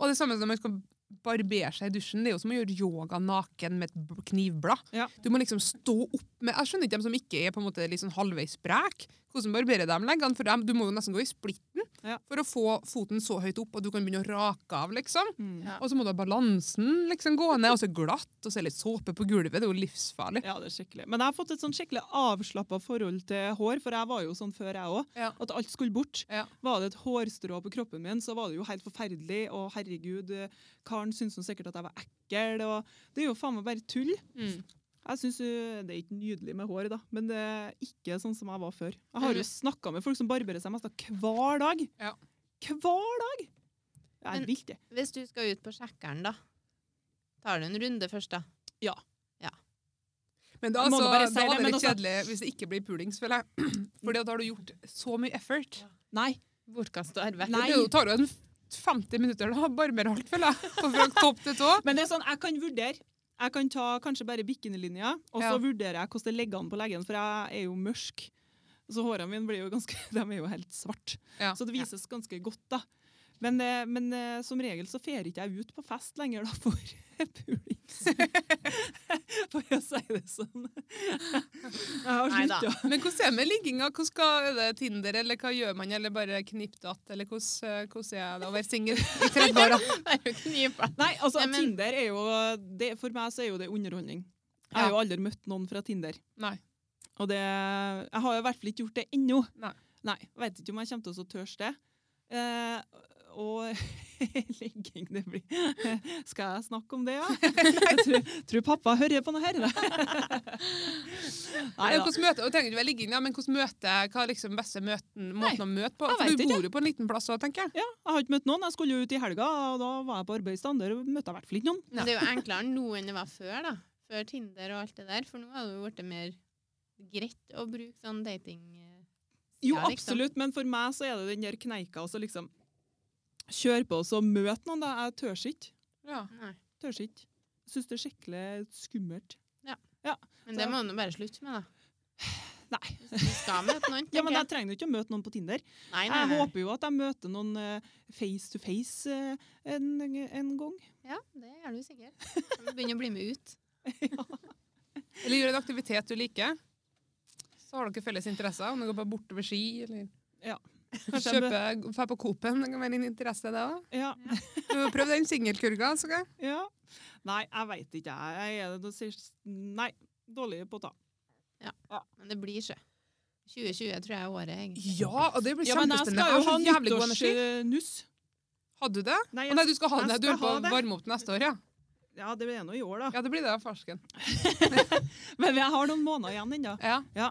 [SPEAKER 3] Og det samme som når man skal barbere seg i dusjen. Det er jo som å gjøre yoga naken med et b- knivblad.
[SPEAKER 2] Ja.
[SPEAKER 3] Du må liksom stå opp med Jeg skjønner ikke dem som ikke er på en måte litt sånn halvveis sprek. Hvordan barberer de leggene? For dem, du må jo nesten gå i splitten
[SPEAKER 2] Ja.
[SPEAKER 3] for å få foten så høyt opp at du kan begynne å rake av, liksom.
[SPEAKER 2] Mm.
[SPEAKER 1] Ja.
[SPEAKER 3] Og så må du ha balansen liksom gå ned, og så glatt, og så litt såpe på gulvet. Det er jo livsfarlig.
[SPEAKER 2] Ja, det er skikkelig. Men jeg har fått et sånn skikkelig avslappa forhold til hår, for jeg var jo sånn før, jeg òg.
[SPEAKER 3] Ja.
[SPEAKER 2] At alt skulle bort.
[SPEAKER 3] Ja.
[SPEAKER 2] Var det et hårstrå på kroppen min, så var det jo helt forferdelig. Og herregud, eh, karen syntes jo sikkert at jeg var ekkel. Og det er jo faen meg bare tull.
[SPEAKER 1] Mm.
[SPEAKER 2] Jeg synes eh, Det er ikke nydelig med hår, da, men det er ikke sånn som jeg var før. Jeg har
[SPEAKER 1] Men-
[SPEAKER 2] jo snakka med folk som barberer seg nesten hver dag.
[SPEAKER 3] Ja.
[SPEAKER 2] Hver dag! Det
[SPEAKER 1] Men-
[SPEAKER 2] er vilt, det.
[SPEAKER 1] Hvis du skal ut på sjekkeren, da, tar du en runde først, da.
[SPEAKER 3] Men da,
[SPEAKER 2] Jeg må
[SPEAKER 3] altså,
[SPEAKER 2] nå bare
[SPEAKER 3] da
[SPEAKER 2] si det,
[SPEAKER 3] hadde det
[SPEAKER 2] men
[SPEAKER 3] vært
[SPEAKER 2] altså-
[SPEAKER 3] kjedelig hvis det ikke blir pulings, føler jeg. For da har du gjort så mye effort.
[SPEAKER 2] Nei.
[SPEAKER 1] Bortkasta arbeid.
[SPEAKER 2] Nei.
[SPEAKER 3] Det tar jo en 50 minutter da, bare med alt, føler jeg. For Fra topp til tå.
[SPEAKER 2] Men det er sånn, jeg kan vurdere. Jeg kan ta kanskje bare bikinilinja, og så
[SPEAKER 3] Ja.
[SPEAKER 2] vurderer jeg hvordan det ligger an på legen, for jeg er jo mørk. Så hårene mine blir jo ganske, de er jo helt svart.
[SPEAKER 3] Ja.
[SPEAKER 2] Så det vises ganske godt, da. Men, eh, men eh, som regel så fer ikke jeg ut på fest lenger, da, for pulings. for å si det sånn. Jeg har
[SPEAKER 1] Neida.
[SPEAKER 2] slutta.
[SPEAKER 3] Men hvordan er det med ligginga? Hvordan skal, er det Tinder, eller hva gjør man? Eller bare knipp datt? Eller hvordan, eh, hvordan er det å være singel i 30 år? da?
[SPEAKER 1] Det er jo ikke mye plass.
[SPEAKER 2] Nei, altså,
[SPEAKER 1] Nei, men-
[SPEAKER 2] Tinder er jo det, For meg så er jo det underholdning. Jeg har
[SPEAKER 3] Ja.
[SPEAKER 2] jo aldri møtt noen fra Tinder.
[SPEAKER 3] Nei.
[SPEAKER 2] Og det, jeg har jo i hvert fall ikke gjort det ennå.
[SPEAKER 3] Nei.
[SPEAKER 2] Nei, jeg vet ikke om jeg kommer til å tørre det. Eh, og legging det blir Skal jeg snakke om det, ja? Jeg tror, tror pappa hører på noe her. da. Nei
[SPEAKER 3] Eller
[SPEAKER 2] da.
[SPEAKER 3] hvordan møter, og tenker du vel ligging, ja, men hvordan møte, hva er liksom beste møten, måten å møte på?
[SPEAKER 2] jeg
[SPEAKER 3] For
[SPEAKER 2] vet
[SPEAKER 3] du
[SPEAKER 2] ikke.
[SPEAKER 3] bor jo på en liten plass òg, tenker jeg.
[SPEAKER 2] Ja, jeg har ikke møtt noen. Jeg skulle jo ut i helga, og da var jeg på arbeidsstand. Der møtte jeg i hvert fall ikke noen.
[SPEAKER 1] Men det er jo enklere nå enn det var før, da. Før Tinder og alt det der. For nå har det jo blitt mer greit å bruke sånn dating...
[SPEAKER 2] Jo,
[SPEAKER 1] Ja, liksom.
[SPEAKER 2] absolutt, men for meg så er det den der kneika å liksom kjøre på og så møte noen. da. Jeg tør ikke.
[SPEAKER 3] Ja.
[SPEAKER 1] Nei.
[SPEAKER 2] Tør ikke. Syns det er skikkelig skummelt.
[SPEAKER 1] Men det må du nå bare slutte med, da.
[SPEAKER 2] Nei.
[SPEAKER 1] Hvis du skal møte noen,
[SPEAKER 2] Ja,
[SPEAKER 1] tenker
[SPEAKER 2] men Jeg
[SPEAKER 1] jeg.
[SPEAKER 2] trenger jo ikke å møte noen på Tinder.
[SPEAKER 1] Nei, nei,
[SPEAKER 2] Jeg
[SPEAKER 1] nei.
[SPEAKER 2] håper jo at jeg møter noen eh, face to face eh, en, en gang.
[SPEAKER 1] Ja, det gjør du sikkert. Du begynner å bli med ut.
[SPEAKER 3] Eller gjør en aktivitet du liker. Så har dere felles interesser, om det går bare bortover ski, eller
[SPEAKER 2] Kanskje jeg bør-
[SPEAKER 3] Kjøpe Få på Coop-en. Det kan være en interesse, det òg.
[SPEAKER 2] ja,
[SPEAKER 3] Du må prøve den singelkurga. så kan jeg.
[SPEAKER 2] ja. Nei, jeg veit ikke. Jeg er det sist- Nei, dårlig på å ta.
[SPEAKER 1] Men det blir sjø. 2020 tror jeg er året, egentlig.
[SPEAKER 3] Ja, og det blir
[SPEAKER 2] Ja, men jeg
[SPEAKER 3] kjempespennende.
[SPEAKER 2] skal jo
[SPEAKER 3] Jeg
[SPEAKER 2] ha
[SPEAKER 3] har så jævlig god energi.
[SPEAKER 2] nyttårsnuss.
[SPEAKER 3] Hadde du det?
[SPEAKER 2] Nei,
[SPEAKER 3] Å nei, du skal ha
[SPEAKER 2] jeg
[SPEAKER 3] det. Du
[SPEAKER 2] skal
[SPEAKER 3] er på
[SPEAKER 2] ha det.
[SPEAKER 3] å varme opp neste år, ja.
[SPEAKER 2] ja, det er nå i år, da.
[SPEAKER 3] Ja, det blir det, farsken.
[SPEAKER 2] Men jeg har noen måneder igjen ennå.
[SPEAKER 3] Ja.
[SPEAKER 2] Ja.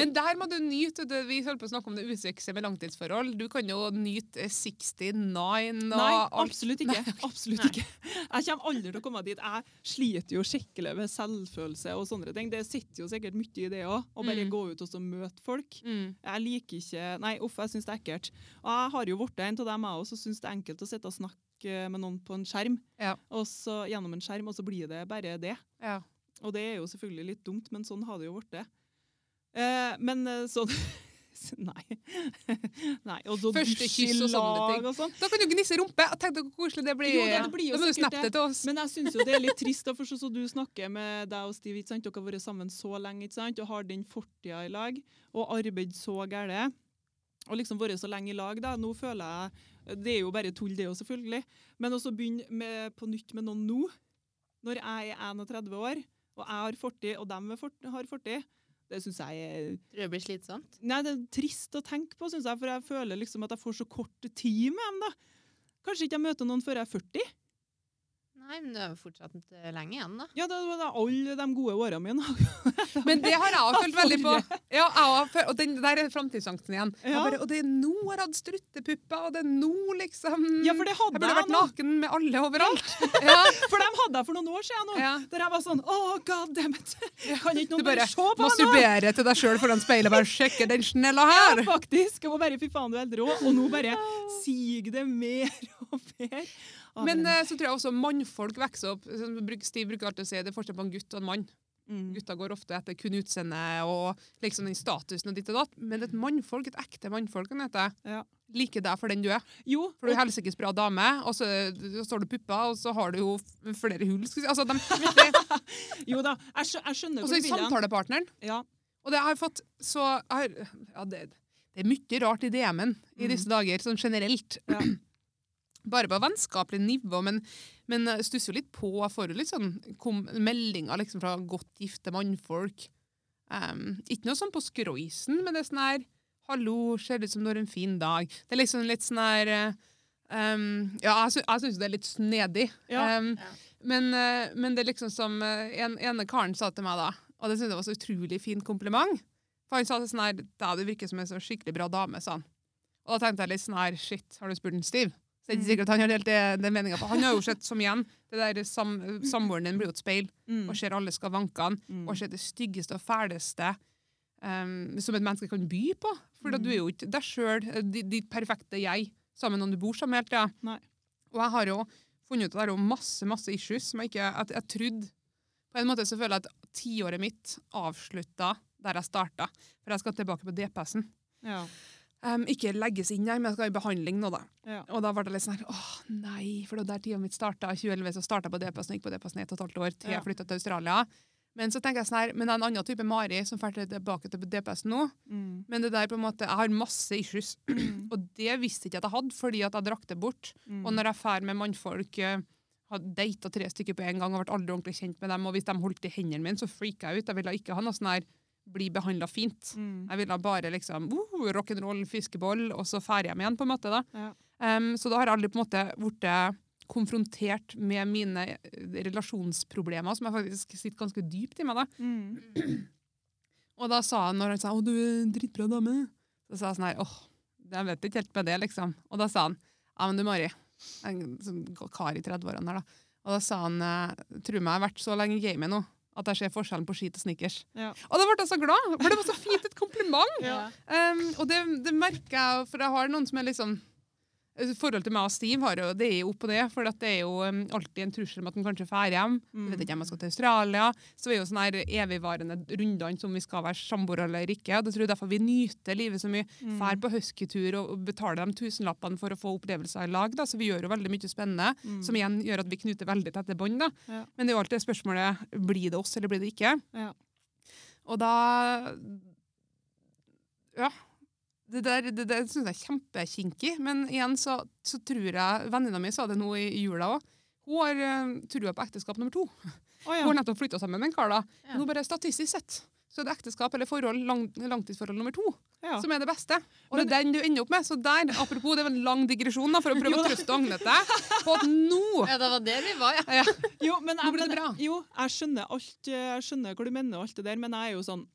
[SPEAKER 3] Men der må du nyte det, Vi holdt på å snakke om det usikse med langtidsforhold. Du kan jo nyte eh, 69 og
[SPEAKER 2] Nei,
[SPEAKER 3] alt.
[SPEAKER 2] absolutt ikke. Absolutt ikke. Jeg kommer aldri til å komme dit. Jeg sliter jo skikkelig med selvfølelse og sånne ting. Det sitter jo sikkert mye i det òg, å bare
[SPEAKER 3] Mm.
[SPEAKER 2] gå ut og så møte folk.
[SPEAKER 3] Mm.
[SPEAKER 2] Jeg liker ikke Nei, uff, jeg syns det er ekkelt. Og jeg har jo blitt en av dem, jeg òg, som syns det er enkelt å sitte og snakke med noen på en skjerm,
[SPEAKER 3] Ja.
[SPEAKER 2] og så, gjennom en skjerm, og så blir det bare det.
[SPEAKER 3] Ja.
[SPEAKER 2] Og det er jo selvfølgelig litt dumt, men sånn har det jo blitt. Eh, men eh, sånn Nei. Nei. Og så
[SPEAKER 3] Første kyss og sånne ting.
[SPEAKER 2] dusjelag og sånn.
[SPEAKER 3] Da kan du gnisse rumpe. og Tenk deg hvor koselig det blir.
[SPEAKER 2] Jo, det blir jo
[SPEAKER 3] da må du
[SPEAKER 2] sikkert
[SPEAKER 3] snappe
[SPEAKER 2] det.
[SPEAKER 3] det til oss.
[SPEAKER 2] Men jeg syns jo det er litt trist, da, for så, så du snakker med deg og Steve, ikke sant? dere har vært sammen så lenge ikke sant? og har den fortida i lag, og arbeidet så gæle. Og liksom vært så lenge i lag, da. Nå føler jeg Det er jo bare tull, det òg, selvfølgelig. Men også begynne med, på nytt med noen nå, når jeg er 31 år, og jeg har fortid, og dem er fort- har fortid, det syns jeg er
[SPEAKER 1] Tror det blir slitsomt.
[SPEAKER 2] Nei, det er trist å tenke på, syns jeg, for jeg føler liksom at jeg får så kort tid med dem, da. Kanskje ikke jeg møter noen før jeg er 40?
[SPEAKER 1] Nei, men det er jo fortsatt eh, lenge igjen, da.
[SPEAKER 2] Ja, det var da alle de gode årene mine.
[SPEAKER 3] Men det har jeg også følt veldig på. Ja, jeg har følt, og den, der er framtidsangsten igjen. Jeg
[SPEAKER 2] Ja.
[SPEAKER 3] Bare, og det er nå jeg har hatt struttepupper, og det er nå liksom
[SPEAKER 2] Ja, for det
[SPEAKER 3] Jeg
[SPEAKER 2] hadde
[SPEAKER 3] burde
[SPEAKER 2] jeg,
[SPEAKER 3] vært
[SPEAKER 2] nå.
[SPEAKER 3] naken med alle overalt. Ja,
[SPEAKER 2] For dem hadde jeg for noen år siden nå.
[SPEAKER 3] ja.
[SPEAKER 2] Der jeg var sånn Å, god damn it! Kan ikke
[SPEAKER 3] Du
[SPEAKER 2] noen bare,
[SPEAKER 3] bare
[SPEAKER 2] se på meg nå?
[SPEAKER 3] masturberer til deg sjøl foran speilet og bare sjekker den snella her.
[SPEAKER 2] Ja, faktisk. Jeg må bare Fy faen, du er helt rå. Og nå bare siger det mer og mer. Ah, Å,
[SPEAKER 3] Men
[SPEAKER 2] det-
[SPEAKER 3] eh, så tror jeg også mannfolk vokser opp. Som bruk- Stiv bruker alltid å si det er forskjell på en gutt og en mann.
[SPEAKER 2] mm.
[SPEAKER 3] Gutter går ofte etter kun utseende og liksom den statusen og ditt og datt. Men et mannfolk, et ekte mannfolk, kan det hete,
[SPEAKER 2] Ja.
[SPEAKER 3] liker deg for den du er.
[SPEAKER 2] Jo.
[SPEAKER 3] For du er helsikes bra dame, og så, så har du pupper, og så har du jo f- flere hull. Skal vi si. altså, de, det,
[SPEAKER 2] Jo da. Jeg, skjø, jeg skjønner
[SPEAKER 3] og
[SPEAKER 2] hvor
[SPEAKER 3] så er
[SPEAKER 2] du vil hen.
[SPEAKER 3] samtalepartneren.
[SPEAKER 2] Ja.
[SPEAKER 3] Og det har jeg fått så jeg har, ja, det, det er mye rart i DM-en i disse dager, sånn generelt.
[SPEAKER 2] Ja.
[SPEAKER 3] Bare på vennskapelig nivå, men, men jeg stusser jo litt på. Jeg får jo litt sånn kom, meldinger liksom, fra godt gifte mannfolk. Em, ikke noe sånn på skroisen, men det er sånn her Hallo, ser ut som du har en fin dag. Det er liksom litt sånn her eh, em, Ja, jeg, sy jeg syns det er litt snedig.
[SPEAKER 2] Ja.
[SPEAKER 3] Em,
[SPEAKER 1] Ja.
[SPEAKER 3] Men, eh, men det er liksom som eh, en, ene karen sa til meg da, og det syntes jeg var så utrolig fin kompliment. For han sa det sånn her Da du virker som en så skikkelig bra dame, sa han. Og da tenkte jeg litt sånn her Shit, har du spurt en Stiv? Så det er ikke sikkert han har delt det, den meninga. For han har jo sett som igjen. Det der sam, Samboeren din blir jo et speil
[SPEAKER 2] Mm.
[SPEAKER 3] og ser alle skavankene
[SPEAKER 2] Mm.
[SPEAKER 3] og ser det styggeste og fæleste em, som et menneske kan by på. For
[SPEAKER 2] Mm.
[SPEAKER 3] da du er jo ikke deg sjøl, ditt perfekte jeg, sammen med noen du bor sammen med hele tida.
[SPEAKER 2] Nei.
[SPEAKER 3] Og jeg har jo funnet ut at det er jo masse masse issues som jeg ikke at jeg trodde På en måte så føler jeg at tiåret mitt avslutta der jeg starta, for jeg skal tilbake på DPS-en.
[SPEAKER 2] Ja.
[SPEAKER 3] Em, Ehm, ikke legges inn her, men jeg skal i behandling nå, da.
[SPEAKER 2] Ja.
[SPEAKER 3] Og da ble det litt sånn her, åh nei, for det var der tida mitt starta. I 2011 så starta jeg på DPS, og gikk på DPS i et og et halvt år til
[SPEAKER 2] Ja.
[SPEAKER 3] jeg flytta til Australia. Men så tenker jeg sånn her, men det er en annen type Mari som drar tilbake til DPS nå.
[SPEAKER 2] Mm.
[SPEAKER 3] Men det der på en måte, jeg har masse issues, og det visste ikke at jeg hadde, fordi at jeg drakk det bort. Og når jeg drar med mannfolk eh, hadde data tre stykker på en gang og ble aldri ordentlig kjent med dem, og hvis de holdt i hendene mine, så freaka jeg ut. Jeg ville ikke ha noe sånn her bli behandla fint.
[SPEAKER 2] Mm.
[SPEAKER 3] Jeg ville bare liksom uh, rock'n'roll, fiskeboll, og så drar jeg hjem igjen, på en måte. da.
[SPEAKER 2] Ja.
[SPEAKER 3] Em, så da har jeg aldri på en måte blitt konfrontert med mine eh, relasjonsproblemer, som jeg faktisk sitter ganske dypt i meg. da.
[SPEAKER 2] Mm.
[SPEAKER 3] Og da sa han, når han sa, å du er en dritbra dame, så sa jeg sånn her, åh, jeg vet ikke helt med det, liksom. Og da sa han, ja, men du Mari, en sånn kar i 30-årene her da, og da sa han, «Eh, tro meg, jeg har vært så lenge i gamet nå, at jeg ser forskjellen på skit og snickers.
[SPEAKER 2] Ja.
[SPEAKER 3] Og da ble jeg så glad, for det var så fint et kompliment.
[SPEAKER 2] Ja.
[SPEAKER 3] Um, og det, det merker jeg, for jeg har noen som er liksom, forholdet til meg og Steve har jo, det er jo opp og det, for at det er jo um, alltid en trussel om at den kanskje fær hjem, jeg
[SPEAKER 2] Mm.
[SPEAKER 3] vet ikke om jeg skal til Australia. Så vi er jo sånne her evigvarende rundene som vi skal være samboere eller ikke. Det tror jeg derfor vi nyter livet så mye.
[SPEAKER 2] Mm.
[SPEAKER 3] Fær på huskytur og og betaler de tusenlappene for å få opplevelser i lag. Da. Så vi gjør jo veldig mye spennende,
[SPEAKER 2] Mm.
[SPEAKER 3] som igjen gjør at vi knuter veldig tette bånd. da.
[SPEAKER 2] Ja.
[SPEAKER 3] Men det er jo alltid spørsmålet blir det oss eller blir det ikke.
[SPEAKER 2] Ja.
[SPEAKER 3] Og da Ja. Det Det der, det der synes jeg er kjempekinkig, men igjen så, så tror jeg Venninna mi sa det nå i jula òg. Hun har eh, trua på ekteskap nummer to.
[SPEAKER 2] Å ja.
[SPEAKER 3] Hun har nettopp flytta sammen med en kar. da.
[SPEAKER 1] Ja.
[SPEAKER 3] Nå bare statistisk sett så er det ekteskap eller forhold, lang, langtidsforhold nummer to
[SPEAKER 2] ja.
[SPEAKER 3] som er det beste. Og det er den du ender opp med. Så der, apropos, det var en lang digresjon da, for å prøve å trøste Agnete på at nå
[SPEAKER 1] Ja, det var der vi var, ja.
[SPEAKER 2] Jo, men jeg,
[SPEAKER 3] Nå blir
[SPEAKER 2] men-
[SPEAKER 3] det bra.
[SPEAKER 2] Jo, jeg skjønner, alt, eh, jeg skjønner hvor du mener og alt det der, men jeg er jo sånn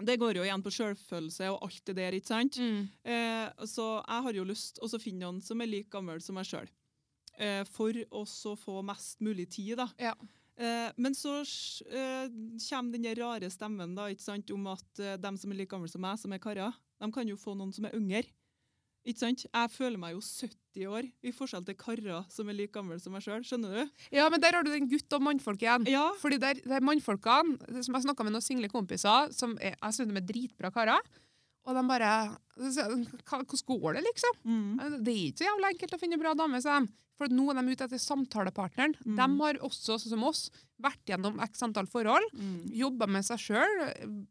[SPEAKER 2] det går jo igjen på sjølfølelse og alt det der. ikke sant?
[SPEAKER 3] Mm.
[SPEAKER 2] Eh, så jeg har jo lyst å så finne noen som er like gammel som meg sjøl, eh, for å så få mest mulig tid. da.
[SPEAKER 3] Ja.
[SPEAKER 2] Eh, men så sj- eh, kommer den der rare stemmen da, ikke sant, om at eh, dem som er like gamle som meg, som er karer, de kan jo få noen som er yngre. Ikke sant? Jeg føler meg jo 70 år, i forskjell til karer som er like gamle som meg sjøl. Skjønner du?
[SPEAKER 3] Ja, men der har du den gutt og mannfolk igjen.
[SPEAKER 2] Ja.
[SPEAKER 3] Fordi der, der mannfolkene, det som jeg snakka med noen single kompiser, som er, jeg synes de er dritbra karer, og de bare så sier jeg, "Hva- Hvordan går det, liksom?
[SPEAKER 2] Mm.
[SPEAKER 3] Det er ikke så jævlig enkelt å finne bra dame, sa de. For at nå er de ute etter samtalepartneren.
[SPEAKER 2] Mm.
[SPEAKER 3] De har også, sånn som oss, vært gjennom x antall forhold,
[SPEAKER 2] Mm.
[SPEAKER 3] jobba med seg sjøl.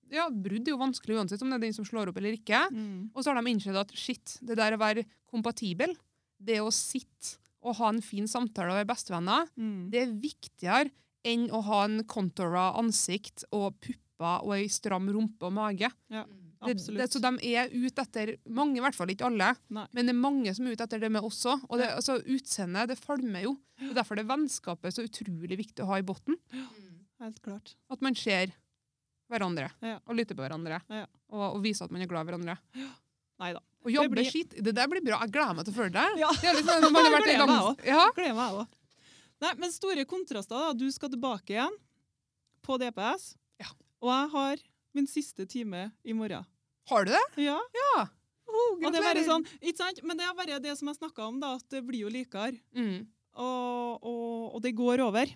[SPEAKER 3] Ja, brudd er jo vanskelig uansett om det er den som slår opp eller ikke.
[SPEAKER 2] Mm.
[SPEAKER 3] Og så har de innsett at shit, det der å være kompatibel, det å sitte og ha en fin samtale og være bestevenner,
[SPEAKER 2] Mm.
[SPEAKER 3] det er viktigere enn å ha en contoura ansikt og pupper og ei stram rumpe og mage.
[SPEAKER 1] Mm.
[SPEAKER 3] Det,
[SPEAKER 2] Absolutt.
[SPEAKER 3] det, så de er ute etter mange, i hvert fall ikke alle,
[SPEAKER 2] Nei.
[SPEAKER 3] men det er mange som er ute etter det med også. Og det, altså, utseendet, det falmer jo. Og derfor er vennskapet så utrolig viktig å ha i bunnen.
[SPEAKER 1] Mm.
[SPEAKER 2] Helt klart.
[SPEAKER 3] At man ser hverandre
[SPEAKER 2] Ja.
[SPEAKER 3] og lytter på hverandre
[SPEAKER 2] Ja.
[SPEAKER 3] og, og viser at man er glad i hverandre.
[SPEAKER 2] Nei da.
[SPEAKER 3] Og jobbe
[SPEAKER 2] blir-
[SPEAKER 3] skitt. Det der blir bra. Jeg gleder meg til å følge deg.
[SPEAKER 2] Ja.
[SPEAKER 3] Det er litt sånn, man har vært i
[SPEAKER 2] Jeg gleder
[SPEAKER 3] gang...
[SPEAKER 2] meg
[SPEAKER 3] Ja.
[SPEAKER 2] Gleder meg jeg òg. Nei, men store kontraster, da. Du skal tilbake igjen på DPS,
[SPEAKER 3] Ja.
[SPEAKER 2] og jeg har min siste time i morgen.
[SPEAKER 3] Har du det?
[SPEAKER 2] Ja.
[SPEAKER 3] Oh,
[SPEAKER 2] Og det er bare sånn, ikke sant? Men det er bare det som jeg snakka om, da, at det blir jo likere.
[SPEAKER 3] Mm.
[SPEAKER 2] Og, og, og det går over.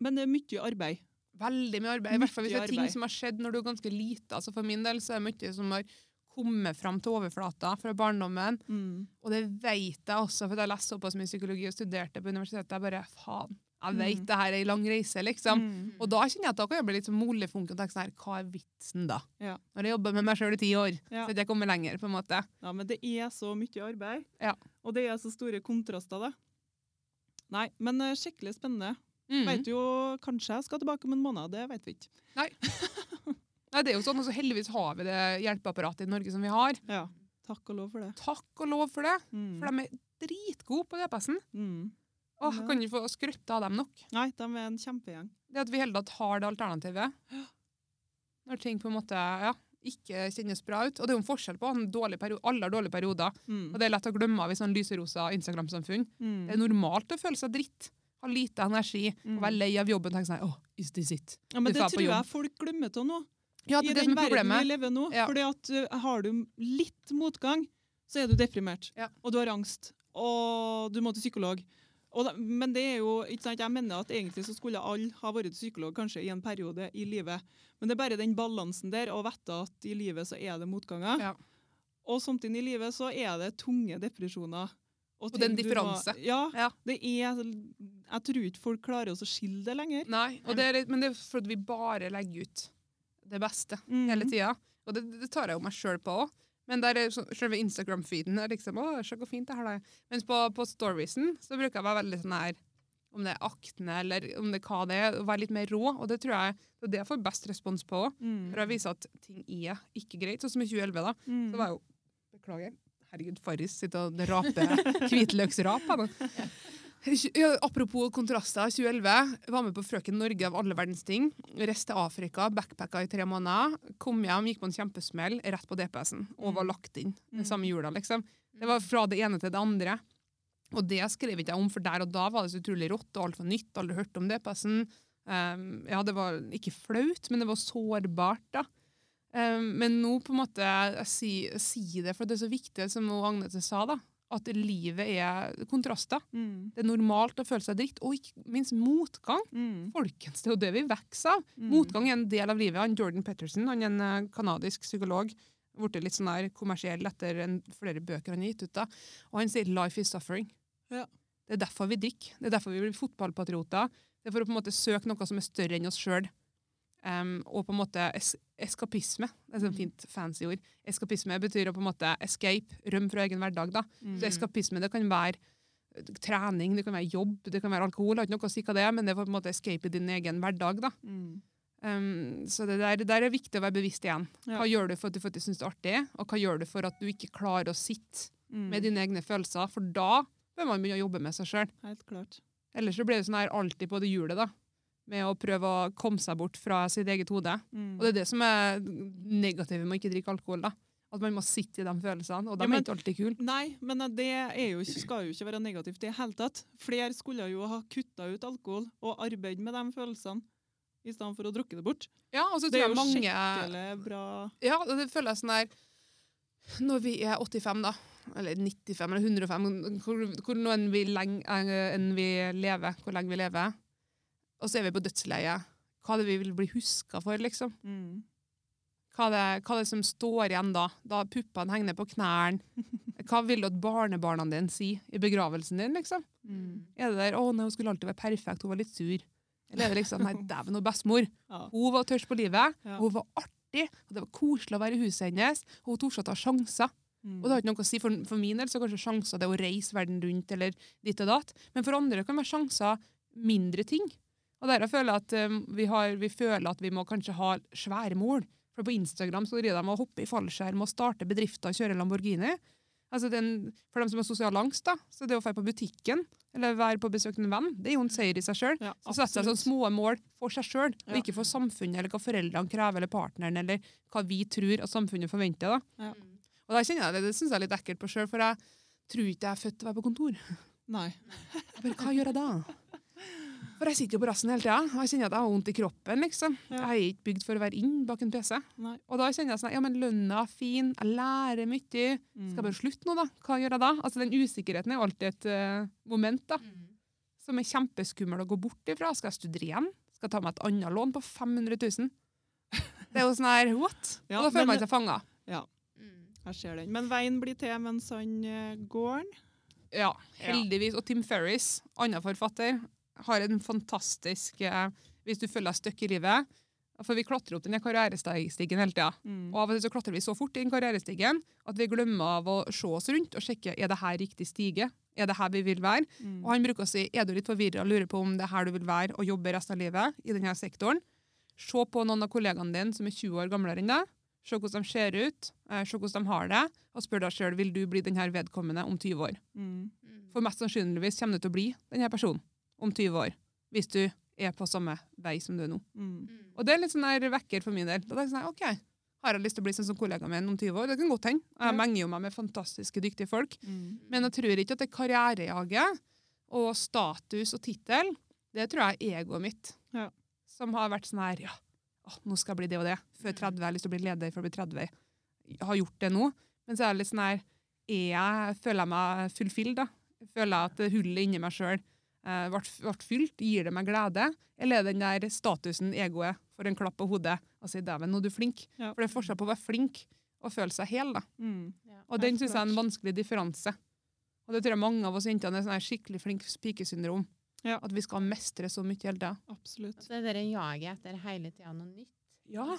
[SPEAKER 2] Men det er mye arbeid.
[SPEAKER 3] veldig mye arbeid. I hvert fall hvis det
[SPEAKER 2] Mye
[SPEAKER 3] er ting
[SPEAKER 2] arbeid.
[SPEAKER 3] som har skjedd når du er ganske lite. Altså for min del så er det mye som har kommet fram til overflata fra barndommen. Og det vet jeg også, for jeg leste såpass mye psykologi og studerte på universitetet. Jeg bare, faen, jeg vet
[SPEAKER 2] Mm.
[SPEAKER 3] det her er en lang reise, liksom.
[SPEAKER 2] Mm.
[SPEAKER 3] Og da kjenner jeg at da kan jeg bli litt sånn molefunken og tenke sånn her, hva er vitsen da?
[SPEAKER 2] Ja.
[SPEAKER 3] Når jeg jobber med meg selv i ti år,
[SPEAKER 2] Ja.
[SPEAKER 3] så at jeg kommer lenger, på en måte.
[SPEAKER 2] Ja, men det er så mye arbeid.
[SPEAKER 3] Ja.
[SPEAKER 2] Og det er så store kontraster, da. Nei, men eh, skikkelig spennende.
[SPEAKER 3] Mm.
[SPEAKER 2] Vet jo, Kanskje jeg skal tilbake om en måned, det vet vi ikke.
[SPEAKER 3] Nei, det er jo sånn, altså heldigvis har vi det hjelpeapparatet i Norge som vi har.
[SPEAKER 2] Ja, Takk og lov for det.
[SPEAKER 3] Takk og lov for det,
[SPEAKER 2] Mm.
[SPEAKER 3] for de er dritgode på DPS-en.
[SPEAKER 2] Mm.
[SPEAKER 3] Åh,
[SPEAKER 2] Ja.
[SPEAKER 3] kan vi få skrøtte av dem nok?
[SPEAKER 2] Nei, de er en kjempegjeng.
[SPEAKER 3] Det at vi hele tatt har det alternativet. Når ting på en måte ja, ikke kjennes bra ut. Og det er jo en forskjell på en dårlig periode, alle har dårlige perioder.
[SPEAKER 2] Mm.
[SPEAKER 3] Og det er lett å glemme av i sånn lyserosa Instagram-samfunn.
[SPEAKER 2] Mm.
[SPEAKER 3] Det er normalt å føle seg dritt. Ha lite energi,
[SPEAKER 2] Mm.
[SPEAKER 3] være lei av jobben. tenke sånn, oh, is this it?
[SPEAKER 2] ja, men
[SPEAKER 3] du
[SPEAKER 2] det
[SPEAKER 3] får på
[SPEAKER 2] tror
[SPEAKER 3] jobb.
[SPEAKER 2] jeg folk glemmer av nå.
[SPEAKER 3] Ja,
[SPEAKER 2] I
[SPEAKER 3] det er
[SPEAKER 2] den
[SPEAKER 3] det som er
[SPEAKER 2] verden vi
[SPEAKER 3] problemet.
[SPEAKER 2] lever nå.
[SPEAKER 3] Ja.
[SPEAKER 2] Fordi at uh, har du litt motgang, så er du deprimert.
[SPEAKER 3] Ja.
[SPEAKER 2] Og du har angst. Og du må til psykolog. Og da, men det er jo, ikke sant, jeg mener at egentlig så skulle alle ha vært til psykolog kanskje i en periode i livet. Men det er bare den balansen der, og vite at i livet så er det motganger.
[SPEAKER 3] Ja.
[SPEAKER 2] Og samtidig i livet så er det tunge depresjoner.
[SPEAKER 3] Og det er en
[SPEAKER 2] ting du må-
[SPEAKER 3] differanse.
[SPEAKER 2] Ja,
[SPEAKER 3] Ja.
[SPEAKER 2] Det er, jeg tror ikke folk klarer å skille det lenger.
[SPEAKER 3] Nei, og det er, litt- Men det er fordi vi bare legger ut det beste
[SPEAKER 2] Mhm.
[SPEAKER 3] hele tida. Og det, det tar jeg jo meg sjøl på òg. Men der er så- selve Instagram-feeden er liksom Å, se hvor fint det her da er. Mens på, på storiesen så bruker jeg å være veldig sånn her Om det er akne eller om det er hva det er, å være litt mer rå. Og det tror jeg det er det jeg får best respons på òg.
[SPEAKER 2] Mm.
[SPEAKER 3] For å vise at ting er ikke greit. Sånn som i 2011, da.
[SPEAKER 2] Mm.
[SPEAKER 3] Så var jeg jo Beklager. Herregud, Farris sitter og raper hvitløksrap. han. Ja, apropos kontraster. 2011 var med på Frøken Norge av alle verdens ting. Reiste til Afrika, backpacka i tre måneder. Kom hjem, gikk på en kjempesmell rett på DPS-en og var lagt inn den samme jula. liksom. Det var fra det ene til det andre. Og det skrev ikke jeg om, for der og da var det så utrolig rått og alt var nytt. Aldri hørt om DPS-en. Um, ja, det var ikke flaut, men det var sårbart, da. Um, men nå på en måte jeg sier si det, for det er så viktig, som hun Agnete sa, da, at livet er kontraster.
[SPEAKER 2] Mm.
[SPEAKER 3] Det er normalt å føle seg dritt, og ikke minst motgang.
[SPEAKER 2] Mm.
[SPEAKER 3] Folkens, det er jo det vi vokser av.
[SPEAKER 2] Mm.
[SPEAKER 3] Motgang er en del av livet. Han Jordan Petterson, han er en eh, kanadisk psykolog, blitt litt sånn her kommersiell etter en, flere bøker han har gitt ut. da. Og han sier 'life is suffering'.
[SPEAKER 2] Ja.
[SPEAKER 3] Det er derfor vi drikker. Det er derfor vi blir fotballpatrioter. Det er for å på en måte søke noe som er større enn oss sjøl. Em, og på en måte es eskapisme. Det
[SPEAKER 2] Mm.
[SPEAKER 3] er et sånt fint, fancy ord. Eskapisme betyr å på en måte escape, rømme fra egen hverdag. da.
[SPEAKER 2] mm.
[SPEAKER 3] Så eskapisme det kan være eh, trening, det kan være jobb, det kan være alkohol. Det har ikke noe å si hva det er, men det er på en måte escape i din egen hverdag. da. Em, Ehm, så det der, det der er viktig å være bevisst igjen.
[SPEAKER 2] Ja.
[SPEAKER 3] Hva gjør du for at du faktisk syns det er artig, og hva gjør du for at du ikke klarer å sitte med dine egne følelser? For da bør man begynne å jobbe med seg sjøl.
[SPEAKER 2] Helt klart.
[SPEAKER 3] Ellers så blir det sånn her alltid på det hjulet, da. Med å prøve å komme seg bort fra sitt eget hode. Og det er det som er negativt med å ikke drikke alkohol, da. At man må sitte i de følelsene, og de
[SPEAKER 2] Ja, men-
[SPEAKER 3] er ikke alltid kule.
[SPEAKER 2] Nei, men det er jo, ikke- skal jo ikke være negativt i det hele tatt. Flere skulle jo ha kutta ut alkohol og arbeid med de følelsene, i stedet for å drukke det bort.
[SPEAKER 3] Ja, og så
[SPEAKER 2] Det
[SPEAKER 3] tror
[SPEAKER 2] er
[SPEAKER 3] jeg
[SPEAKER 2] jo
[SPEAKER 3] mange
[SPEAKER 2] skikkelig bra
[SPEAKER 3] Ja, og det føler jeg sånn der Når vi er 85, da, eller 95 eller 105, hvor, hvor nå enn vi, lenge, eh, enn vi lever, hvor lenge vi lever, og så er vi på dødsleiet, hva er det vi vil bli huska for, liksom?
[SPEAKER 2] mm.
[SPEAKER 3] Hva er, det, hva er det som står igjen da? Da puppene henger ned på knærne. Hva vil du at barnebarna dine si i begravelsen din, liksom?
[SPEAKER 1] Mm.
[SPEAKER 2] Mm.
[SPEAKER 3] Er det der 'Å, nei, hun skulle alltid være perfekt, hun var litt sur'? Eller er det liksom 'Nei, dæven, hun bestemor'.
[SPEAKER 2] Ja.
[SPEAKER 3] Hun var tørst på livet,
[SPEAKER 2] Ja.
[SPEAKER 3] og hun var artig, og det var koselig å være i huset hennes, og hun torde å ta sjanser.
[SPEAKER 2] Mm.
[SPEAKER 3] Og det har ikke noe å si for, for min del, så kanskje sjanser det er å reise verden rundt eller ditt og datt. Men for andre kan det være sjanser mindre ting. Og derav føler jeg at um, vi, har, vi føler at vi må kanskje ha svære mål. For på Instagram så driver de og hopper i fallskjerm og starter bedrifter og kjører Lamborghini. Altså den, for dem som har sosial angst, da, så det å dra på butikken eller være på besøk til en venn, det er jo en seier i seg sjøl.
[SPEAKER 2] Ja,
[SPEAKER 3] Så setter sånn seg
[SPEAKER 2] absolutt.
[SPEAKER 3] sånne små mål for seg sjøl, og
[SPEAKER 2] Ja.
[SPEAKER 3] ikke for samfunnet eller hva foreldrene krever eller partneren eller hva vi tror at samfunnet forventer. da.
[SPEAKER 2] Ja.
[SPEAKER 1] Mm.
[SPEAKER 3] Og der kjenner jeg det, det syns jeg er litt ekkelt på sjøl, for jeg tror ikke jeg er født til å være på kontor.
[SPEAKER 2] Nei.
[SPEAKER 3] Jeg bare, Hva gjør jeg da? For jeg sitter jo på rassen hele tida, og jeg kjenner at jeg har vondt i kroppen. liksom.
[SPEAKER 2] Ja.
[SPEAKER 3] Jeg er ikke bygd for å være inn bak en PC.
[SPEAKER 2] Nei.
[SPEAKER 3] Og da kjenner jeg sånn, ja, men lønna er fin, jeg lærer mye. Skal
[SPEAKER 2] Mm.
[SPEAKER 3] jeg bare slutte nå, da? Hva gjør jeg da? Altså, Den usikkerheten er jo alltid et eh, moment da,
[SPEAKER 1] Mm.
[SPEAKER 3] som er kjempeskummel å gå bort ifra. Skal jeg studere igjen? Skal jeg ta meg et annet lån på 500 000? Det er jo sånn her, what?
[SPEAKER 2] Ja,
[SPEAKER 3] og da føler
[SPEAKER 2] men-
[SPEAKER 3] man seg fanga.
[SPEAKER 1] Mm.
[SPEAKER 2] Jeg ser den. Men veien blir til mens han eh, går den.
[SPEAKER 3] Ja,
[SPEAKER 1] Ja.
[SPEAKER 3] heldigvis. Og Tim Ferris, annen forfatter, har en fantastisk eh, Hvis du føler deg støkk i livet For vi klatrer opp denne karrierestigen hele tida. Og av og til så klatrer vi så fort i den karrierestigen at vi glemmer av å se oss rundt og sjekke er det her riktig stige. Er det her vi vil være?
[SPEAKER 2] Mm.
[SPEAKER 3] Og han bruker å si er du litt forvirra og lurer på om det er her du vil være og jobbe resten av livet i denne sektoren. Se på noen av kollegaene dine som er 20 år gamlere enn deg. Se hvordan de ser ut, eh, se hvordan de har det, og spør deg sjøl vil du bli denne vedkommende om 20 år.
[SPEAKER 2] Mm.
[SPEAKER 1] Mm.
[SPEAKER 3] For mest sannsynligvis kommer du til å bli denne personen om 20 år, hvis du er på samme vei som du er nå.
[SPEAKER 2] Mm.
[SPEAKER 1] Mm.
[SPEAKER 3] Og det er litt sånn der vekker for min del. Da tenker jeg sånn, her, ok, har jeg lyst til å bli sånn som kollegaen min om 20 år? Det kan godt hende. Jeg
[SPEAKER 2] Ja.
[SPEAKER 3] menger jo meg med fantastiske dyktige folk.
[SPEAKER 2] Mm.
[SPEAKER 3] Men jeg tror ikke at det karrierejaget og status og tittel, det tror jeg er egoet mitt.
[SPEAKER 2] Ja.
[SPEAKER 3] Som har vært sånn her, ja, å, nå skal jeg bli det og det. Før
[SPEAKER 1] Mm.
[SPEAKER 3] 30 jeg har lyst til å bli leder for å bli 30. Jeg har gjort det nå. Men så er det litt sånn her, er jeg, føler jeg meg fullfilled da? Føler jeg at det hullet inni meg selv eh, ble, ble fylt? Gir det meg glede? Eller er den der statusen, egoet, får en klapp på hodet og sier, dæven, nå er du flink.
[SPEAKER 2] Ja.
[SPEAKER 3] For det er forskjell på å være flink og føle seg hel da.
[SPEAKER 2] Mm.
[SPEAKER 1] Ja.
[SPEAKER 3] Og den
[SPEAKER 2] Helt
[SPEAKER 3] synes jeg er en
[SPEAKER 2] klart.
[SPEAKER 3] vanskelig differanse. Og det tror jeg mange av oss jentene er sånn her skikkelig flink pikesyndrom.
[SPEAKER 2] Ja.
[SPEAKER 3] At vi skal mestre så mye hele tida.
[SPEAKER 1] Og
[SPEAKER 2] Absolutt.
[SPEAKER 1] så er det det jaget etter hele tida noe nytt.
[SPEAKER 3] Ja.
[SPEAKER 2] Ah!
[SPEAKER 1] Og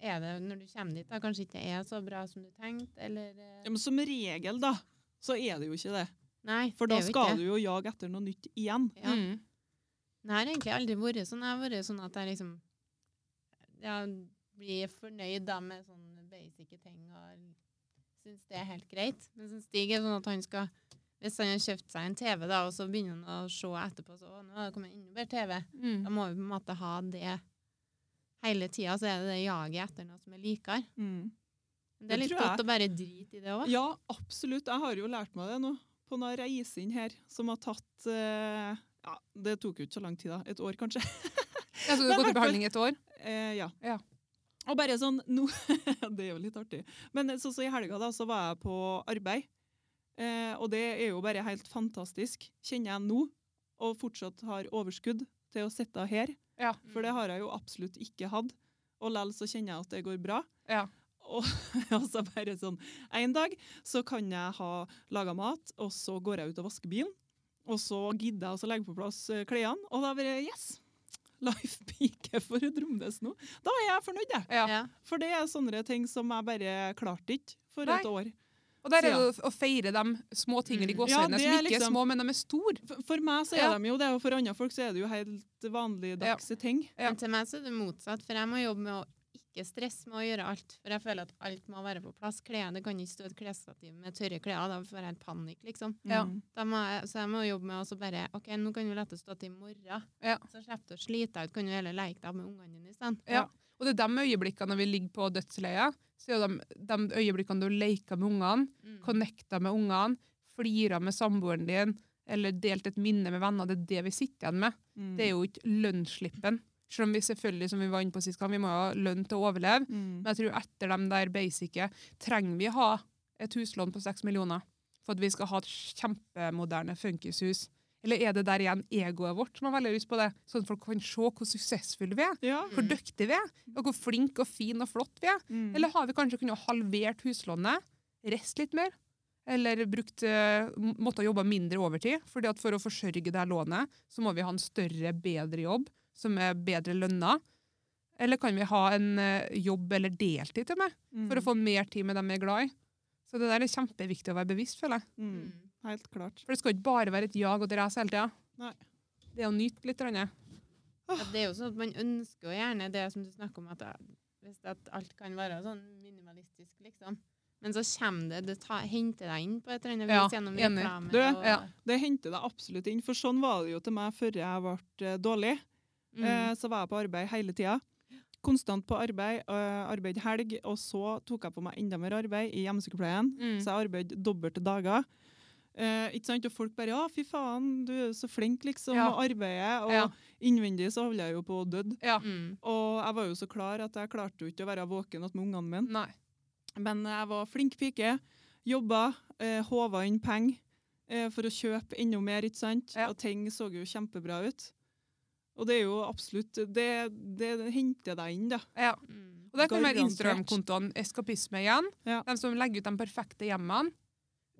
[SPEAKER 1] Så er det, når du kommer dit, da kanskje ikke det er så bra som du tenkte, eller eh,
[SPEAKER 2] Ja, men som regel, da, så er det jo ikke det.
[SPEAKER 1] Nei,
[SPEAKER 2] For da
[SPEAKER 1] det er jo
[SPEAKER 2] skal
[SPEAKER 1] ikke.
[SPEAKER 2] du jo jage etter noe nytt igjen.
[SPEAKER 1] Ja.
[SPEAKER 3] Mm.
[SPEAKER 1] Det har egentlig aldri vært sånn. Jeg har vært sånn at jeg liksom ja, blir fornøyd da med sånne basic ting og syns det er helt greit. Men så Stig er sånn at han skal Hvis han har kjøpt seg en TV, da, og så begynner han å se etterpå så, «Å, nå har det kommet enda bedre TV,
[SPEAKER 3] Mm.
[SPEAKER 1] da må vi på en måte ha det hele tida. Så er det det jaget etter noe som er likere. Men Det
[SPEAKER 2] Det
[SPEAKER 1] er litt
[SPEAKER 2] tror jeg.
[SPEAKER 1] godt å bare drite i det òg.
[SPEAKER 2] Ja, absolutt. Jeg har jo lært meg det nå. På noen reise inn her som har tatt eh, ja, Det tok jo ikke så lang tid, da. Et år, kanskje.
[SPEAKER 3] Ja, så
[SPEAKER 2] Men
[SPEAKER 3] du har gått
[SPEAKER 2] hvertfall-
[SPEAKER 3] i behandling i et år?
[SPEAKER 2] Eh, ja.
[SPEAKER 3] Ja.
[SPEAKER 2] Og bare sånn nå, Det er jo litt artig. Men sånn som i helga, da, så var jeg på arbeid. Eh, og det er jo bare helt fantastisk, kjenner jeg nå. Og fortsatt har overskudd til å sitte her.
[SPEAKER 3] Ja.
[SPEAKER 2] For det har jeg jo absolutt ikke hatt. Og likevel så kjenner jeg at det går bra.
[SPEAKER 3] Ja.
[SPEAKER 2] Og, og så bare sånn En dag så kan jeg ha laga mat, og så går jeg ut og vasker bilen. Og så gidder jeg også å legge på plass eh, klærne, og da bare Yes! Life peaker for Dromnes nå. Da er jeg fornøyd, jeg.
[SPEAKER 3] Ja.
[SPEAKER 1] Ja.
[SPEAKER 2] For det er sånne ting som jeg bare klarte ikke for
[SPEAKER 3] Nei.
[SPEAKER 2] et år.
[SPEAKER 3] Og der er
[SPEAKER 2] Så
[SPEAKER 3] det å- å feire de små tingene i
[SPEAKER 1] Mm.
[SPEAKER 2] Ja,
[SPEAKER 3] gåseøynene
[SPEAKER 2] det
[SPEAKER 3] som
[SPEAKER 2] er
[SPEAKER 3] ikke er
[SPEAKER 2] liksom-
[SPEAKER 3] små, men de er store.
[SPEAKER 2] For, for meg så er
[SPEAKER 3] Ja.
[SPEAKER 2] de jo det, og for andre folk så er det jo helt vanligdagse ting.
[SPEAKER 3] Ja.
[SPEAKER 1] Men til meg så er det motsatt, for jeg må jobbe med å ikke stresse med å gjøre alt. For jeg føler at alt må være på plass. Klærne kan ikke stå i et klesstativ med tørre klær. Da får jeg helt panikk, liksom.
[SPEAKER 3] Ja.
[SPEAKER 2] Mm.
[SPEAKER 1] Da må jeg, så jeg må jobbe med å så bare OK, nå kan du lette stå til i morgen.
[SPEAKER 3] Ja.
[SPEAKER 1] Så slipper du å slite deg ut. Kan du heller leke deg med ungene dine i stedet.
[SPEAKER 3] Ja. Og det er de øyeblikkene når vi ligger på dødsleiet, så er det de, de øyeblikkene du leker med ungene,
[SPEAKER 1] Mm.
[SPEAKER 3] connecta med ungene, flira med samboeren din, eller delt et minne med venner. Det er det vi sitter igjen med.
[SPEAKER 2] Mm.
[SPEAKER 3] Det er jo ikke lønnsslippen. Selv om vi selvfølgelig, som vi var inne på sist gang, vi må ha lønn til å overleve.
[SPEAKER 2] Mm.
[SPEAKER 3] Men jeg tror etter de der basice trenger vi ha et huslån på seks millioner for at vi skal ha et kjempemoderne funkishus. Eller er det der igjen egoet vårt som har veldig lyst på det? Sånn at folk kan se hvor suksessfulle vi er,
[SPEAKER 2] Ja.
[SPEAKER 1] Mm.
[SPEAKER 3] hvor dyktige vi er, og hvor flinke og fine og flott vi er.
[SPEAKER 2] Mm.
[SPEAKER 3] Eller har vi kanskje kunnet halvert huslånet, rest litt mer, eller brukt, eh, må- måtte ha jobba mindre overtid? Fordi at For å forsørge det her lånet så må vi ha en større, bedre jobb som er bedre lønna. Eller kan vi ha en eh, jobb eller deltid til meg,
[SPEAKER 2] Mm.
[SPEAKER 3] for å få mer tid med dem jeg er glad i? Så det der er kjempeviktig å være bevisst, føler jeg.
[SPEAKER 2] Mm.
[SPEAKER 1] Mm.
[SPEAKER 2] Helt klart.
[SPEAKER 3] For det skal ikke bare være et jag og et race hele tida.
[SPEAKER 2] Nei.
[SPEAKER 3] Det er å nyte litt. grann.
[SPEAKER 1] Ja, det er jo sånn at man ønsker jo gjerne det som du snakker om, at, hvis at alt kan være sånn minimalistisk, liksom. Men så kommer det, det ta, henter deg inn på et eller annet vis
[SPEAKER 3] Ja,
[SPEAKER 1] gjennom
[SPEAKER 3] enig.
[SPEAKER 1] reklame.
[SPEAKER 2] Du,
[SPEAKER 1] og,
[SPEAKER 3] ja.
[SPEAKER 2] Det henter deg absolutt inn, for sånn var det jo til meg før jeg ble eh, dårlig.
[SPEAKER 1] Mm.
[SPEAKER 2] Eh, så var jeg på arbeid hele tida. Konstant på arbeid, eh, arbeid helg, og så tok jeg på meg enda mer arbeid i hjemmesykepleien.
[SPEAKER 3] Mm.
[SPEAKER 2] Så jeg arbeidet dobbelt dager. Eh, ikke sant? Og folk bare 'ja, fy faen, du er jo så flink', liksom,
[SPEAKER 3] Ja.
[SPEAKER 2] og arbeider. Og
[SPEAKER 3] Ja.
[SPEAKER 2] innvendig så holdt jeg jo på å dø.
[SPEAKER 3] Ja.
[SPEAKER 1] Mm.
[SPEAKER 2] Og jeg var jo så klar at jeg klarte jo ikke å være våken at med ungene mine.
[SPEAKER 3] Nei.
[SPEAKER 2] Men jeg var flink pike, jobba, eh, håva inn penger eh, for å kjøpe enda mer, ikke sant?
[SPEAKER 3] Ja.
[SPEAKER 2] Og ting så jo kjempebra ut. Og det er jo absolutt Det, det henter deg inn, da.
[SPEAKER 3] Ja.
[SPEAKER 1] Mm.
[SPEAKER 3] Og der kan være
[SPEAKER 2] Garantert.
[SPEAKER 3] Instagram-kontoen Eskapisme igjen.
[SPEAKER 2] Ja.
[SPEAKER 3] De som legger ut de perfekte hjemmene.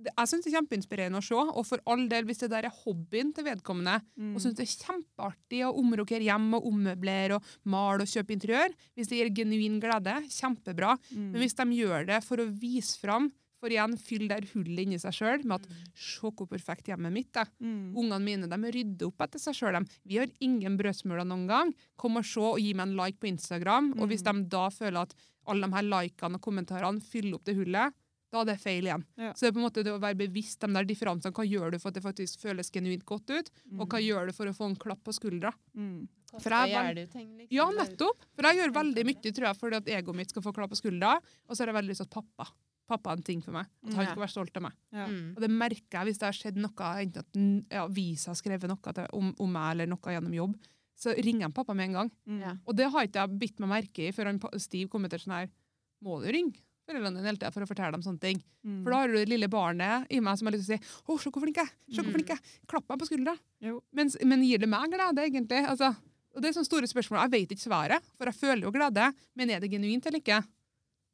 [SPEAKER 3] Det- Jeg syns det er kjempeinspirerende å se, og for all del, hvis det der er hobbyen til vedkommende,
[SPEAKER 2] Mm.
[SPEAKER 3] og syns det er kjempeartig å omrokere hjem og ommøblere og male og kjøpe interiør, hvis det gir genuin glede, kjempebra.
[SPEAKER 2] Mm.
[SPEAKER 3] Men hvis de gjør det for å vise fram, for igjen fylle det her hullet inni seg sjøl med at se hvor perfekt hjemmet mitt er.
[SPEAKER 2] Mm.
[SPEAKER 3] Ungene mine de rydder opp etter seg sjøl. Vi har ingen brødsmuler noen gang. Kom og se og gi meg en like på Instagram. Og hvis de
[SPEAKER 1] Mm.
[SPEAKER 3] da føler at alle de her likene og kommentarene fyller opp det hullet, da er det feil igjen.
[SPEAKER 2] Ja.
[SPEAKER 3] Så det er på en måte det å være bevisst de der differansene. Hva gjør du for at det faktisk føles genuint godt ut?
[SPEAKER 1] Mm.
[SPEAKER 3] Og hva gjør du for å få en klapp på skuldra?
[SPEAKER 2] Mm.
[SPEAKER 1] Koster gjør
[SPEAKER 3] jeg vel-
[SPEAKER 1] du ting, liksom.
[SPEAKER 3] Ja,
[SPEAKER 1] Det er jo-
[SPEAKER 3] nettopp! For jeg gjør veldig mye tror jeg, for at egoet mitt skal få klapp på skuldra. Og så har jeg veldig lyst til at pappa Pappa er en ting for meg. At han
[SPEAKER 1] Ja.
[SPEAKER 3] skal være stolt av meg.
[SPEAKER 2] Ja.
[SPEAKER 1] Mm.
[SPEAKER 3] Og det merker jeg hvis det har skjedd noe, enten at n- ja, avisa har skrevet noe til, om, om meg eller noe gjennom jobb, så ringer jeg pappa med en gang.
[SPEAKER 2] Mm.
[SPEAKER 1] Ja.
[SPEAKER 3] Og det har ikke jeg bitt meg merke i før han, pa- Steve kommer til sånn her, må du ringe foreldrene dine hele tiden for å fortelle dem sånne ting?
[SPEAKER 2] Mm.
[SPEAKER 3] For da har du det lille barnet i meg som har lyst til å si, å, se hvor flink jeg er, se hvor
[SPEAKER 1] Mm.
[SPEAKER 3] flink jeg er, klapp meg på skuldra.
[SPEAKER 2] Jo.
[SPEAKER 3] Mens, men gir det meg glede, egentlig? Altså, og det er sånne store spørsmål. Jeg vet ikke svaret, for jeg føler jo glede, men er det genuint eller ikke?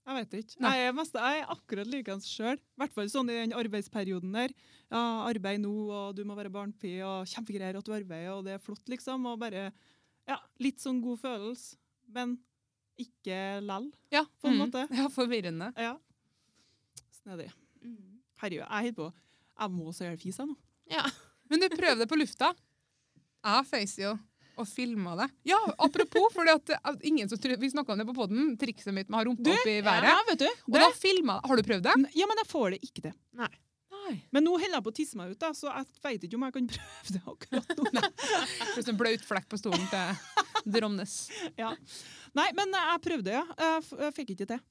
[SPEAKER 2] Jeg vet ikke.
[SPEAKER 3] Nei.
[SPEAKER 2] Nei, jeg, er mest, jeg er akkurat likeens sjøl. I hvert fall sånn i den arbeidsperioden der. Ja, arbeid nå, og du må være barnpi, og kjempegreier at du arbeider, og det er flott, liksom. Og bare ja, litt sånn god følelse, men ikke lell.
[SPEAKER 3] Ja,
[SPEAKER 2] På en måte.
[SPEAKER 3] Mm. Ja, forvirrende.
[SPEAKER 2] Ja. Snedig.
[SPEAKER 1] Mm.
[SPEAKER 2] Herregud, jeg holder på. Jeg må så gjøre fis, jeg nå.
[SPEAKER 1] Ja.
[SPEAKER 3] Men du prøvde det på lufta. Jeg føys jo og filma det. Ja, apropos, for ingen som tror, vi snakka om det på poden, trikset mitt med å ha rumpa
[SPEAKER 2] Du,
[SPEAKER 3] opp i været.
[SPEAKER 2] vet du.
[SPEAKER 3] og da filma Har du prøvd det?
[SPEAKER 2] Ja, men jeg får det ikke til.
[SPEAKER 1] Nei.
[SPEAKER 3] Nei.
[SPEAKER 2] Men nå holder jeg på å tisse meg ut, da, så jeg veit ikke om jeg kan prøve det akkurat nå.
[SPEAKER 3] Plutselig en blaut flekk på stolen til Dromnes.
[SPEAKER 2] Nei, men eh, jeg prøvde, ja. Jeg f- jeg fikk ikke til.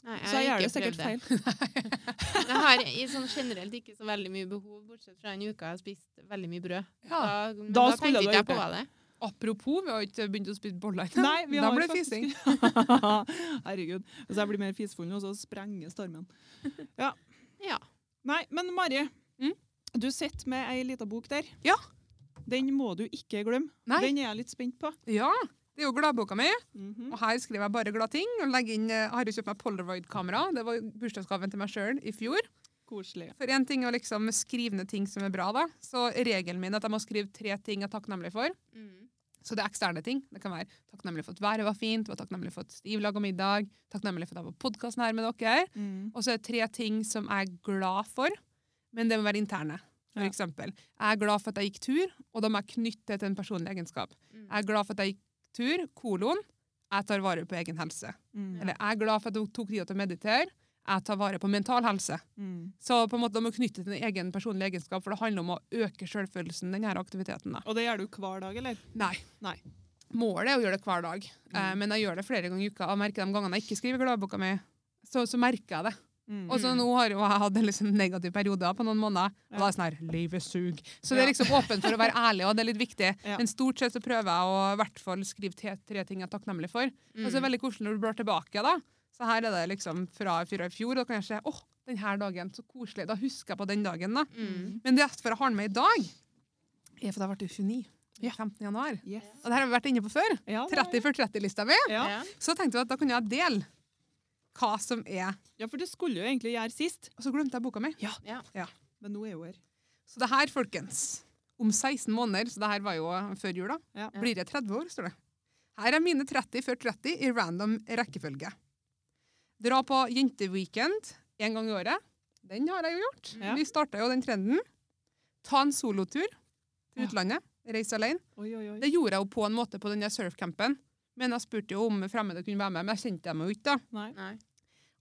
[SPEAKER 1] Nei,
[SPEAKER 2] Så jeg
[SPEAKER 1] har
[SPEAKER 2] gjør
[SPEAKER 1] ikke
[SPEAKER 2] det sikkert
[SPEAKER 1] prøvd det.
[SPEAKER 2] feil.
[SPEAKER 1] Jeg har i sånn generelt ikke så veldig mye behov, bortsett fra den uka jeg har spist veldig mye brød.
[SPEAKER 3] Ja.
[SPEAKER 1] Da, men
[SPEAKER 2] Da
[SPEAKER 1] da tenkte
[SPEAKER 2] skulle du
[SPEAKER 1] ikke
[SPEAKER 2] ha
[SPEAKER 1] jeg
[SPEAKER 2] gjort
[SPEAKER 1] på det.
[SPEAKER 3] Apropos, vi har ikke begynt å spise boller ennå.
[SPEAKER 2] Nei, vi
[SPEAKER 3] Da
[SPEAKER 2] har
[SPEAKER 3] ble det
[SPEAKER 2] faktisk-
[SPEAKER 3] fising.
[SPEAKER 2] Herregud. Hvis jeg blir mer fisefull nå, så sprenger stormen. Ja.
[SPEAKER 1] Ja.
[SPEAKER 2] Nei, men Mari.
[SPEAKER 3] Mm?
[SPEAKER 2] Du sitter med ei lita bok der.
[SPEAKER 3] Ja.
[SPEAKER 2] Den må du ikke glemme.
[SPEAKER 3] Nei.
[SPEAKER 2] Den er jeg litt spent på.
[SPEAKER 3] Ja, det er jo gladboka mi.
[SPEAKER 2] Mhm.
[SPEAKER 3] Og her skriver jeg bare glad ting. og legger inn, eh, Jeg har jo kjøpt meg Polaroid-kamera. Det var bursdagsgaven til meg sjøl i fjor.
[SPEAKER 2] Koselig.
[SPEAKER 3] For en ting er å liksom skrive ned ting som er bra, da. Så regelen min er at jeg må skrive tre ting jeg er takknemlig for.
[SPEAKER 1] Mm.
[SPEAKER 3] Så det er eksterne ting. Det kan være takknemlig for at været var fint, var takknemlig for at Stiv laga middag, takknemlig for at jeg var på podkasten her med dere.
[SPEAKER 2] Mm.
[SPEAKER 3] Og så er det tre ting som jeg er glad for, men det må være interne. For
[SPEAKER 2] Ja.
[SPEAKER 3] eksempel, jeg er glad for at jeg gikk tur, og da må jeg knytte det til en personlig egenskap.
[SPEAKER 1] Mm.
[SPEAKER 3] Jeg er glad for at jeg gikk tur, kolon, jeg tar vare på egen helse.
[SPEAKER 2] Mm.
[SPEAKER 3] Eller jeg er glad for at jeg tok tida til å meditere, jeg tar vare på mental helse.
[SPEAKER 2] Mm.
[SPEAKER 3] Så på en måte, da må du knytte det til en egen personlig egenskap, for det handler om å øke selvfølelsen, denne aktiviteten. da.
[SPEAKER 2] Og det gjør du hver dag, eller?
[SPEAKER 3] Nei.
[SPEAKER 2] Nei.
[SPEAKER 3] Målet er å gjøre det hver dag, eh,
[SPEAKER 2] Mm.
[SPEAKER 3] men jeg gjør det flere ganger i uka. Og merker de gangene jeg ikke skriver i gladboka mi, så, så merker jeg det. Og
[SPEAKER 2] Mm.
[SPEAKER 3] så nå har jo jeg hatt en liksom negativ periode på noen måneder, og da er det sånn her Livet suger. Så det er
[SPEAKER 2] Ja.
[SPEAKER 3] liksom åpent for å være ærlig, og det er litt viktig.
[SPEAKER 2] Ja.
[SPEAKER 3] Men stort sett så prøver jeg å i hvert fall skrive te- tre ting jeg er takknemlig for. Og så er det
[SPEAKER 2] Mm.
[SPEAKER 3] veldig koselig når du blar tilbake, da. Så her er det liksom fra fra i fjor, og da kan jeg se åh, den her dagen, så koselig. Da husker jeg på den dagen, da.
[SPEAKER 1] Mm.
[SPEAKER 3] Men det derfor jeg har den med i dag, er fordi jeg ble 29.
[SPEAKER 2] Ja.
[SPEAKER 3] 15. januar.
[SPEAKER 2] Yes.
[SPEAKER 3] Og det her har vi vært inne på før.
[SPEAKER 2] Ja, det er-
[SPEAKER 3] 30 for 30-lista mi.
[SPEAKER 2] Ja.
[SPEAKER 1] Ja.
[SPEAKER 3] Så tenkte jeg at da kunne jeg dele hva som er
[SPEAKER 2] ja, for det skulle jo egentlig gjøre sist,
[SPEAKER 3] Og så glemte jeg boka mi.
[SPEAKER 2] men nå er hun her.
[SPEAKER 3] Så det her, folkens, om 16 måneder, så det her var jo før jul, da,
[SPEAKER 2] Ja.
[SPEAKER 3] blir jeg 30 år, står det. Her er mine 30 før 30 i random rekkefølge. Dra på jenteweekend en gang i året. Den har jeg jo gjort.
[SPEAKER 2] Ja.
[SPEAKER 3] Vi starta jo den trenden. Ta en solotur
[SPEAKER 2] Ja.
[SPEAKER 3] til utlandet. Reise alene.
[SPEAKER 2] Oi, oi, oi.
[SPEAKER 3] Det gjorde jeg jo på en måte på den der surfcampen. Men jeg spurte jo om fremmede kunne være med, men jeg kjente dem jo ikke. da.
[SPEAKER 2] Nei.
[SPEAKER 1] Nei.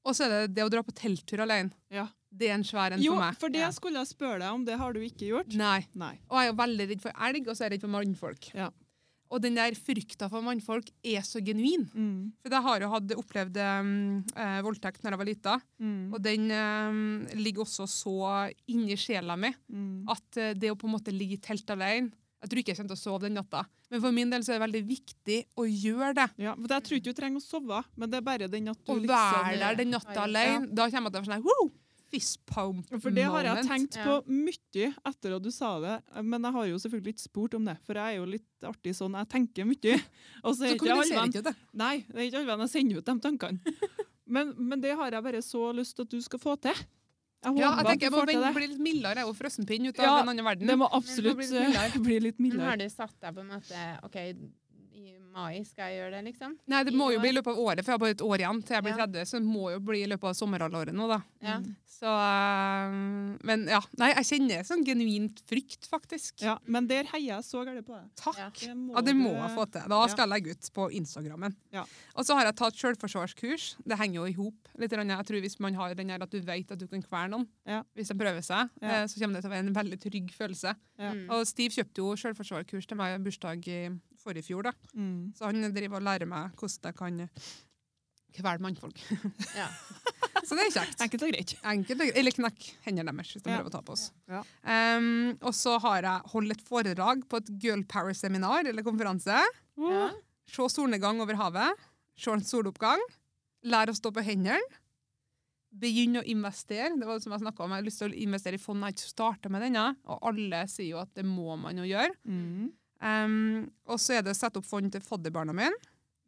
[SPEAKER 3] Og så er det det å dra på telttur alene.
[SPEAKER 2] Ja.
[SPEAKER 3] Det er en svær en
[SPEAKER 2] Jo,
[SPEAKER 3] for meg.
[SPEAKER 2] for det
[SPEAKER 1] Ja.
[SPEAKER 2] jeg skulle jeg spørre deg om, det har du ikke gjort.
[SPEAKER 3] Nei.
[SPEAKER 2] Nei.
[SPEAKER 3] Og jeg er jo veldig redd for elg, og så er jeg redd for mannfolk.
[SPEAKER 2] Ja.
[SPEAKER 3] Og den der frykta for mannfolk er så genuin. For jeg har jo hatt opplevd um, eh, voldtekt når jeg var lita,
[SPEAKER 2] Mm.
[SPEAKER 3] og den eh, ligger også så inni sjela mi
[SPEAKER 2] Mm.
[SPEAKER 3] at eh, det å på en måte ligge i telt alene Jeg tror ikke jeg kommer til å sove den natta, men for min del så er det veldig viktig å gjøre det.
[SPEAKER 2] Ja, for Jeg tror ikke du trenger å sove, men det er bare den at du
[SPEAKER 3] Å
[SPEAKER 2] liksom
[SPEAKER 3] være der den natta
[SPEAKER 1] Ja.
[SPEAKER 3] alene. Da kommer jeg til å være sånn her wow, Fist pump
[SPEAKER 2] For det har jeg
[SPEAKER 3] moment.
[SPEAKER 2] tenkt på
[SPEAKER 1] Ja.
[SPEAKER 2] mye etter at du sa det, men jeg har jo selvfølgelig ikke spurt om det, for jeg er jo litt artig sånn, jeg tenker mye. Og så
[SPEAKER 3] Så
[SPEAKER 2] er ikke alle
[SPEAKER 3] kommuniserer
[SPEAKER 2] venn-
[SPEAKER 3] ikke det.
[SPEAKER 2] Nei, det er ikke alle venn jeg sender ut de tankene. Men, men det har jeg bare så lyst til at du skal få til. Jeg håper
[SPEAKER 3] Ja, jeg
[SPEAKER 2] at
[SPEAKER 3] tenker
[SPEAKER 2] du
[SPEAKER 3] jeg må
[SPEAKER 2] får til
[SPEAKER 3] vende-
[SPEAKER 2] det.
[SPEAKER 3] bli litt mildere. Jeg er jo frossenpinn ut av
[SPEAKER 2] Ja,
[SPEAKER 3] den andre verden.
[SPEAKER 2] Det må absolutt
[SPEAKER 3] bli litt
[SPEAKER 2] eh, bli litt
[SPEAKER 1] Men
[SPEAKER 2] mildere.
[SPEAKER 1] har du satt deg på en måte OK, i mai skal jeg gjøre det, liksom?
[SPEAKER 3] Nei, det
[SPEAKER 1] i
[SPEAKER 3] må jo
[SPEAKER 1] år.
[SPEAKER 3] bli i løpet av året, for jeg har bare et år igjen til jeg blir
[SPEAKER 1] Ja.
[SPEAKER 3] 30. Så det må jo bli i løpet av sommerhalvåret nå, da.
[SPEAKER 1] Ja.
[SPEAKER 2] Mm.
[SPEAKER 3] Så, øhm, men ja. Nei, jeg kjenner sånn genuint frykt, faktisk.
[SPEAKER 2] Ja, men der heier jeg så gærent på deg.
[SPEAKER 3] Takk.
[SPEAKER 1] Ja.
[SPEAKER 2] Det må,
[SPEAKER 3] Ja, det må
[SPEAKER 2] du-
[SPEAKER 3] jeg få til. Da skal jeg legge ut på Instagrammen.
[SPEAKER 2] Ja.
[SPEAKER 3] Og så har jeg tatt selvforsvarskurs. Det henger jo i hop. litt. grann. Jeg tror hvis man har den her at du vet at du kan kvele noen,
[SPEAKER 2] Ja.
[SPEAKER 3] hvis de prøver seg,
[SPEAKER 2] Ja.
[SPEAKER 3] eh, så kommer det til å være en veldig trygg følelse.
[SPEAKER 2] Ja.
[SPEAKER 1] Mm.
[SPEAKER 3] Og Steve kjøpte jo selvforsvarskurs til meg i bursdag i forrige fjor, da.
[SPEAKER 2] Mm.
[SPEAKER 3] Så han driver og lærer meg hvordan jeg kan kvele mannfolk.
[SPEAKER 1] Ja.
[SPEAKER 3] Så det er kjekt.
[SPEAKER 2] Enkelt og greit.
[SPEAKER 3] Enkelt og greit. Eller knekk hendene deres hvis de
[SPEAKER 2] Ja.
[SPEAKER 3] prøver å ta på oss.
[SPEAKER 2] Ja.
[SPEAKER 3] Um, og så har jeg holdt et foredrag på et Girl Power-seminar eller konferanse.
[SPEAKER 1] Ja.
[SPEAKER 3] Se solnedgang over havet. Se en soloppgang. Lær å stå på hendene. Begynn å investere. Det var det som Jeg snakket om. Jeg har lyst til å investere i fond jeg ikke starta med denne. Og alle sier jo at det må man jo gjøre.
[SPEAKER 2] Mm.
[SPEAKER 3] Um, og så er det å sette opp fond til fadderbarna mine.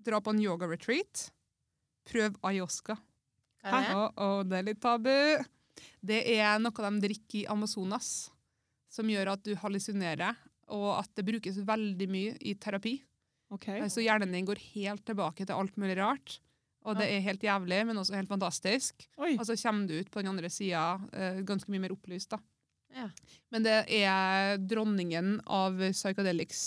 [SPEAKER 3] Dra på en yoga-retreat. Prøv ayahuasca.
[SPEAKER 1] Hva er det?
[SPEAKER 3] Å, å, det er litt tabu. Det er noe de drikker i Amazonas, som gjør at du hallusinerer, og at det brukes veldig mye i terapi.
[SPEAKER 2] OK.
[SPEAKER 3] Så hjernen din går helt tilbake til alt mulig rart. Og det er helt jævlig, men også helt fantastisk.
[SPEAKER 2] Oi.
[SPEAKER 3] Og så kommer du ut på den andre sida eh, ganske mye mer opplyst. da.
[SPEAKER 1] Ja.
[SPEAKER 3] Men det er dronningen av psychedelics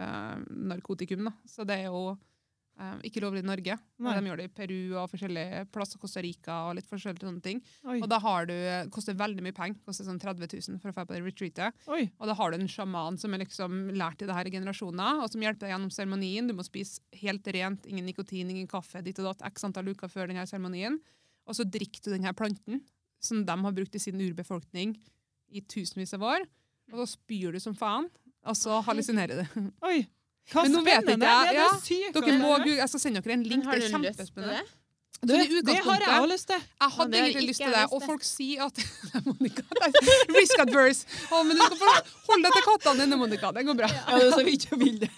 [SPEAKER 3] eh, narkotikum, da. Så det er jo eh, ikke lovlig i Norge.
[SPEAKER 2] Nei.
[SPEAKER 3] De gjør det i Peru og forskjellige plasser, Costa Rica og litt forskjellige sånne ting.
[SPEAKER 2] Oi.
[SPEAKER 3] Og da har du, eh, koster veldig mye penger, koster sånn 30 000 for å dra på det retreatet.
[SPEAKER 2] Oi.
[SPEAKER 3] Og da har du en sjaman som er liksom lært i det her i generasjoner, og som hjelper deg gjennom seremonien. Du må spise helt rent, ingen nikotin, ingen kaffe, ditt og datt, x antall uker før denne seremonien. Og så drikker du denne planten, som de har brukt i sin urbefolkning i tusenvis av år. Og så spyr du som faen, og så hallusinerer du.
[SPEAKER 2] Oi. Hva
[SPEAKER 3] Men nå vet
[SPEAKER 2] spennende!
[SPEAKER 3] ikke jeg-
[SPEAKER 2] Det er
[SPEAKER 3] ja,
[SPEAKER 2] det sykeste
[SPEAKER 3] Dere må,
[SPEAKER 2] jeg
[SPEAKER 3] gu- jeg skal sende dere en
[SPEAKER 1] Men
[SPEAKER 3] link,
[SPEAKER 1] har du
[SPEAKER 3] det er
[SPEAKER 1] lyst til
[SPEAKER 3] kjempespennende.
[SPEAKER 1] det?
[SPEAKER 2] Du,
[SPEAKER 3] Så i
[SPEAKER 2] det har jeg
[SPEAKER 3] utgangspunktet-
[SPEAKER 2] òg lyst til.
[SPEAKER 3] Jeg
[SPEAKER 1] Ja,
[SPEAKER 3] hadde
[SPEAKER 1] det har
[SPEAKER 3] egentlig
[SPEAKER 1] ikke
[SPEAKER 3] lyst til
[SPEAKER 1] jeg
[SPEAKER 3] det,
[SPEAKER 1] lyst
[SPEAKER 3] og
[SPEAKER 1] til.
[SPEAKER 3] folk sier at Nei, Monica, nei, Risk adverse. Å, men du skal få holde deg til kattene dine, Monica. Det går bra.
[SPEAKER 2] Ja, det er så vidt jeg vil det.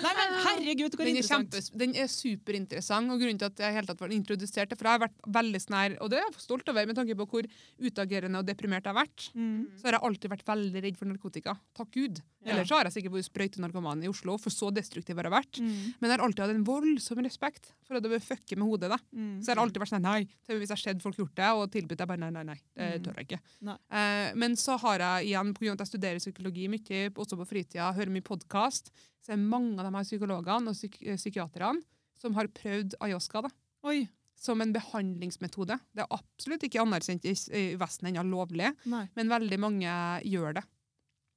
[SPEAKER 2] Nei, men herregud, hvor
[SPEAKER 3] Den er,
[SPEAKER 2] interessant.
[SPEAKER 3] kjempes- den er superinteressant, og grunnen til at jeg i hele tatt var introdusert, er for jeg har vært veldig snær, og det er jeg stolt over, med tanke på hvor utagerende og deprimert jeg har vært.
[SPEAKER 2] Mm.
[SPEAKER 3] Så har jeg alltid vært veldig redd for narkotika. Takk Gud.
[SPEAKER 2] Ja.
[SPEAKER 3] Ellers så har jeg sikkert vært sprøytenarkoman i Oslo, for så destruktiv har jeg vært.
[SPEAKER 2] Mm.
[SPEAKER 3] Men jeg har alltid hatt en voldsom respekt for at det bør fucke med hodet. da.
[SPEAKER 2] Mm.
[SPEAKER 3] Så jeg har alltid vært sånn nei, til og med hvis jeg har sett folk gjort det, og tilbudt jeg bare nei, nei, nei, det
[SPEAKER 2] Mm.
[SPEAKER 3] tør jeg ikke.
[SPEAKER 2] Nei.
[SPEAKER 3] Eh, men så har jeg igjen, på grunn av at jeg studerer psykologi mye, også på fritida, hører mye podkast, så er mange av de her psykologene og psyk eh, psykiaterne som har prøvd ayahuasca da,
[SPEAKER 2] Oi.
[SPEAKER 3] som en behandlingsmetode. Det er absolutt ikke anerkjent i, s- i Vesten ennå lovlig,
[SPEAKER 2] Nei.
[SPEAKER 3] men veldig mange gjør det.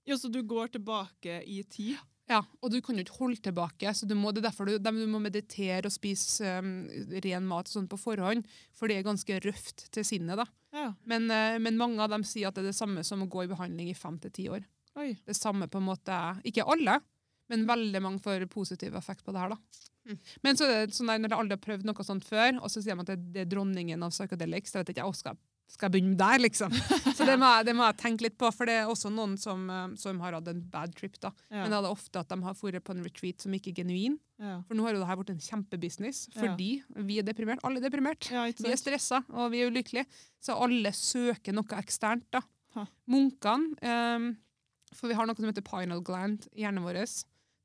[SPEAKER 2] Ja, så du går tilbake i tid?
[SPEAKER 3] Ja, og du kan jo ikke holde tilbake, så du må, det er derfor du, dem- du må meditere og spise um, ren mat sånn på forhånd, for det er ganske røft til sinnet da.
[SPEAKER 2] Ja.
[SPEAKER 3] Men, eh, men mange av dem sier at det er det samme som å gå i behandling i fem til ti år.
[SPEAKER 2] Oi.
[SPEAKER 3] Det samme på en måte, ikke alle, men veldig mange får positiv effekt på det her da.
[SPEAKER 1] Mm.
[SPEAKER 3] Men så er det sånn der, når jeg aldri har prøvd noe sånt før, og så sier man at det, det er dronningen av psychedelics, så vet jeg ikke, «Å, skal, jeg- skal jeg begynne der liksom? Så det må, jeg- det må jeg tenke litt på, for det er også noen som, eh, som har hatt en bad trip da.
[SPEAKER 2] Ja.
[SPEAKER 3] Men det er ofte at de har vært på en retreat som ikke er genuin.
[SPEAKER 2] ja.
[SPEAKER 3] For nå har jo det her blitt en kjempebusiness,
[SPEAKER 2] Ja.
[SPEAKER 3] fordi vi er deprimert. Alle er deprimert.
[SPEAKER 2] ja, ikke
[SPEAKER 3] Vi er
[SPEAKER 2] sant?
[SPEAKER 3] stressa, og vi er ulykkelige. Så alle søker noe eksternt, da.
[SPEAKER 2] Ha.
[SPEAKER 3] Munkene ehm, For vi har noe som heter pinal gland i hjernen vår,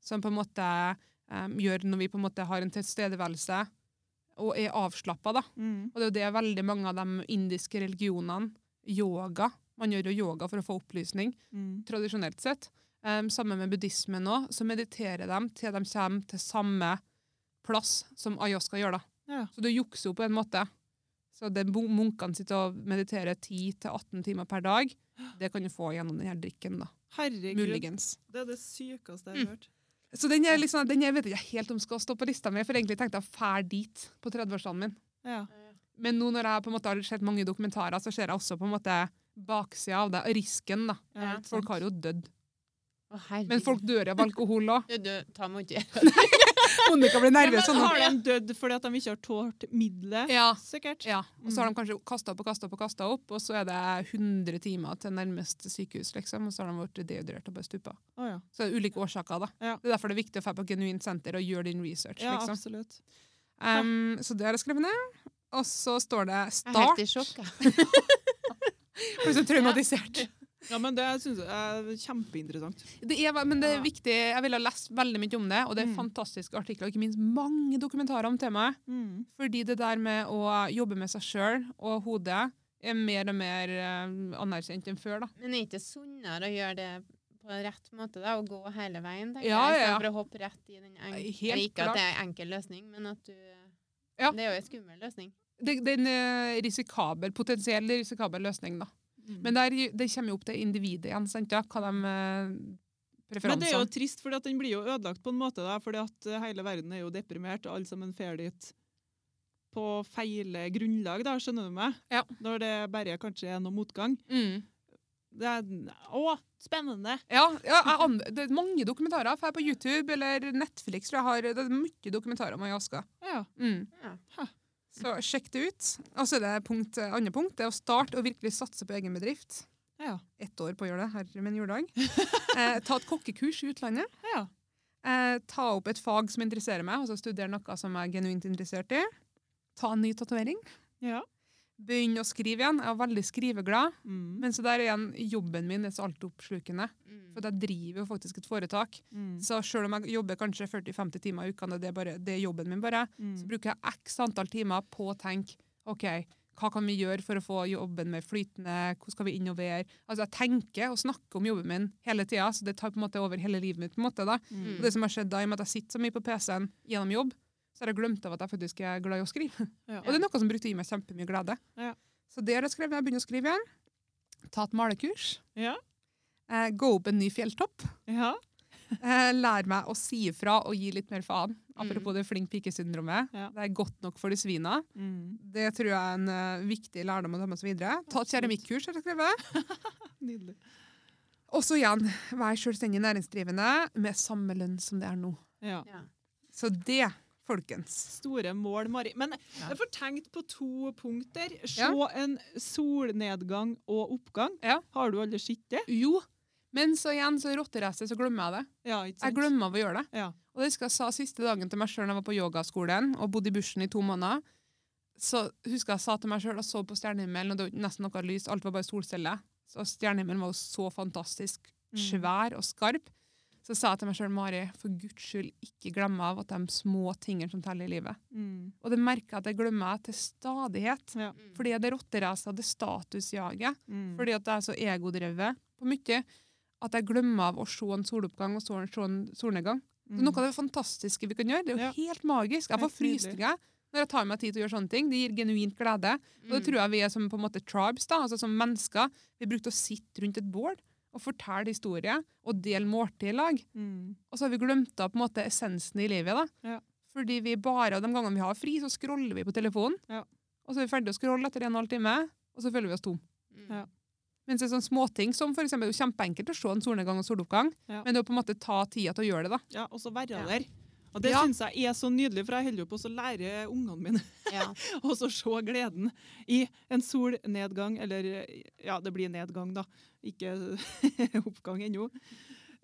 [SPEAKER 3] som på en måte ehm, gjør når vi på en måte har en tilstedeværelse og er avslappa, da.
[SPEAKER 2] Mm.
[SPEAKER 3] Og det er jo det veldig mange av de indiske religionene, yoga Man gjør jo yoga for å få opplysning
[SPEAKER 2] Mm.
[SPEAKER 3] tradisjonelt sett. Um, sammen med buddhismen nå, så mediterer de til de kommer til samme plass som ayahuasca gjør. da.
[SPEAKER 2] Ja.
[SPEAKER 3] Så du jukser jo på en måte. Så det bu- Munkene sitter og mediterer 10-18 timer per dag. Det kan du få gjennom denne drikken. da.
[SPEAKER 2] Herregud.
[SPEAKER 3] Muligens.
[SPEAKER 2] Det er det sykeste jeg har hørt.
[SPEAKER 3] Så den er liksom, den jeg vet jeg ikke helt om skal stå på lista mi, for egentlig tenkte jeg fær dit på 30-årsdagen min.
[SPEAKER 2] Ja.
[SPEAKER 3] Men nå når jeg på en måte har sett mange dokumentarer, så ser jeg også på en måte baksida av det, risken. da.
[SPEAKER 2] Ja, ikke
[SPEAKER 3] Folk
[SPEAKER 2] sant.
[SPEAKER 3] har jo dødd.
[SPEAKER 1] Å, herregud.
[SPEAKER 3] Men folk dør av alkohol òg.
[SPEAKER 1] Du, du, ta meg ikke.
[SPEAKER 3] Monica blir nervøs.
[SPEAKER 2] Ja,
[SPEAKER 3] sånn.
[SPEAKER 2] men har de dødd fordi at de ikke har tålt middelet?
[SPEAKER 3] Ja.
[SPEAKER 2] Sikkert.
[SPEAKER 3] Ja, og
[SPEAKER 2] Mm.
[SPEAKER 3] så har de kanskje kasta opp og kasta opp, og kastet opp, og så er det 100 timer til nærmeste sykehus, liksom, og så har de vært dehydrert og bare stupa.
[SPEAKER 2] Å ja.
[SPEAKER 3] Så det er ulike årsaker, da.
[SPEAKER 2] Ja.
[SPEAKER 3] Det er derfor det er viktig å dra på et genuint senter og gjøre din research.
[SPEAKER 2] ja,
[SPEAKER 3] liksom.
[SPEAKER 2] absolutt.
[SPEAKER 3] Em, så det har jeg skrevet ned. Og så står det
[SPEAKER 1] Jeg er helt
[SPEAKER 3] start.
[SPEAKER 1] i sjokk. jeg.
[SPEAKER 3] For så traumatisert.
[SPEAKER 2] Ja, men det syns jeg er kjempeinteressant.
[SPEAKER 3] Det er, men det er
[SPEAKER 2] Ja.
[SPEAKER 3] viktig. Jeg ville ha lest veldig mye om det, og det er
[SPEAKER 2] Mm.
[SPEAKER 3] fantastiske artikler, og ikke minst mange dokumentarer om temaet.
[SPEAKER 2] Mm.
[SPEAKER 3] Fordi det der med å jobbe med seg sjøl og hodet er mer og mer eh, anerkjent enn før, da.
[SPEAKER 1] Men er ikke sunnere å gjøre det på rett måte, da? Å gå hele veien, tenker
[SPEAKER 3] Ja,
[SPEAKER 1] jeg,
[SPEAKER 3] ja, ja.
[SPEAKER 1] istedenfor å hoppe rett i den enkle
[SPEAKER 3] Helt
[SPEAKER 1] Ikke at det er en enkel løsning, men at du
[SPEAKER 3] Ja.
[SPEAKER 1] Det er jo en skummel løsning.
[SPEAKER 3] det, det er en eh, risikabel, potensiell risikabel løsning, da.
[SPEAKER 2] Mm.
[SPEAKER 3] Men der, det kommer jo opp til individet igjen, sant? Ja, hva de eh,
[SPEAKER 2] Men det er jo
[SPEAKER 3] preferansene.
[SPEAKER 2] trist, for den blir jo ødelagt på en måte, da, fordi at eh, hele verden er jo deprimert, og alle sammen fer dit på feile grunnlag, da, skjønner du meg?
[SPEAKER 3] Ja.
[SPEAKER 2] Når det bare kanskje er noe motgang.
[SPEAKER 3] Mm.
[SPEAKER 2] Det er, å, spennende!
[SPEAKER 3] Ja, ja jeg an det er mange dokumentarer for jeg er på YouTube eller Netflix. tror Jeg har, det er mye dokumentarer om Ayahuasca.
[SPEAKER 2] Ja.
[SPEAKER 3] Mm.
[SPEAKER 1] Ja.
[SPEAKER 2] Hæ.
[SPEAKER 3] Så sjekk det ut. Og så er det punkt, eh, andre punkt. Det er å starte og virkelig satse på egen bedrift.
[SPEAKER 2] Ja.
[SPEAKER 3] Ett år på å gjøre det. Herre min juledag. Eh, ta et kokkekurs i utlandet.
[SPEAKER 2] ja.
[SPEAKER 3] Eh, ta opp et fag som interesserer meg, og så studere noe som jeg er genuint interessert i. Ta en ny tatovering.
[SPEAKER 2] ja.
[SPEAKER 3] Begynne å skrive igjen. Jeg var veldig skriveglad.
[SPEAKER 2] Mm.
[SPEAKER 3] Men så der igjen, jobben min er så altoppslukende.
[SPEAKER 1] Mm.
[SPEAKER 3] For jeg driver jo faktisk et foretak.
[SPEAKER 2] Mm.
[SPEAKER 3] Så selv om jeg jobber kanskje 40-50 timer i uka, og det er, bare, det er jobben min bare, så
[SPEAKER 2] Mm.
[SPEAKER 3] bruker jeg x antall timer på å tenke OK, hva kan vi gjøre for å få jobben mer flytende? Hvordan skal vi innovere? Altså Jeg tenker og snakker om jobben min hele tida, så det tar på en måte over hele livet mitt. på en måte da. Og
[SPEAKER 1] Mm.
[SPEAKER 3] det som har skjedd da, i og med at jeg sitter så mye på PC-en gjennom jobb, så har jeg glemt av at jeg faktisk er glad i å skrive.
[SPEAKER 2] Ja.
[SPEAKER 3] Og det er noe som brukte i meg kjempemye glede.
[SPEAKER 2] Ja.
[SPEAKER 3] Så det har jeg skrevet når jeg begynner å skrive igjen. Ta et malekurs.
[SPEAKER 2] Ja.
[SPEAKER 3] Eh, gå opp en ny fjelltopp.
[SPEAKER 2] ja.
[SPEAKER 3] Eh, lær meg å si ifra og gi litt mer faen. Apropos det flink pike-syndromet.
[SPEAKER 2] Mm. Ja.
[SPEAKER 3] Det er godt nok for de svina.
[SPEAKER 2] Mm.
[SPEAKER 3] Det tror jeg er en eh, viktig lærdom å ta med seg videre. Ta et
[SPEAKER 2] Absolutt.
[SPEAKER 3] keramikkurs, har jeg skrevet.
[SPEAKER 2] Nydelig.
[SPEAKER 3] Og så igjen, vær selvstendig næringsdrivende med samme lønn som det er nå.
[SPEAKER 2] Ja.
[SPEAKER 1] Ja.
[SPEAKER 3] Så det, folkens.
[SPEAKER 2] Store mål, Mari. Men
[SPEAKER 1] Ja.
[SPEAKER 2] jeg får tenkt på to punkter. Se
[SPEAKER 3] Ja.
[SPEAKER 2] en solnedgang og oppgang.
[SPEAKER 3] Ja.
[SPEAKER 2] Har du aldri sett det?
[SPEAKER 3] Jo, Men så igjen, så rotterestet, så glemmer jeg det.
[SPEAKER 2] Ja, ikke sant?
[SPEAKER 3] Jeg glemmer av å gjøre det.
[SPEAKER 2] Ja.
[SPEAKER 3] Og det husker jeg sa siste dagen til meg sjøl da jeg var på yogaskolen og bodde i bushen i to måneder. Så husker jeg sa til meg sjøl og så på stjernehimmelen, og det var ikke nesten noe lys, alt var bare solcelle. Så stjernehimmelen var jo så fantastisk
[SPEAKER 2] Mm.
[SPEAKER 3] svær og skarp. Så sa jeg til meg sjøl, Mari, for guds skyld, ikke glem av at de små tingene som teller i livet.
[SPEAKER 2] Mm.
[SPEAKER 3] Og det merker jeg at jeg glemmer jeg til stadighet.
[SPEAKER 2] Ja.
[SPEAKER 1] Mm.
[SPEAKER 3] Fordi det rotteracet, det statusjaget,
[SPEAKER 2] Mm.
[SPEAKER 3] fordi at jeg er så egodrevet på mye, at jeg glemmer av å se en soloppgang og så en, se en solnedgang.
[SPEAKER 2] Mm,
[SPEAKER 3] Så Noe av det fantastiske vi kan gjøre, det er jo
[SPEAKER 2] Ja.
[SPEAKER 3] helt magisk. Jeg får
[SPEAKER 2] Helt nydelig.
[SPEAKER 3] frysninger når jeg tar meg tid til å gjøre sånne ting. Det gir genuint glede. Og
[SPEAKER 2] Mm.
[SPEAKER 1] Mm.
[SPEAKER 3] det tror jeg vi er som på en måte tribes, da, altså som mennesker. Vi brukte å sitte rundt et bål og fortelle historier og dele måltid i lag.
[SPEAKER 2] Mm.
[SPEAKER 3] Og så har vi glemt av på en måte essensen i livet. da.
[SPEAKER 2] Ja.
[SPEAKER 3] Fordi vi bare, og De gangene vi har fri, så scroller vi på telefonen.
[SPEAKER 2] Ja.
[SPEAKER 3] Og så er vi ferdig å scrolle etter en og en halv time, og så føler vi oss tom.
[SPEAKER 1] Mm.
[SPEAKER 2] Ja.
[SPEAKER 3] Mens det er sånne småting som for eksempel, det er jo kjempeenkelt å se en solnedgang og soloppgang,
[SPEAKER 2] Ja.
[SPEAKER 3] men det er å på en måte ta tida til å gjøre det. da.
[SPEAKER 2] ja, og så være
[SPEAKER 1] Ja.
[SPEAKER 2] der. Og det
[SPEAKER 3] Ja.
[SPEAKER 2] synes jeg er så nydelig, for jeg holder jo på å lære ungene mine
[SPEAKER 1] Ja.
[SPEAKER 2] og så se gleden i en solnedgang, eller ja, det blir nedgang da, ikke oppgang ennå.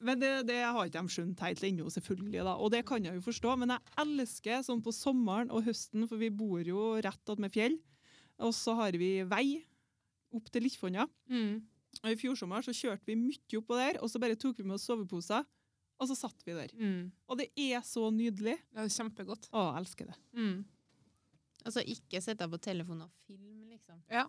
[SPEAKER 2] Men det, det har ikke de skjønt helt ennå, selvfølgelig. da, Og det kan jeg jo forstå. Men jeg elsker sånn på sommeren og høsten, for vi bor jo rett attmed fjell. Og så har vi vei opp til Littfonda. Og i fjor sommer så kjørte vi mye oppå der, og så bare tok vi med oss soveposer, og så satt vi der.
[SPEAKER 3] Mm.
[SPEAKER 2] Og det er så nydelig.
[SPEAKER 3] Ja, det er kjempegodt.
[SPEAKER 2] Å, jeg elsker det.
[SPEAKER 1] Altså ikke sitte på telefonen og filme, liksom.
[SPEAKER 2] Ja,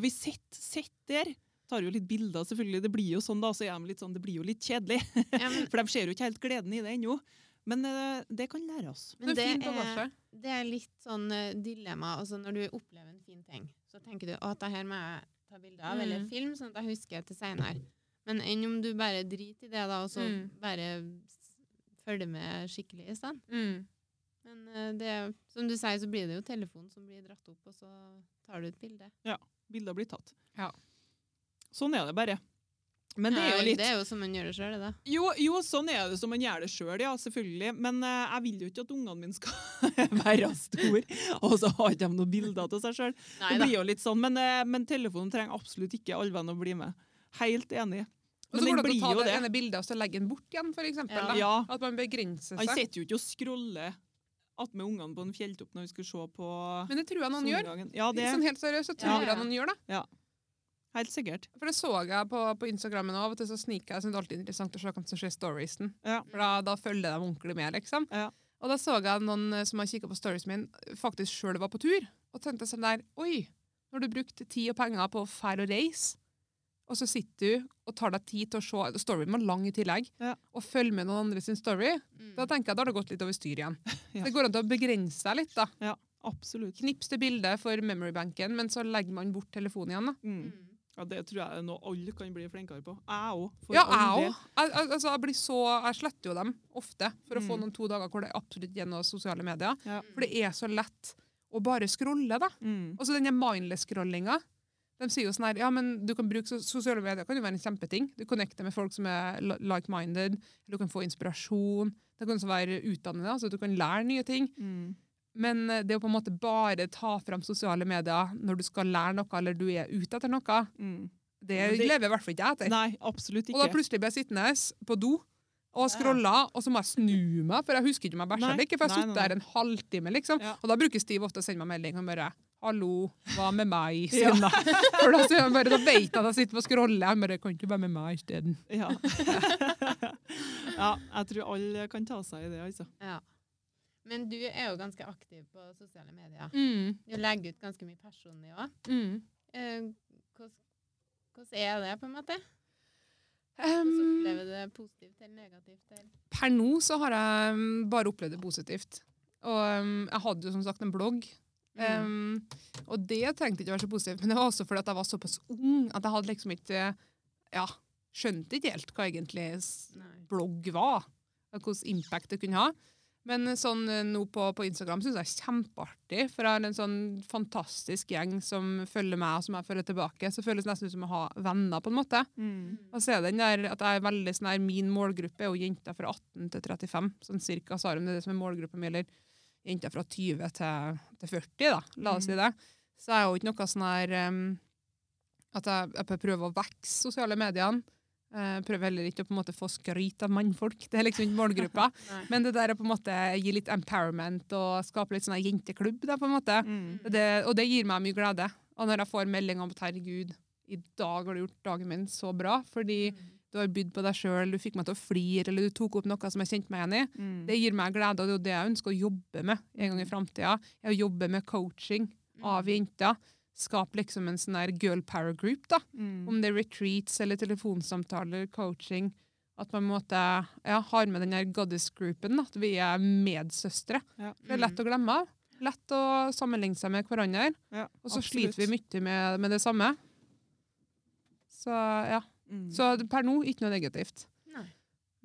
[SPEAKER 2] vi sitter sitter der. Tar jo litt bilder, selvfølgelig. Det blir jo sånn, da. Så er de litt sånn, det blir jo litt kjedelig.
[SPEAKER 1] Ja, men,
[SPEAKER 2] For de ser jo ikke helt gleden i det ennå. Men eh, det kan lære oss.
[SPEAKER 1] men det,
[SPEAKER 3] fin
[SPEAKER 1] er,
[SPEAKER 3] bagasje.
[SPEAKER 1] det er litt sånn eh, dilemma. Altså når du opplever en fin ting, så tenker du at det her må jeg ta bilde av, eller
[SPEAKER 3] Mm.
[SPEAKER 1] film, sånn at jeg husker til seinere. Men enn om du bare driter i det, da, og så
[SPEAKER 3] Mm.
[SPEAKER 1] bare s- følger med skikkelig i stedet.
[SPEAKER 3] Mm.
[SPEAKER 1] Men eh, det, som du sier, så blir det jo telefonen som blir dratt opp, og så tar du et bilde.
[SPEAKER 2] Bilder blir tatt.
[SPEAKER 3] Ja.
[SPEAKER 2] Sånn er det bare. Men det er
[SPEAKER 1] Ja,
[SPEAKER 2] jo litt
[SPEAKER 1] Det er jo som man gjør det sjøl, det. da.
[SPEAKER 2] Jo, jo, sånn er det som man gjør det sjøl, ja, selvfølgelig. Men eh, jeg vil jo ikke at ungene mine skal være store, og så har ikke de noen bilder av seg sjøl. Det
[SPEAKER 1] Neida.
[SPEAKER 2] blir jo litt sånn, men, eh, men telefonen trenger absolutt ikke alvene å bli med. Helt enig. Men
[SPEAKER 3] Og så går
[SPEAKER 2] den
[SPEAKER 3] det an å
[SPEAKER 2] blir
[SPEAKER 3] ta
[SPEAKER 2] jo
[SPEAKER 3] det
[SPEAKER 2] det.
[SPEAKER 3] ene bildet og så legge den bort igjen, for eksempel.
[SPEAKER 1] Ja.
[SPEAKER 3] Da.
[SPEAKER 2] Ja,
[SPEAKER 3] At man begrenser
[SPEAKER 2] Han
[SPEAKER 3] seg.
[SPEAKER 2] sitter jo ikke og scroller attmed ungene på en fjelltopp når vi skal se på
[SPEAKER 3] Men det tror jeg noen gjør.
[SPEAKER 2] solnedgangen. Ja, det
[SPEAKER 3] Sånn helt seriøst, så tror
[SPEAKER 1] Ja.
[SPEAKER 3] jeg noen gjør det.
[SPEAKER 2] helt sikkert.
[SPEAKER 3] For det så jeg på, på Instagrammen også, av og til så sniker jeg. Jeg synes det er alltid interessant å se hva som skjer i storiesen.
[SPEAKER 2] Ja.
[SPEAKER 3] For da, da følger de ordentlig med, liksom.
[SPEAKER 2] Ja.
[SPEAKER 3] Og da så jeg noen eh, som har kikket på storiesen min, faktisk selv var på tur, og tenkte sånn der, oi, nå har du brukt tid og penger på å fære og reise, og så sitter du og tar deg tid til å se, storyen var lang i tillegg,
[SPEAKER 2] Ja.
[SPEAKER 3] og følger med noen andre sin story,
[SPEAKER 1] Mm.
[SPEAKER 3] da tenker jeg, da har det gått litt over styr igjen.
[SPEAKER 2] Ja.
[SPEAKER 3] Det går an til å begrense seg litt da.
[SPEAKER 2] Absolutt.
[SPEAKER 3] Knips til bildet for memorybanken, men så legger man bort telefonen igjen da.
[SPEAKER 2] Mm.
[SPEAKER 1] Mm.
[SPEAKER 2] Ja, det tror jeg er noe alle kan bli flinkere på. Jeg òg.
[SPEAKER 3] Ja, jeg òg. Jeg- jeg- Altså, jeg, blir så- jeg sletter jo dem ofte for å få
[SPEAKER 2] Mm.
[SPEAKER 3] noen to dager hvor det absolutt ikke er noe sosiale medier.
[SPEAKER 2] Ja.
[SPEAKER 3] For det er så lett å bare scrolle, da.
[SPEAKER 2] Mm.
[SPEAKER 3] Og så denne mindless-scrollinga. De sier jo sånn her, ja, men du kan bruke so- sosiale medier kan jo være en kjempeting. Du connecter med folk som er li- like-minded, du kan få inspirasjon. Det kan også være utdannende, altså du kan lære nye ting.
[SPEAKER 2] Mm.
[SPEAKER 3] Men eh, det å på en måte bare ta fram sosiale medier når du skal lære noe, eller du er ute etter noe,
[SPEAKER 2] Mm.
[SPEAKER 3] det,
[SPEAKER 2] Ja, men det-
[SPEAKER 3] lever i hvert fall ikke jeg etter.
[SPEAKER 2] Nei, absolutt
[SPEAKER 3] Og da
[SPEAKER 2] ikke.
[SPEAKER 3] plutselig ble jeg sittende på do og scrolla, og så må jeg snu meg, for jeg husker ikke om jeg bæsja
[SPEAKER 2] Nei,
[SPEAKER 3] eller ikke. For jeg
[SPEAKER 2] nei,
[SPEAKER 3] har sittet
[SPEAKER 2] nei,
[SPEAKER 3] der en halvtime, liksom.
[SPEAKER 2] Ja.
[SPEAKER 3] Og da bruker Steve ofte å sende meg melding og bare 'Hallo, hva med meg?' sier
[SPEAKER 2] Ja.
[SPEAKER 3] han da. For da, sier han bare, da vet jeg at jeg sitter og scroller. Han bare 'Kan ikke være med meg isteden'.
[SPEAKER 2] Ja. ja, jeg tror alle kan ta seg i det, altså.
[SPEAKER 1] Ja. Men du er jo ganske aktiv på sosiale medier.
[SPEAKER 3] Mm.
[SPEAKER 1] Du legger ut ganske mye personlig òg.
[SPEAKER 3] Mm.
[SPEAKER 1] Eh, Hvordan er det, på en måte? Hvordan
[SPEAKER 3] Um,
[SPEAKER 1] opplever du det positivt eller negativt? Eller?
[SPEAKER 3] per nå så har jeg um, bare opplevd det positivt. Og um, jeg hadde jo som sagt en blogg.
[SPEAKER 1] Mm.
[SPEAKER 3] Um, og det trengte ikke å være så positivt, men det var også fordi at jeg var såpass ung at jeg hadde liksom ikke ja, skjønte ikke helt hva egentlig s-
[SPEAKER 1] Nei.
[SPEAKER 3] blogg var, og hvilken impact det kunne ha. Men sånn eh, nå på, på Instagram syns jeg er kjempeartig, for jeg har en sånn fantastisk gjeng som følger meg, og som jeg følger tilbake. Så det føles nesten ut som å ha venner, på en måte.
[SPEAKER 2] Mm.
[SPEAKER 1] Mm.
[SPEAKER 3] Og så er den der at jeg er veldig sånn her, Min målgruppe er jo jenter fra 18 til 35, sånn cirka. Så har de det som er målgruppa mi, eller jenter fra 20 til, til 40, da. La oss si det. Så jeg er jo ikke noe sånn her um, at jeg, jeg prøver å vokse sosiale mediene. Eh, prøver heller ikke å på en måte få skryt av mannfolk. Det er liksom ikke målgruppa.
[SPEAKER 1] Nei.
[SPEAKER 3] Men det der å på en måte gi litt empowerment og skape litt sånn her jenteklubb, da, på en måte.
[SPEAKER 2] Mm.
[SPEAKER 3] Det, og det gir meg mye glede. Og når jeg får melding om at herregud, i dag har du gjort dagen min så bra, fordi
[SPEAKER 1] Mm.
[SPEAKER 3] du har bydd på deg sjøl, du fikk meg til å flire, eller du tok opp noe som jeg kjente meg igjen i.
[SPEAKER 2] Mm.
[SPEAKER 3] Det gir meg glede, og det er jo det jeg ønsker å jobbe med en gang i framtida. Jeg jobber med coaching
[SPEAKER 1] Mm.
[SPEAKER 3] av
[SPEAKER 2] Mm.
[SPEAKER 3] jenter. Skap liksom en sånn der girl power group, da.
[SPEAKER 2] Mm.
[SPEAKER 3] Om det er retreats eller telefonsamtaler, coaching. At man på en måte ja, har med den her goddess-groupen, at vi er medsøstre.
[SPEAKER 2] Ja.
[SPEAKER 3] For Det er lett å glemme. Lett å sammenligne seg med hverandre.
[SPEAKER 2] Ja,
[SPEAKER 3] Og så
[SPEAKER 2] absolutt.
[SPEAKER 3] sliter vi mye med, med det samme. Så ja.
[SPEAKER 2] Mm.
[SPEAKER 3] Så per nå, ikke noe negativt.
[SPEAKER 1] Nei.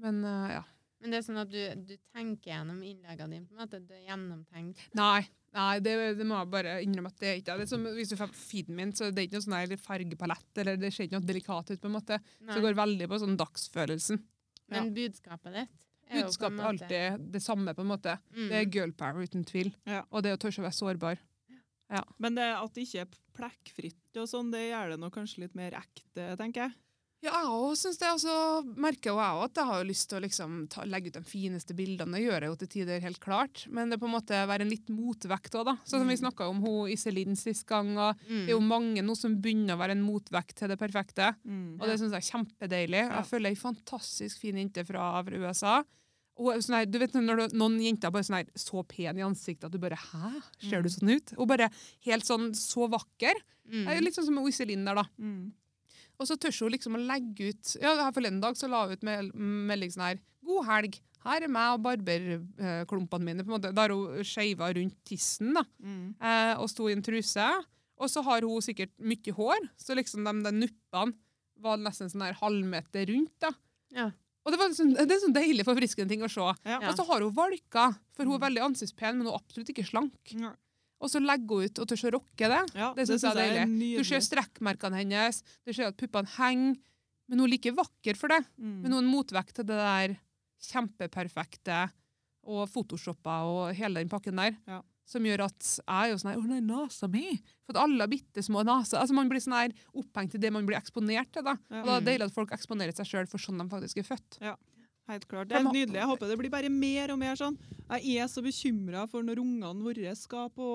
[SPEAKER 3] Men eh, ja.
[SPEAKER 1] Men det er sånn at du, du tenker gjennom innleggene dine, på en måte. Du er gjennomtenkt.
[SPEAKER 3] Nei. Nei, det, det må jeg bare innrømme at det er ikke det. er som Hvis du får feeden min, så det er ikke noe sånn her fargepalett, eller det ser ikke noe delikat ut, på en måte. Så
[SPEAKER 1] Nei.
[SPEAKER 3] det går veldig på sånn dagsfølelsen.
[SPEAKER 1] Men budskapet ditt er jo på en
[SPEAKER 3] Budskapet er
[SPEAKER 1] måte-
[SPEAKER 3] alltid det samme, på en måte.
[SPEAKER 1] Mm.
[SPEAKER 3] Det er girl power, uten tvil.
[SPEAKER 2] Ja.
[SPEAKER 3] Og det å tørre å være sårbar.
[SPEAKER 2] Men det at det ikke er plekkfritt og sånn, det gjør det nå kanskje litt mer ekte, tenker jeg.
[SPEAKER 3] Ja, jeg òg syns det. Og så merker jo jeg òg at jeg har jo lyst til å liksom ta, legge ut de fineste bildene. Det gjør jeg jo til tider, helt klart. Men det er på en måte være en litt motvekt òg, da. Sånn som vi snakka om hun Iselin sist gang. Og det er jo
[SPEAKER 1] mm.
[SPEAKER 3] mange nå som begynner å være en motvekt til det perfekte.
[SPEAKER 2] Mm.
[SPEAKER 3] Og det syns jeg er kjempedeilig.
[SPEAKER 2] Ja.
[SPEAKER 3] Jeg føler ei fantastisk fin jente fra, fra USA. Og hun er sånn her, du vet når du, Noen jenter er bare sånn her, så pen i ansiktet at du bare Hæ, ser du sånn ut? Og bare helt sånn så vakker. Det er
[SPEAKER 1] Mm.
[SPEAKER 3] Litt sånn som Iselin der, da.
[SPEAKER 2] Mm.
[SPEAKER 3] Og så tør hun liksom å legge ut ja, her Forleden dag så la hun ut mel- melding sånn her 'God helg. Her er meg og barberklumpene mine.' på en måte. Da har hun skeiva rundt tissen da,
[SPEAKER 2] Mm.
[SPEAKER 3] eh, og sto i en truse. Og så har hun sikkert mye hår, så liksom de, de nuppene var nesten sånn her halvmeter rundt. da.
[SPEAKER 1] Ja.
[SPEAKER 3] Og det, var liksom, det er en sånn deilig forfriskende ting å se.
[SPEAKER 2] Ja.
[SPEAKER 3] Og så har hun valker, for hun er
[SPEAKER 2] Mm.
[SPEAKER 3] veldig ansiktspen, men hun er absolutt ikke slank.
[SPEAKER 2] Ja.
[SPEAKER 3] Og så legger hun ut og tør å rocke det.
[SPEAKER 2] Ja,
[SPEAKER 3] Det synes jeg er
[SPEAKER 2] synes
[SPEAKER 3] Du ser
[SPEAKER 2] nydelig.
[SPEAKER 3] strekkmerkene hennes, du ser at puppene henger. Men hun er like vakker for det.
[SPEAKER 2] Mm.
[SPEAKER 3] Men hun er en motvekt til det der kjempeperfekte og photoshoppa og hele den pakken der.
[SPEAKER 2] Ja.
[SPEAKER 3] Som gjør at jeg er jo sånn her Å, nei, nesa mi! For at alle har bitte små naser. Altså, man blir sånn her opphengt i det man blir eksponert til. da.
[SPEAKER 2] Ja.
[SPEAKER 3] Og da er det deilig at folk eksponerer seg sjøl for sånn de faktisk er født.
[SPEAKER 2] Helt klart. Det er
[SPEAKER 3] Men-
[SPEAKER 2] nydelig. Jeg håper det blir bare mer og mer sånn. Jeg er så bekymra for når ungene våre skal på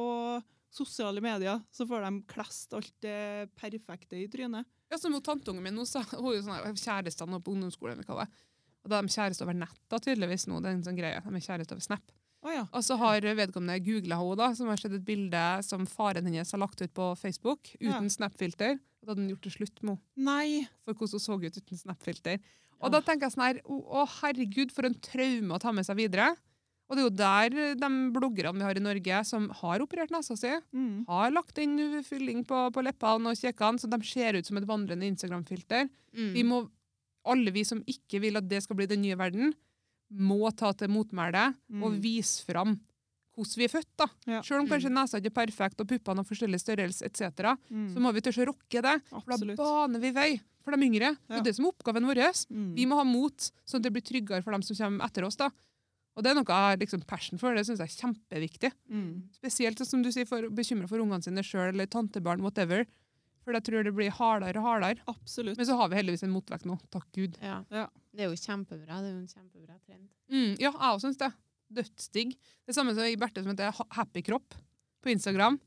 [SPEAKER 2] sosiale medier, så får de klest alt det perfekte i trynet.
[SPEAKER 3] Ja, som hun tantungen min nå sa, hun er jo sånn her, kjærestene på ungdomsskolen, eller hva det er. Og da er de kjærester over nett da, tydeligvis nå, det er en sånn greie. De er kjærester over Snap.
[SPEAKER 2] Å ja.
[SPEAKER 3] Og så har vedkommende googla henne, da, som har sett et bilde som faren hennes har lagt ut på Facebook, uten
[SPEAKER 2] Ja.
[SPEAKER 3] Snap-filter. Og da hadde han gjort det slutt med henne,
[SPEAKER 2] Nei.
[SPEAKER 3] for hvordan hun så ut uten Snap-filter. Og
[SPEAKER 2] Ja.
[SPEAKER 3] da tenker jeg sånn her, å, å herregud, for en traume å ta med seg videre. Og det er jo der eh, de bloggerne vi har i Norge som har operert nesa si,
[SPEAKER 2] Mm.
[SPEAKER 3] har lagt inn fylling på, på leppene og kjekkene, så de ser ut som et vandrende Instagram-filter.
[SPEAKER 1] Mm.
[SPEAKER 3] Vi må, alle vi som ikke vil at det skal bli den nye verden, må ta til motmæle og
[SPEAKER 2] Mm.
[SPEAKER 3] vise fram hvordan vi er født. da.
[SPEAKER 2] Ja.
[SPEAKER 3] Selv om kanskje nesa ikke er perfekt og puppene har forskjellig størrelse, et cetera,
[SPEAKER 2] Mm.
[SPEAKER 3] så må vi tørre å rocke det. For da
[SPEAKER 2] Absolutt.
[SPEAKER 3] baner vi vei for de yngre. Det
[SPEAKER 2] Ja.
[SPEAKER 3] er det som er oppgaven vår.
[SPEAKER 2] Mm.
[SPEAKER 3] Vi må ha mot, sånn at det blir tryggere for dem som kommer etter oss. da. Og Det er noe jeg har liksom passion for. Det syns jeg er kjempeviktig.
[SPEAKER 2] Mm.
[SPEAKER 3] Spesielt som du sier, for, bekymra for ungene sine sjøl eller tantebarn, whatever. For jeg tror det blir hardere og hardere.
[SPEAKER 2] Absolutt.
[SPEAKER 3] Men så har vi heldigvis en motvekt nå. Takk Gud.
[SPEAKER 1] ja.
[SPEAKER 2] Ja.
[SPEAKER 1] Det er jo kjempebra. Det er jo en kjempebra trend.
[SPEAKER 3] Mm, ja, jeg også syns det. Dødsdigg. Det samme som i Berthe som heter Ha- Happy Kropp på Instagram.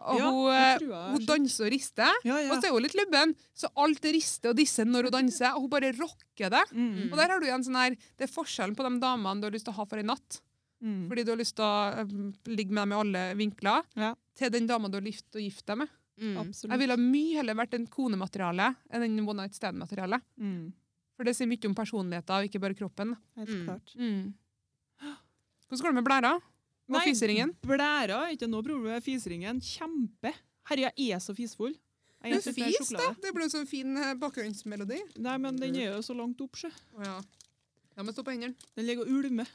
[SPEAKER 3] Og
[SPEAKER 2] Ja,
[SPEAKER 3] hun,
[SPEAKER 2] det
[SPEAKER 3] eh,
[SPEAKER 2] tror jeg
[SPEAKER 3] hun
[SPEAKER 2] jeg har
[SPEAKER 3] danser og rister,
[SPEAKER 2] sett. ja, ja.
[SPEAKER 3] og så er hun litt lubben. Så alt rister og disser når hun danser, og hun bare rocker det.
[SPEAKER 2] Mm.
[SPEAKER 3] Og der har du igjen sånn her, Det er forskjellen på de damene du har lyst til å ha for en natt,
[SPEAKER 2] Mm.
[SPEAKER 3] fordi du har lyst til å eh, ligge med dem i alle vinkler,
[SPEAKER 2] Ja.
[SPEAKER 3] til den dama du har lyst til å gifte deg med.
[SPEAKER 1] Mm.
[SPEAKER 2] Absolutt.
[SPEAKER 3] Jeg ville mye heller vært en konemateriale enn en one night stand-materiale.
[SPEAKER 2] Mm.
[SPEAKER 3] For det sier mye om personligheten, og ikke bare kroppen.
[SPEAKER 2] Helt
[SPEAKER 1] Mm.
[SPEAKER 2] klart.
[SPEAKER 3] Hvordan går det med blæra? Og
[SPEAKER 2] Nei,
[SPEAKER 3] fiseringen?
[SPEAKER 2] Blæra er ikke noe problem med fiseringen. Kjempe. Herre, jeg er så fisfull. Jeg
[SPEAKER 3] Men
[SPEAKER 2] spiser mer
[SPEAKER 3] fis, da!
[SPEAKER 2] sjokolade.
[SPEAKER 3] Det blir jo sånn fin eh, bakgrunnsmelodi.
[SPEAKER 2] Nei, men den er jo så langt opp, sjø.
[SPEAKER 3] Å ja. Da må jeg stå på hendene.
[SPEAKER 2] Den ligger og ulmer.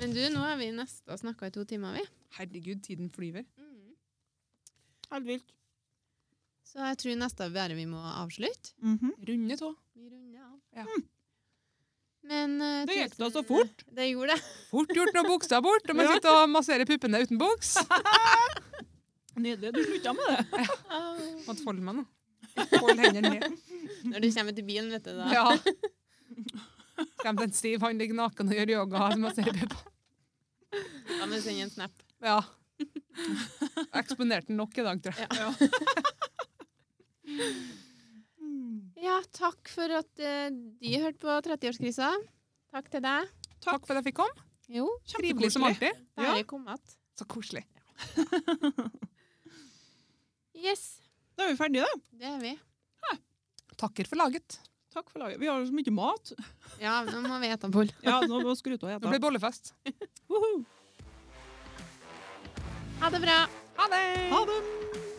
[SPEAKER 1] Men du, nå er vi nesten og snakka i to timer, vi.
[SPEAKER 3] Herregud, tiden flyver.
[SPEAKER 2] Helt vilt.
[SPEAKER 1] Så jeg tror neste bare vi må avslutte.
[SPEAKER 2] Mhm.
[SPEAKER 3] Runde tå.
[SPEAKER 1] Vi runder av. Hm.
[SPEAKER 3] Ja.
[SPEAKER 1] Men eh,
[SPEAKER 2] Det gikk da så
[SPEAKER 1] tusen-
[SPEAKER 2] fort.
[SPEAKER 1] Det gjorde det.
[SPEAKER 3] Fort gjort når buksa er bort, og man sitter og masserer puppene uten buks.
[SPEAKER 2] Nydelig. Du slutta med det.
[SPEAKER 1] Ah.
[SPEAKER 3] Måtte folde meg nå. Hold hendene ned.
[SPEAKER 1] Når du kommer til bilen, vet du da.
[SPEAKER 3] Ja. Skremt en stiv, han ligger naken og gjør yoga. som jeg ser på.
[SPEAKER 1] Da må du sende en snap.
[SPEAKER 3] Ja. Jeg Eksponerte den nok i dag, tror jeg.
[SPEAKER 1] Ja, takk for at eh, de hørte på 30-årskrisa. Takk til deg.
[SPEAKER 3] Takk, for at jeg fikk komme.
[SPEAKER 1] Jo,
[SPEAKER 3] Trivelig som
[SPEAKER 2] Kjempekoselig.
[SPEAKER 3] alltid.
[SPEAKER 1] bare kom att.
[SPEAKER 3] Så koselig.
[SPEAKER 1] Yes,
[SPEAKER 2] Da er vi ferdige, da.
[SPEAKER 1] det er vi.
[SPEAKER 3] Takker for laget.
[SPEAKER 2] Takk for laget. Vi har jo så mye mat.
[SPEAKER 1] Ja, nå må vi ete boll.
[SPEAKER 2] Ja, nå må vi skru av og
[SPEAKER 3] Nå
[SPEAKER 2] ete.
[SPEAKER 3] blir det bollefest.
[SPEAKER 2] Woohoo!
[SPEAKER 1] Ha det bra.
[SPEAKER 3] Ha det!
[SPEAKER 2] Ha det!